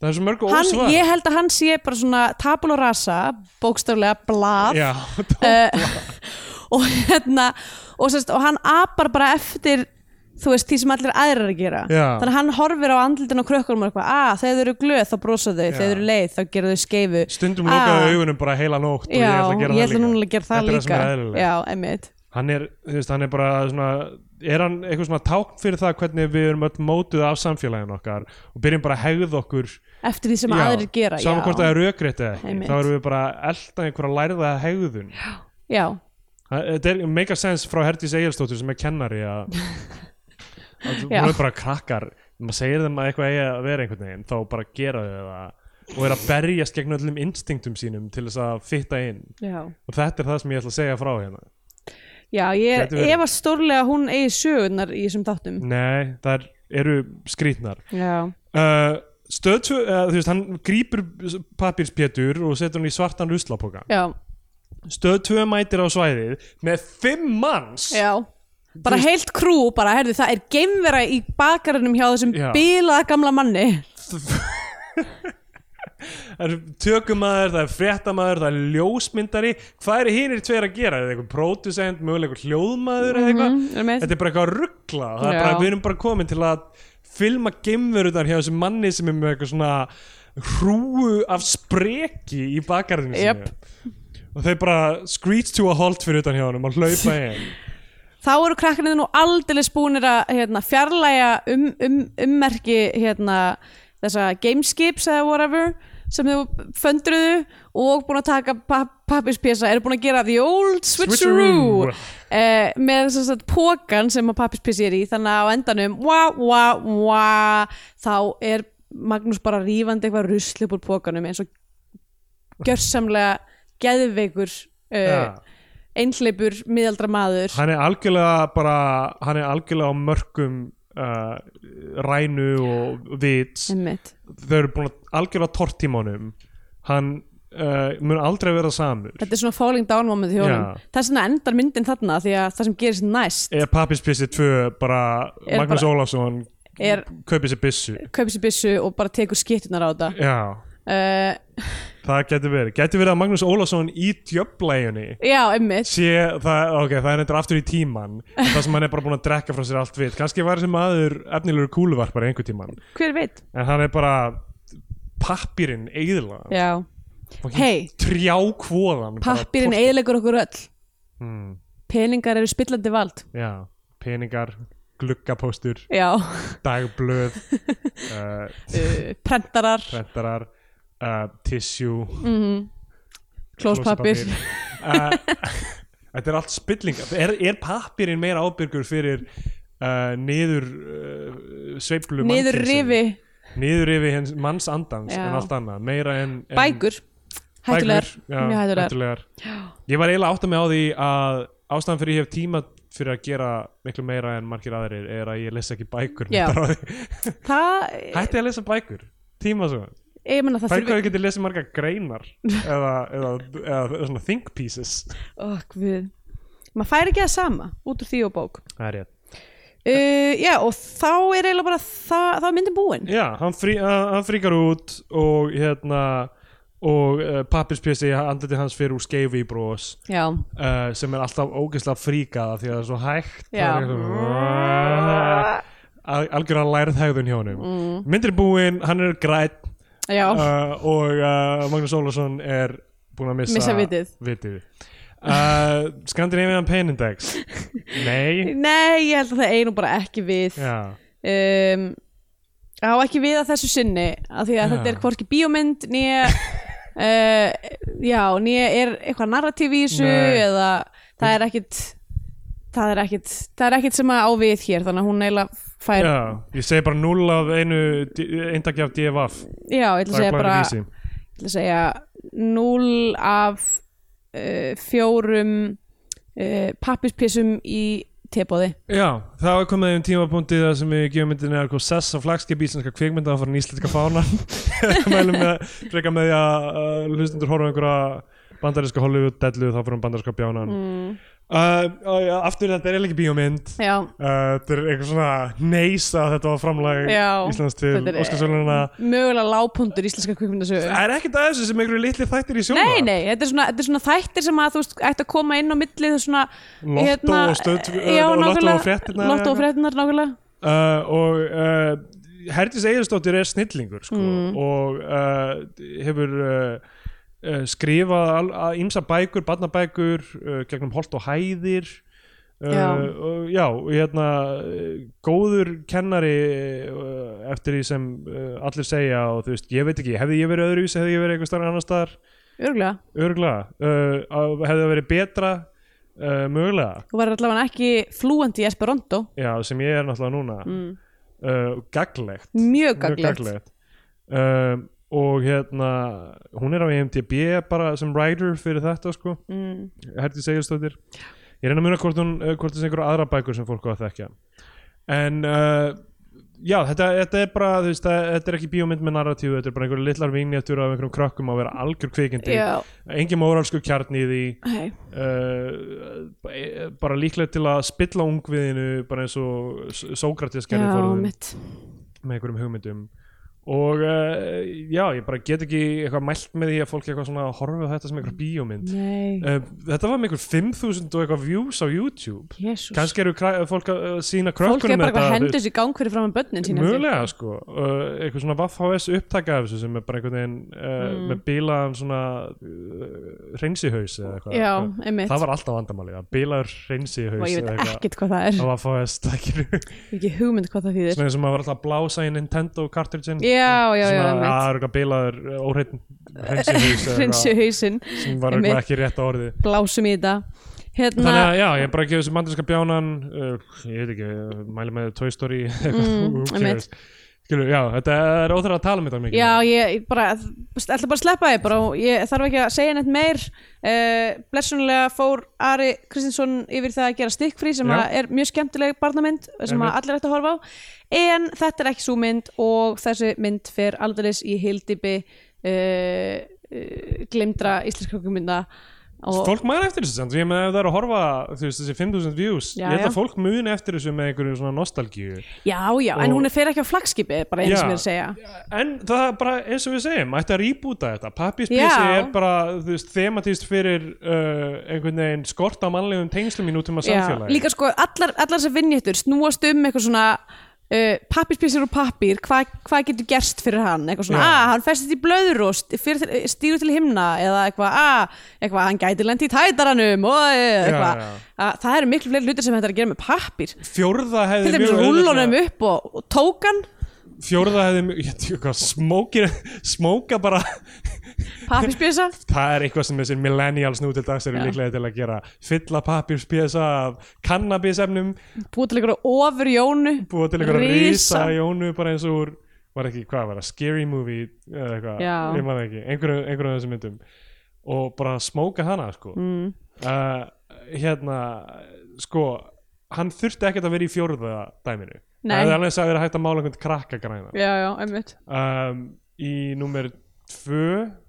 Speaker 3: það er svo mörgu
Speaker 2: hann,
Speaker 3: ósvar.
Speaker 2: ég held að hann sé bara svona tabula rasa, bókstaflega blað
Speaker 3: Já,
Speaker 2: Eh, og hérna og, sérst, og hann apar bara eftir þú veist, því sem allir aðrar að gera
Speaker 3: Já.
Speaker 2: þannig að hann horfir á andlutin á krökkunum og eitthvað, að þegar þau eru glöð þá brosa þau þegar þau eru leið þá gera þau skeifu
Speaker 3: stundum
Speaker 2: Ah.
Speaker 3: lokaðu augunum bara heila nótt og
Speaker 2: já,
Speaker 3: ég ætla að gera
Speaker 2: ég
Speaker 3: það
Speaker 2: ætla núna
Speaker 3: líka.
Speaker 2: að gera það
Speaker 3: Þetta er það sem
Speaker 2: líka
Speaker 3: er eðlilegt.
Speaker 2: já, einmitt
Speaker 3: Hann er, þú veist, hann er bara svona, er hann eitthvað svona tákn fyrir það hvernig við erum öll mótuð af samfélaginu okkar og byrjum bara að hegða okkur
Speaker 2: eftir því sem aðrir gera
Speaker 3: saman hvort það
Speaker 2: já.
Speaker 3: er raukrétt eða ekki,
Speaker 2: Einmitt.
Speaker 3: þá erum við bara að elda einhverja lærða hegðun. Já.
Speaker 2: já,
Speaker 3: Það- Þetta er make a sense frá Herdís Egilstóttur sem er kennari að að
Speaker 2: Já.
Speaker 3: hún er bara krakkar maður segir þeim að eitthvað eigi að vera einhvern veginn þá bara gera þau það og er að berjast gegn öllum instinktum sínum til þess að fitta inn
Speaker 2: já.
Speaker 3: og þetta er það sem ég ætla að segja frá hérna
Speaker 2: Já, ég
Speaker 3: Gæti verið.
Speaker 2: efast stórlega að hún eigi sögurnar í þessum þáttum
Speaker 3: nei, það eru skrýtnar
Speaker 2: Já,
Speaker 3: uh, stöðtjö, uh, þú veist, hann grýpur papírspétur og setur hann í svartan ruslapoka
Speaker 2: já,
Speaker 3: stöð 2 mætir á svæðið með fimm manns
Speaker 2: já Bara heilt krú, bara, herðu, það er geimvera í bakarinnum hjá þessum
Speaker 3: Já.
Speaker 2: bilaða gamla manni
Speaker 3: það er tökumæður, það er fréttamaður það er ljósmyndari, hvað eru hinir tveir að gera, er það eitthvað pródusent mögulega eitthvað hljóðmaður eða eitthvað
Speaker 2: Erum við-
Speaker 3: þetta er bara eitthvað að ruggla það
Speaker 2: Mhm,
Speaker 3: er
Speaker 2: Já.
Speaker 3: bara, við erum bara komin til að filma geimverunar hjá þessum manni sem er með eitthvað svona hrúu af spreki í bakarðinu
Speaker 2: Jep.
Speaker 3: og þau bara screech to a halt fyrir utan hjá honum og hlaupa inn
Speaker 2: Þá eru krakkarnir nú aldeilis búinir að hérna, fjarlæga um, um, ummerki hérna, þessa gameskips eða whatever sem þau föndruðu og búin að taka pap pappispjesa eru búin að gera the old switcheroo,
Speaker 3: Switcheroo.
Speaker 2: eh, með sem sagt, pókan sem að pappispjesi er í þannig að á endanum wá, wá, wá, þá er Magnús bara rífandi eitthvað rusli upp úr pókanum eins og gjörsamlega geðveikur eh,
Speaker 3: Já.
Speaker 2: einhleipur miðaldra maður
Speaker 3: hann er algjörlega bara hann er algjörlega á mörkum uh, rænu og vits
Speaker 2: Einmitt.
Speaker 3: þau eru búin að algjörlega tortíma honum hann uh, mun aldrei vera samur
Speaker 2: Þetta er svona falling down moment hjá honum.
Speaker 3: Já.
Speaker 2: Það er svona endar myndin þarna því að það sem gerist næst
Speaker 3: eða pappispissi 2 bara
Speaker 2: Er
Speaker 3: Magnús
Speaker 2: bara-
Speaker 3: Ólafsson
Speaker 2: er
Speaker 3: kaupið sér byssu
Speaker 2: kaupið sér byssu og bara tekur skittunar á þetta.
Speaker 3: já
Speaker 2: Uh,
Speaker 3: Það getur verið. Getur verið að Magnús Ólafsson í djöblæjunni
Speaker 2: já, einmitt.
Speaker 3: sé það, ok, það er endur aftur í tíman það sem hann er bara búin að drekka frá sér allt vit. Kanski var þessi maður efnilegur kúluvarpar einhver tíman.
Speaker 2: Hver veit?
Speaker 3: En hann er bara pappirinn eigðla.
Speaker 2: Já. Hey,
Speaker 3: Trjákvoðan. bara
Speaker 2: pappirinn eðilegur okkur öll.
Speaker 3: tórt- Mm,
Speaker 2: Peningar eru spillandi vald.
Speaker 3: já, peningar, gluggapóstur,
Speaker 2: Já.
Speaker 3: dagblöð, uh,
Speaker 2: Uh, prentarar,
Speaker 3: prentarar, uh, tissue,
Speaker 2: klóspapir.
Speaker 3: Klóspappír. Eh, Þetta er allt spillingar Er, er pappirinn meira ábyrgur fyrir uh, niður uh, sveiflu
Speaker 2: Niður
Speaker 3: mannkynsins?
Speaker 2: rifi
Speaker 3: Niður rifi hens, manns andans
Speaker 2: Já.
Speaker 3: en allt annað Meira en, en
Speaker 2: bækur. Hættulegar.
Speaker 3: bækur, já,
Speaker 2: Mjög hættulegar.
Speaker 3: hættulegar. Ég var eiginlega átt að með á því að ástæðan fyrir ég hef tíma fyrir að gera miklu meira en margir aðrir er að ég lesa ekki bækur
Speaker 2: Já.
Speaker 3: Bara á því.
Speaker 2: Það,
Speaker 3: Hætti að lesa bækur Tíma svo
Speaker 2: ég menna það
Speaker 3: Bækur
Speaker 2: þurfi.
Speaker 3: þau getur lesið margar greinar eða, eða, eða, eða svona think pieces
Speaker 2: Ó, guð. Maður fær ekki að sama út úr því og bók.
Speaker 3: Það er rétt
Speaker 2: Uh, já, og þá er eiginlega bara það, það er myndin búin.
Speaker 3: Já, hann, frí, hann hann fríkar út og hérna og uh, pappirspjössi andliti hans fyrir úr skeifi í brós
Speaker 2: Já,
Speaker 3: uh, sem er alltaf ógeðslega fríkað af því að það er svo hægt
Speaker 2: Já.
Speaker 3: Það er eitthvað- Al- algjörlega lærið hegðun hjá honum mm. myndir er búinn, hann er grætt
Speaker 2: já,
Speaker 3: uh, og uh, Magnús Ólafsson er búinn að missa,
Speaker 2: Missa vitið.
Speaker 3: vitið. Uh, Skandinavian Penindex Nei
Speaker 2: Nei, ég held að það einu bara ekki við
Speaker 3: Já,
Speaker 2: um, Á ekki við að þessu sinni af því að
Speaker 3: Já.
Speaker 2: þetta er hvorki bíómynd nýja uh, Já, nýja er eitthvað narratíf í þessu
Speaker 3: Nei.
Speaker 2: eða það er ekkit það er ekkit, það er ekkit sem að á við hér þannig að hún eiginlega fær Já,
Speaker 3: já, ég segi bara 0 af einu eindakki af DFF
Speaker 2: ég ætla að segja bara
Speaker 3: Dagblaðið Vísi.
Speaker 2: ég ætla að segja 0 af uh, fjórum uh, pappispissum í tebóði
Speaker 3: Já, þá er komið um tímapunktið þar sem við gefum myndinni að sess á flagskip íslenska kvikmynda að fara nýsleika fánan mælum með, freka með því að uh, hlustundur horfa á einhverja bandaríska Hollywood dellu þá fyrir um bandaríska bjánan mm. uh, og, ja, Aftur þetta er eiginlega ekki bíómynd uh,
Speaker 2: Já,
Speaker 3: Þetta er eitthvað svona neys að þetta var framlag
Speaker 2: Já,
Speaker 3: Íslands til
Speaker 2: þetta er-
Speaker 3: Óskarsvöluna
Speaker 2: mögulega lágpuntur íslenska kvikmyndasögu
Speaker 3: Það er ekkert aðeins sem einhverju litli þættir í sjónvarp
Speaker 2: Nei, nei, þetta er, svona, þetta er svona þættir sem að þú veist, ætti að koma inn á milli þú svona, hérna,
Speaker 3: Lottó og Stöð tvö-
Speaker 2: já,
Speaker 3: og Lottó og
Speaker 2: nákvæmlega,
Speaker 3: Fréttirnar
Speaker 2: Lottó og fréttinar, nákvæmlega
Speaker 3: uh, og uh, Herdís Eyrusdóttir er snillingur sko,
Speaker 2: Mm.
Speaker 3: og uh, hefur uh, uh, skrifað al- að ýmsa bækur, barnabækur uh, gegnum holt og hæðir
Speaker 2: Já.
Speaker 3: Uh, og já, og hérna uh, góður kennari uh, eftir því sem uh, allir segja og þú veist, ég veit ekki, hefði ég verið öðruvísi hefði ég verið eitthvað starf annar staðar
Speaker 2: Örgulega,
Speaker 3: örgulega, uh, að- hefði það verið betra uh, mögulega
Speaker 2: þú verður allavega ekki flúandi í Esperanto
Speaker 3: já, sem
Speaker 2: Mm.
Speaker 3: ég Eh, er náttúrulega núna mm. uh, gaglegt
Speaker 2: Mjög gaglegt.
Speaker 3: gaglegt. Um, og hérna hún er á E IMDb bara sem writer fyrir þetta sko
Speaker 2: mm.
Speaker 3: Herdi Segjastóttir ég reyna að muna hvort hún eh, hvort þessi einhverja aðra bækur sem fólk á að þekkja en uh, já þetta, þetta er bara þú veist, það- þetta er ekki bíómynd með narratífu þetta er bara einhverja litlar vignetjur af einhverjum krökkum að vera algjör kvikindi
Speaker 2: Já,
Speaker 3: engin moralsku kjarni í því
Speaker 2: hei
Speaker 3: uh, b- bara líklegt til að spilla ungviðinu bara eins og S- Sókrates gerði
Speaker 2: Já,
Speaker 3: forðum
Speaker 2: mitt
Speaker 3: með einhverjum hugmyndum og uh, já, ég bara get ekki eitthvað mælt með því að fólk eitthvað svona horfið þetta sem eitthvað bíómynd
Speaker 2: Nei,
Speaker 3: uh, þetta var með einhver 5000 og eitthvað views á YouTube
Speaker 2: jésús
Speaker 3: kannski eru kra- fólk að uh, sína
Speaker 2: Fólk er
Speaker 3: krökkunum
Speaker 2: bara eitthvað
Speaker 3: þetta,
Speaker 2: að
Speaker 3: þú
Speaker 2: hendur sér gang fyrir fram að börnin sín held ég.
Speaker 3: Mögulega sko, uh, eitthvað svona Vaff HS upptaka af þessu sem er bara einhvern veginn uh,
Speaker 2: Mm.
Speaker 3: með bílaðan svona uh, hreinsihaus eða eitthvað
Speaker 2: Já,
Speaker 3: Eitthvað.
Speaker 2: einmitt
Speaker 3: Það var alltaf vandamálið, að bílaður hreinsi í haus
Speaker 2: Og ég
Speaker 3: eða
Speaker 2: veit
Speaker 3: eitthvað.
Speaker 2: ekkert hvað það er
Speaker 3: Það var að fá að stakkiru
Speaker 2: Ég hef Ekki hugmynd hvað það þýðir
Speaker 3: Svona eins og maður var alltaf að blása í Nintendo kartridgin
Speaker 2: Já, já, já,
Speaker 3: Svona "Ah,
Speaker 2: einmitt
Speaker 3: aðurga bílaður eh, óhreinn hreinsi í haus eða
Speaker 2: Hrinsu
Speaker 3: eitthvað,
Speaker 2: hausinn,
Speaker 3: Sem var
Speaker 2: einmitt.
Speaker 3: eitthvað ekki rétt á orði
Speaker 2: blásum í þetta Hérna,
Speaker 3: Þannig að já, ég bara gefið þessu mandrinska bjánan uh, Ég veit ekki, uh, mæli með Toy Story
Speaker 2: Mm,
Speaker 3: Who
Speaker 2: einmitt.
Speaker 3: cares? Skilur, já, þetta er óþæra að tala um þetta mikið
Speaker 2: já, ég ég bara ætla bara að sleppa þið bara og ég þarf ekki að segja neitt meir uh, blessunlega fór Ari Kristinsson yfir það að gera stikkfrí sem
Speaker 3: Já.
Speaker 2: að er mjög skemmtileg barnamynd sem
Speaker 3: Einmitt.
Speaker 2: að allir ætti að horfa á en þetta er ekki svo mynd og þessi mynd fer aldeilis í hildibi uh, uh, glimdra íslenska kókumynda og
Speaker 3: Fólk mæri eftir þessu samt, ég með ef það er að horfa þú veist, þessi 5000 views,
Speaker 2: Já,
Speaker 3: ég held
Speaker 2: já.
Speaker 3: að fólk muni eftir þessu með einhverju svona nostalgíu
Speaker 2: já, já, en
Speaker 3: og-
Speaker 2: hún er fer ekki á flagskipi bara eins
Speaker 3: Já.
Speaker 2: sem ég er að segja
Speaker 3: en það er bara eins og við segjum ætti að rýbúta þetta, pappíspísi
Speaker 2: Já.
Speaker 3: er bara þú veist, thematist fyrir uh, einhvern veginn skort á mannlegum tengslum í nútum að
Speaker 2: Já,
Speaker 3: samfélagi
Speaker 2: líka sko allar, allar þessar vinnjættur snúast um eitthvað svona uh, pappispísir og pappir, hvað hva getur gerst fyrir hann, eitthvað svona,
Speaker 3: Já.
Speaker 2: að hann festist í blöðurost stýru til himna eða eitthvað, að eitthvað, hann gæti lendi í tætaranum og eh,
Speaker 3: Já,
Speaker 2: eitthvað
Speaker 3: já.
Speaker 2: Að það eru miklu fleiri hlutir sem þetta er að gera með pappir
Speaker 3: fjórða
Speaker 2: til
Speaker 3: hefði
Speaker 2: dæmis
Speaker 3: mjög
Speaker 2: rúlunum
Speaker 3: auðveldlega-
Speaker 2: um upp og, og tókan
Speaker 3: fjórða hefði mjög, ég tjú, hvað, smókir smóka bara,
Speaker 2: pappispísa
Speaker 3: það er eitthvað sem þessir millennials nú til dags eru líklega til að gera fylla pappíspísa af kannabisefnum,
Speaker 2: búið til eitthvað ofur jónu
Speaker 3: búa til einhverja
Speaker 2: Risa.
Speaker 3: rísa jónu bara eins og úr var ekki, hvað var það, scary movie eða eitthvað,
Speaker 2: Já.
Speaker 3: ég maður ekki einhverju, einhverju af þessum myndum og bara smóka hana sko mm. hérna sko, hann þurfti ekkert að vera í fjórða dæminu,
Speaker 2: Nei.
Speaker 3: það er alveg að vera hægt að mála einhvern krakka græna
Speaker 2: já, já, einmitt
Speaker 3: um, í númer tvö,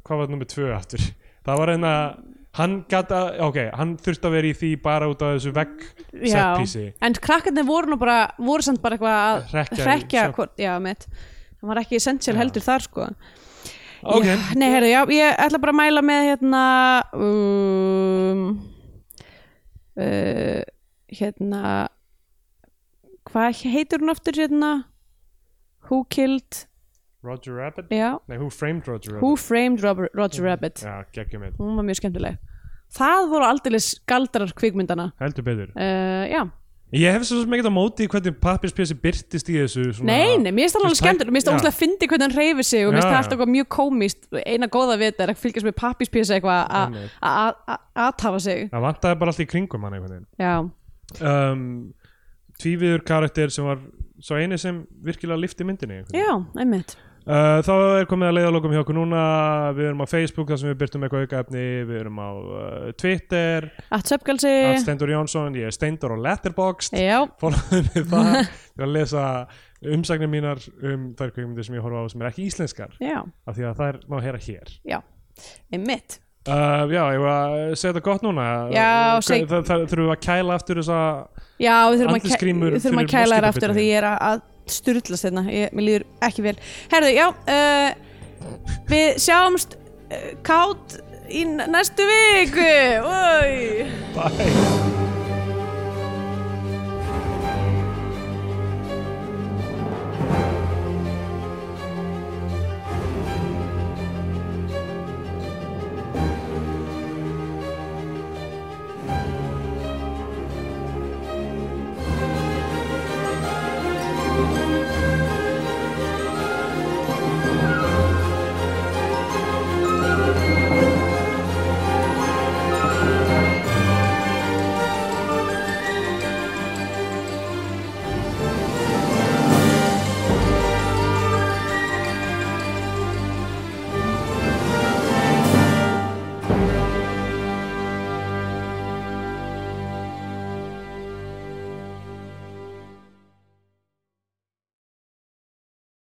Speaker 3: hvað var númer tvö aftur það var einna hann, gata, ok, hann þurfti að vera í því bara út af þessu vegg
Speaker 2: Já,
Speaker 3: setpísi
Speaker 2: en krakkarnir voru nú bara voru samt bara eitthvað að
Speaker 3: Hrekkja í
Speaker 2: hrekja
Speaker 3: svefn.
Speaker 2: hvort, já, mitt það var ekki essential heldur þar sko
Speaker 3: ok,
Speaker 2: já, nei, heyrðu, já, ég ætla bara að mæla með hérna um, uh, hérna hvað heitir hún aftur hérna Who Killed
Speaker 3: Roger Rabbit
Speaker 2: já,
Speaker 3: Nei, Who Framed Roger
Speaker 2: Who Framed Robert, Roger Rabbit
Speaker 3: Já, geggjum einn
Speaker 2: hún var mjög skemmtileg það voru aldeilis galdrar kvikmyndana
Speaker 3: Heldur betur
Speaker 2: uh, já
Speaker 3: Ég hef svo sem ekkert á móti hvernig pappispjössi byrtist í þessu svona...
Speaker 2: Nei, nei, mér finnst það alveg
Speaker 3: Þú veist,
Speaker 2: skemmtilega, mér finnst það
Speaker 3: já.
Speaker 2: óslega að fyndi hvernig hann reyfir sig og mér finnst það
Speaker 3: Já, já.
Speaker 2: alltaf eitthvað mjög komist eina góða við þetta er að fylgjast með pappispísa eitthvað að-
Speaker 3: Einmitt.
Speaker 2: að- að aðtafa sig
Speaker 3: Það vantaði bara allt í kringum hann einhvern
Speaker 2: Já,
Speaker 3: veginn um, Tvíviður karakter sem var svo eini sem virkilega lifti myndinni einhvern veginn.
Speaker 2: já, einmitt
Speaker 3: Uh, þá er komið að leiðalokum hjá okkur núna Við erum á Facebook þar sem við byrtum eitthvað aukaefni Við erum á uh, Twitter
Speaker 2: Að
Speaker 3: Allt
Speaker 2: söpgalsi
Speaker 3: Steindor Jónsson, ég er Steindor og Letterboxd
Speaker 2: Já,
Speaker 3: Fólkið með það til að lesa umsagnir mínar um þær kveikmyndir sem ég horfa á sem er ekki íslenskar
Speaker 2: já,
Speaker 3: af því að þær má heyra hér
Speaker 2: já, einmitt
Speaker 3: uh, Já, ég var að segja þetta gott núna
Speaker 2: Já,
Speaker 3: Hva-
Speaker 2: seg-
Speaker 3: Það það- þurfum við að kæla aftur þessa
Speaker 2: Já, við þurfum að, kæ
Speaker 3: Andlitsgrímur
Speaker 2: við þurfum að
Speaker 3: fyrir
Speaker 2: kæla þér
Speaker 3: moskítóbitinu.
Speaker 2: aftur af því ég er að- að styrla sérna, mér líður ekki vel Herðu, já, uh, við sjáumst eh, uh, kátt í n- næstu viku Új
Speaker 3: Bye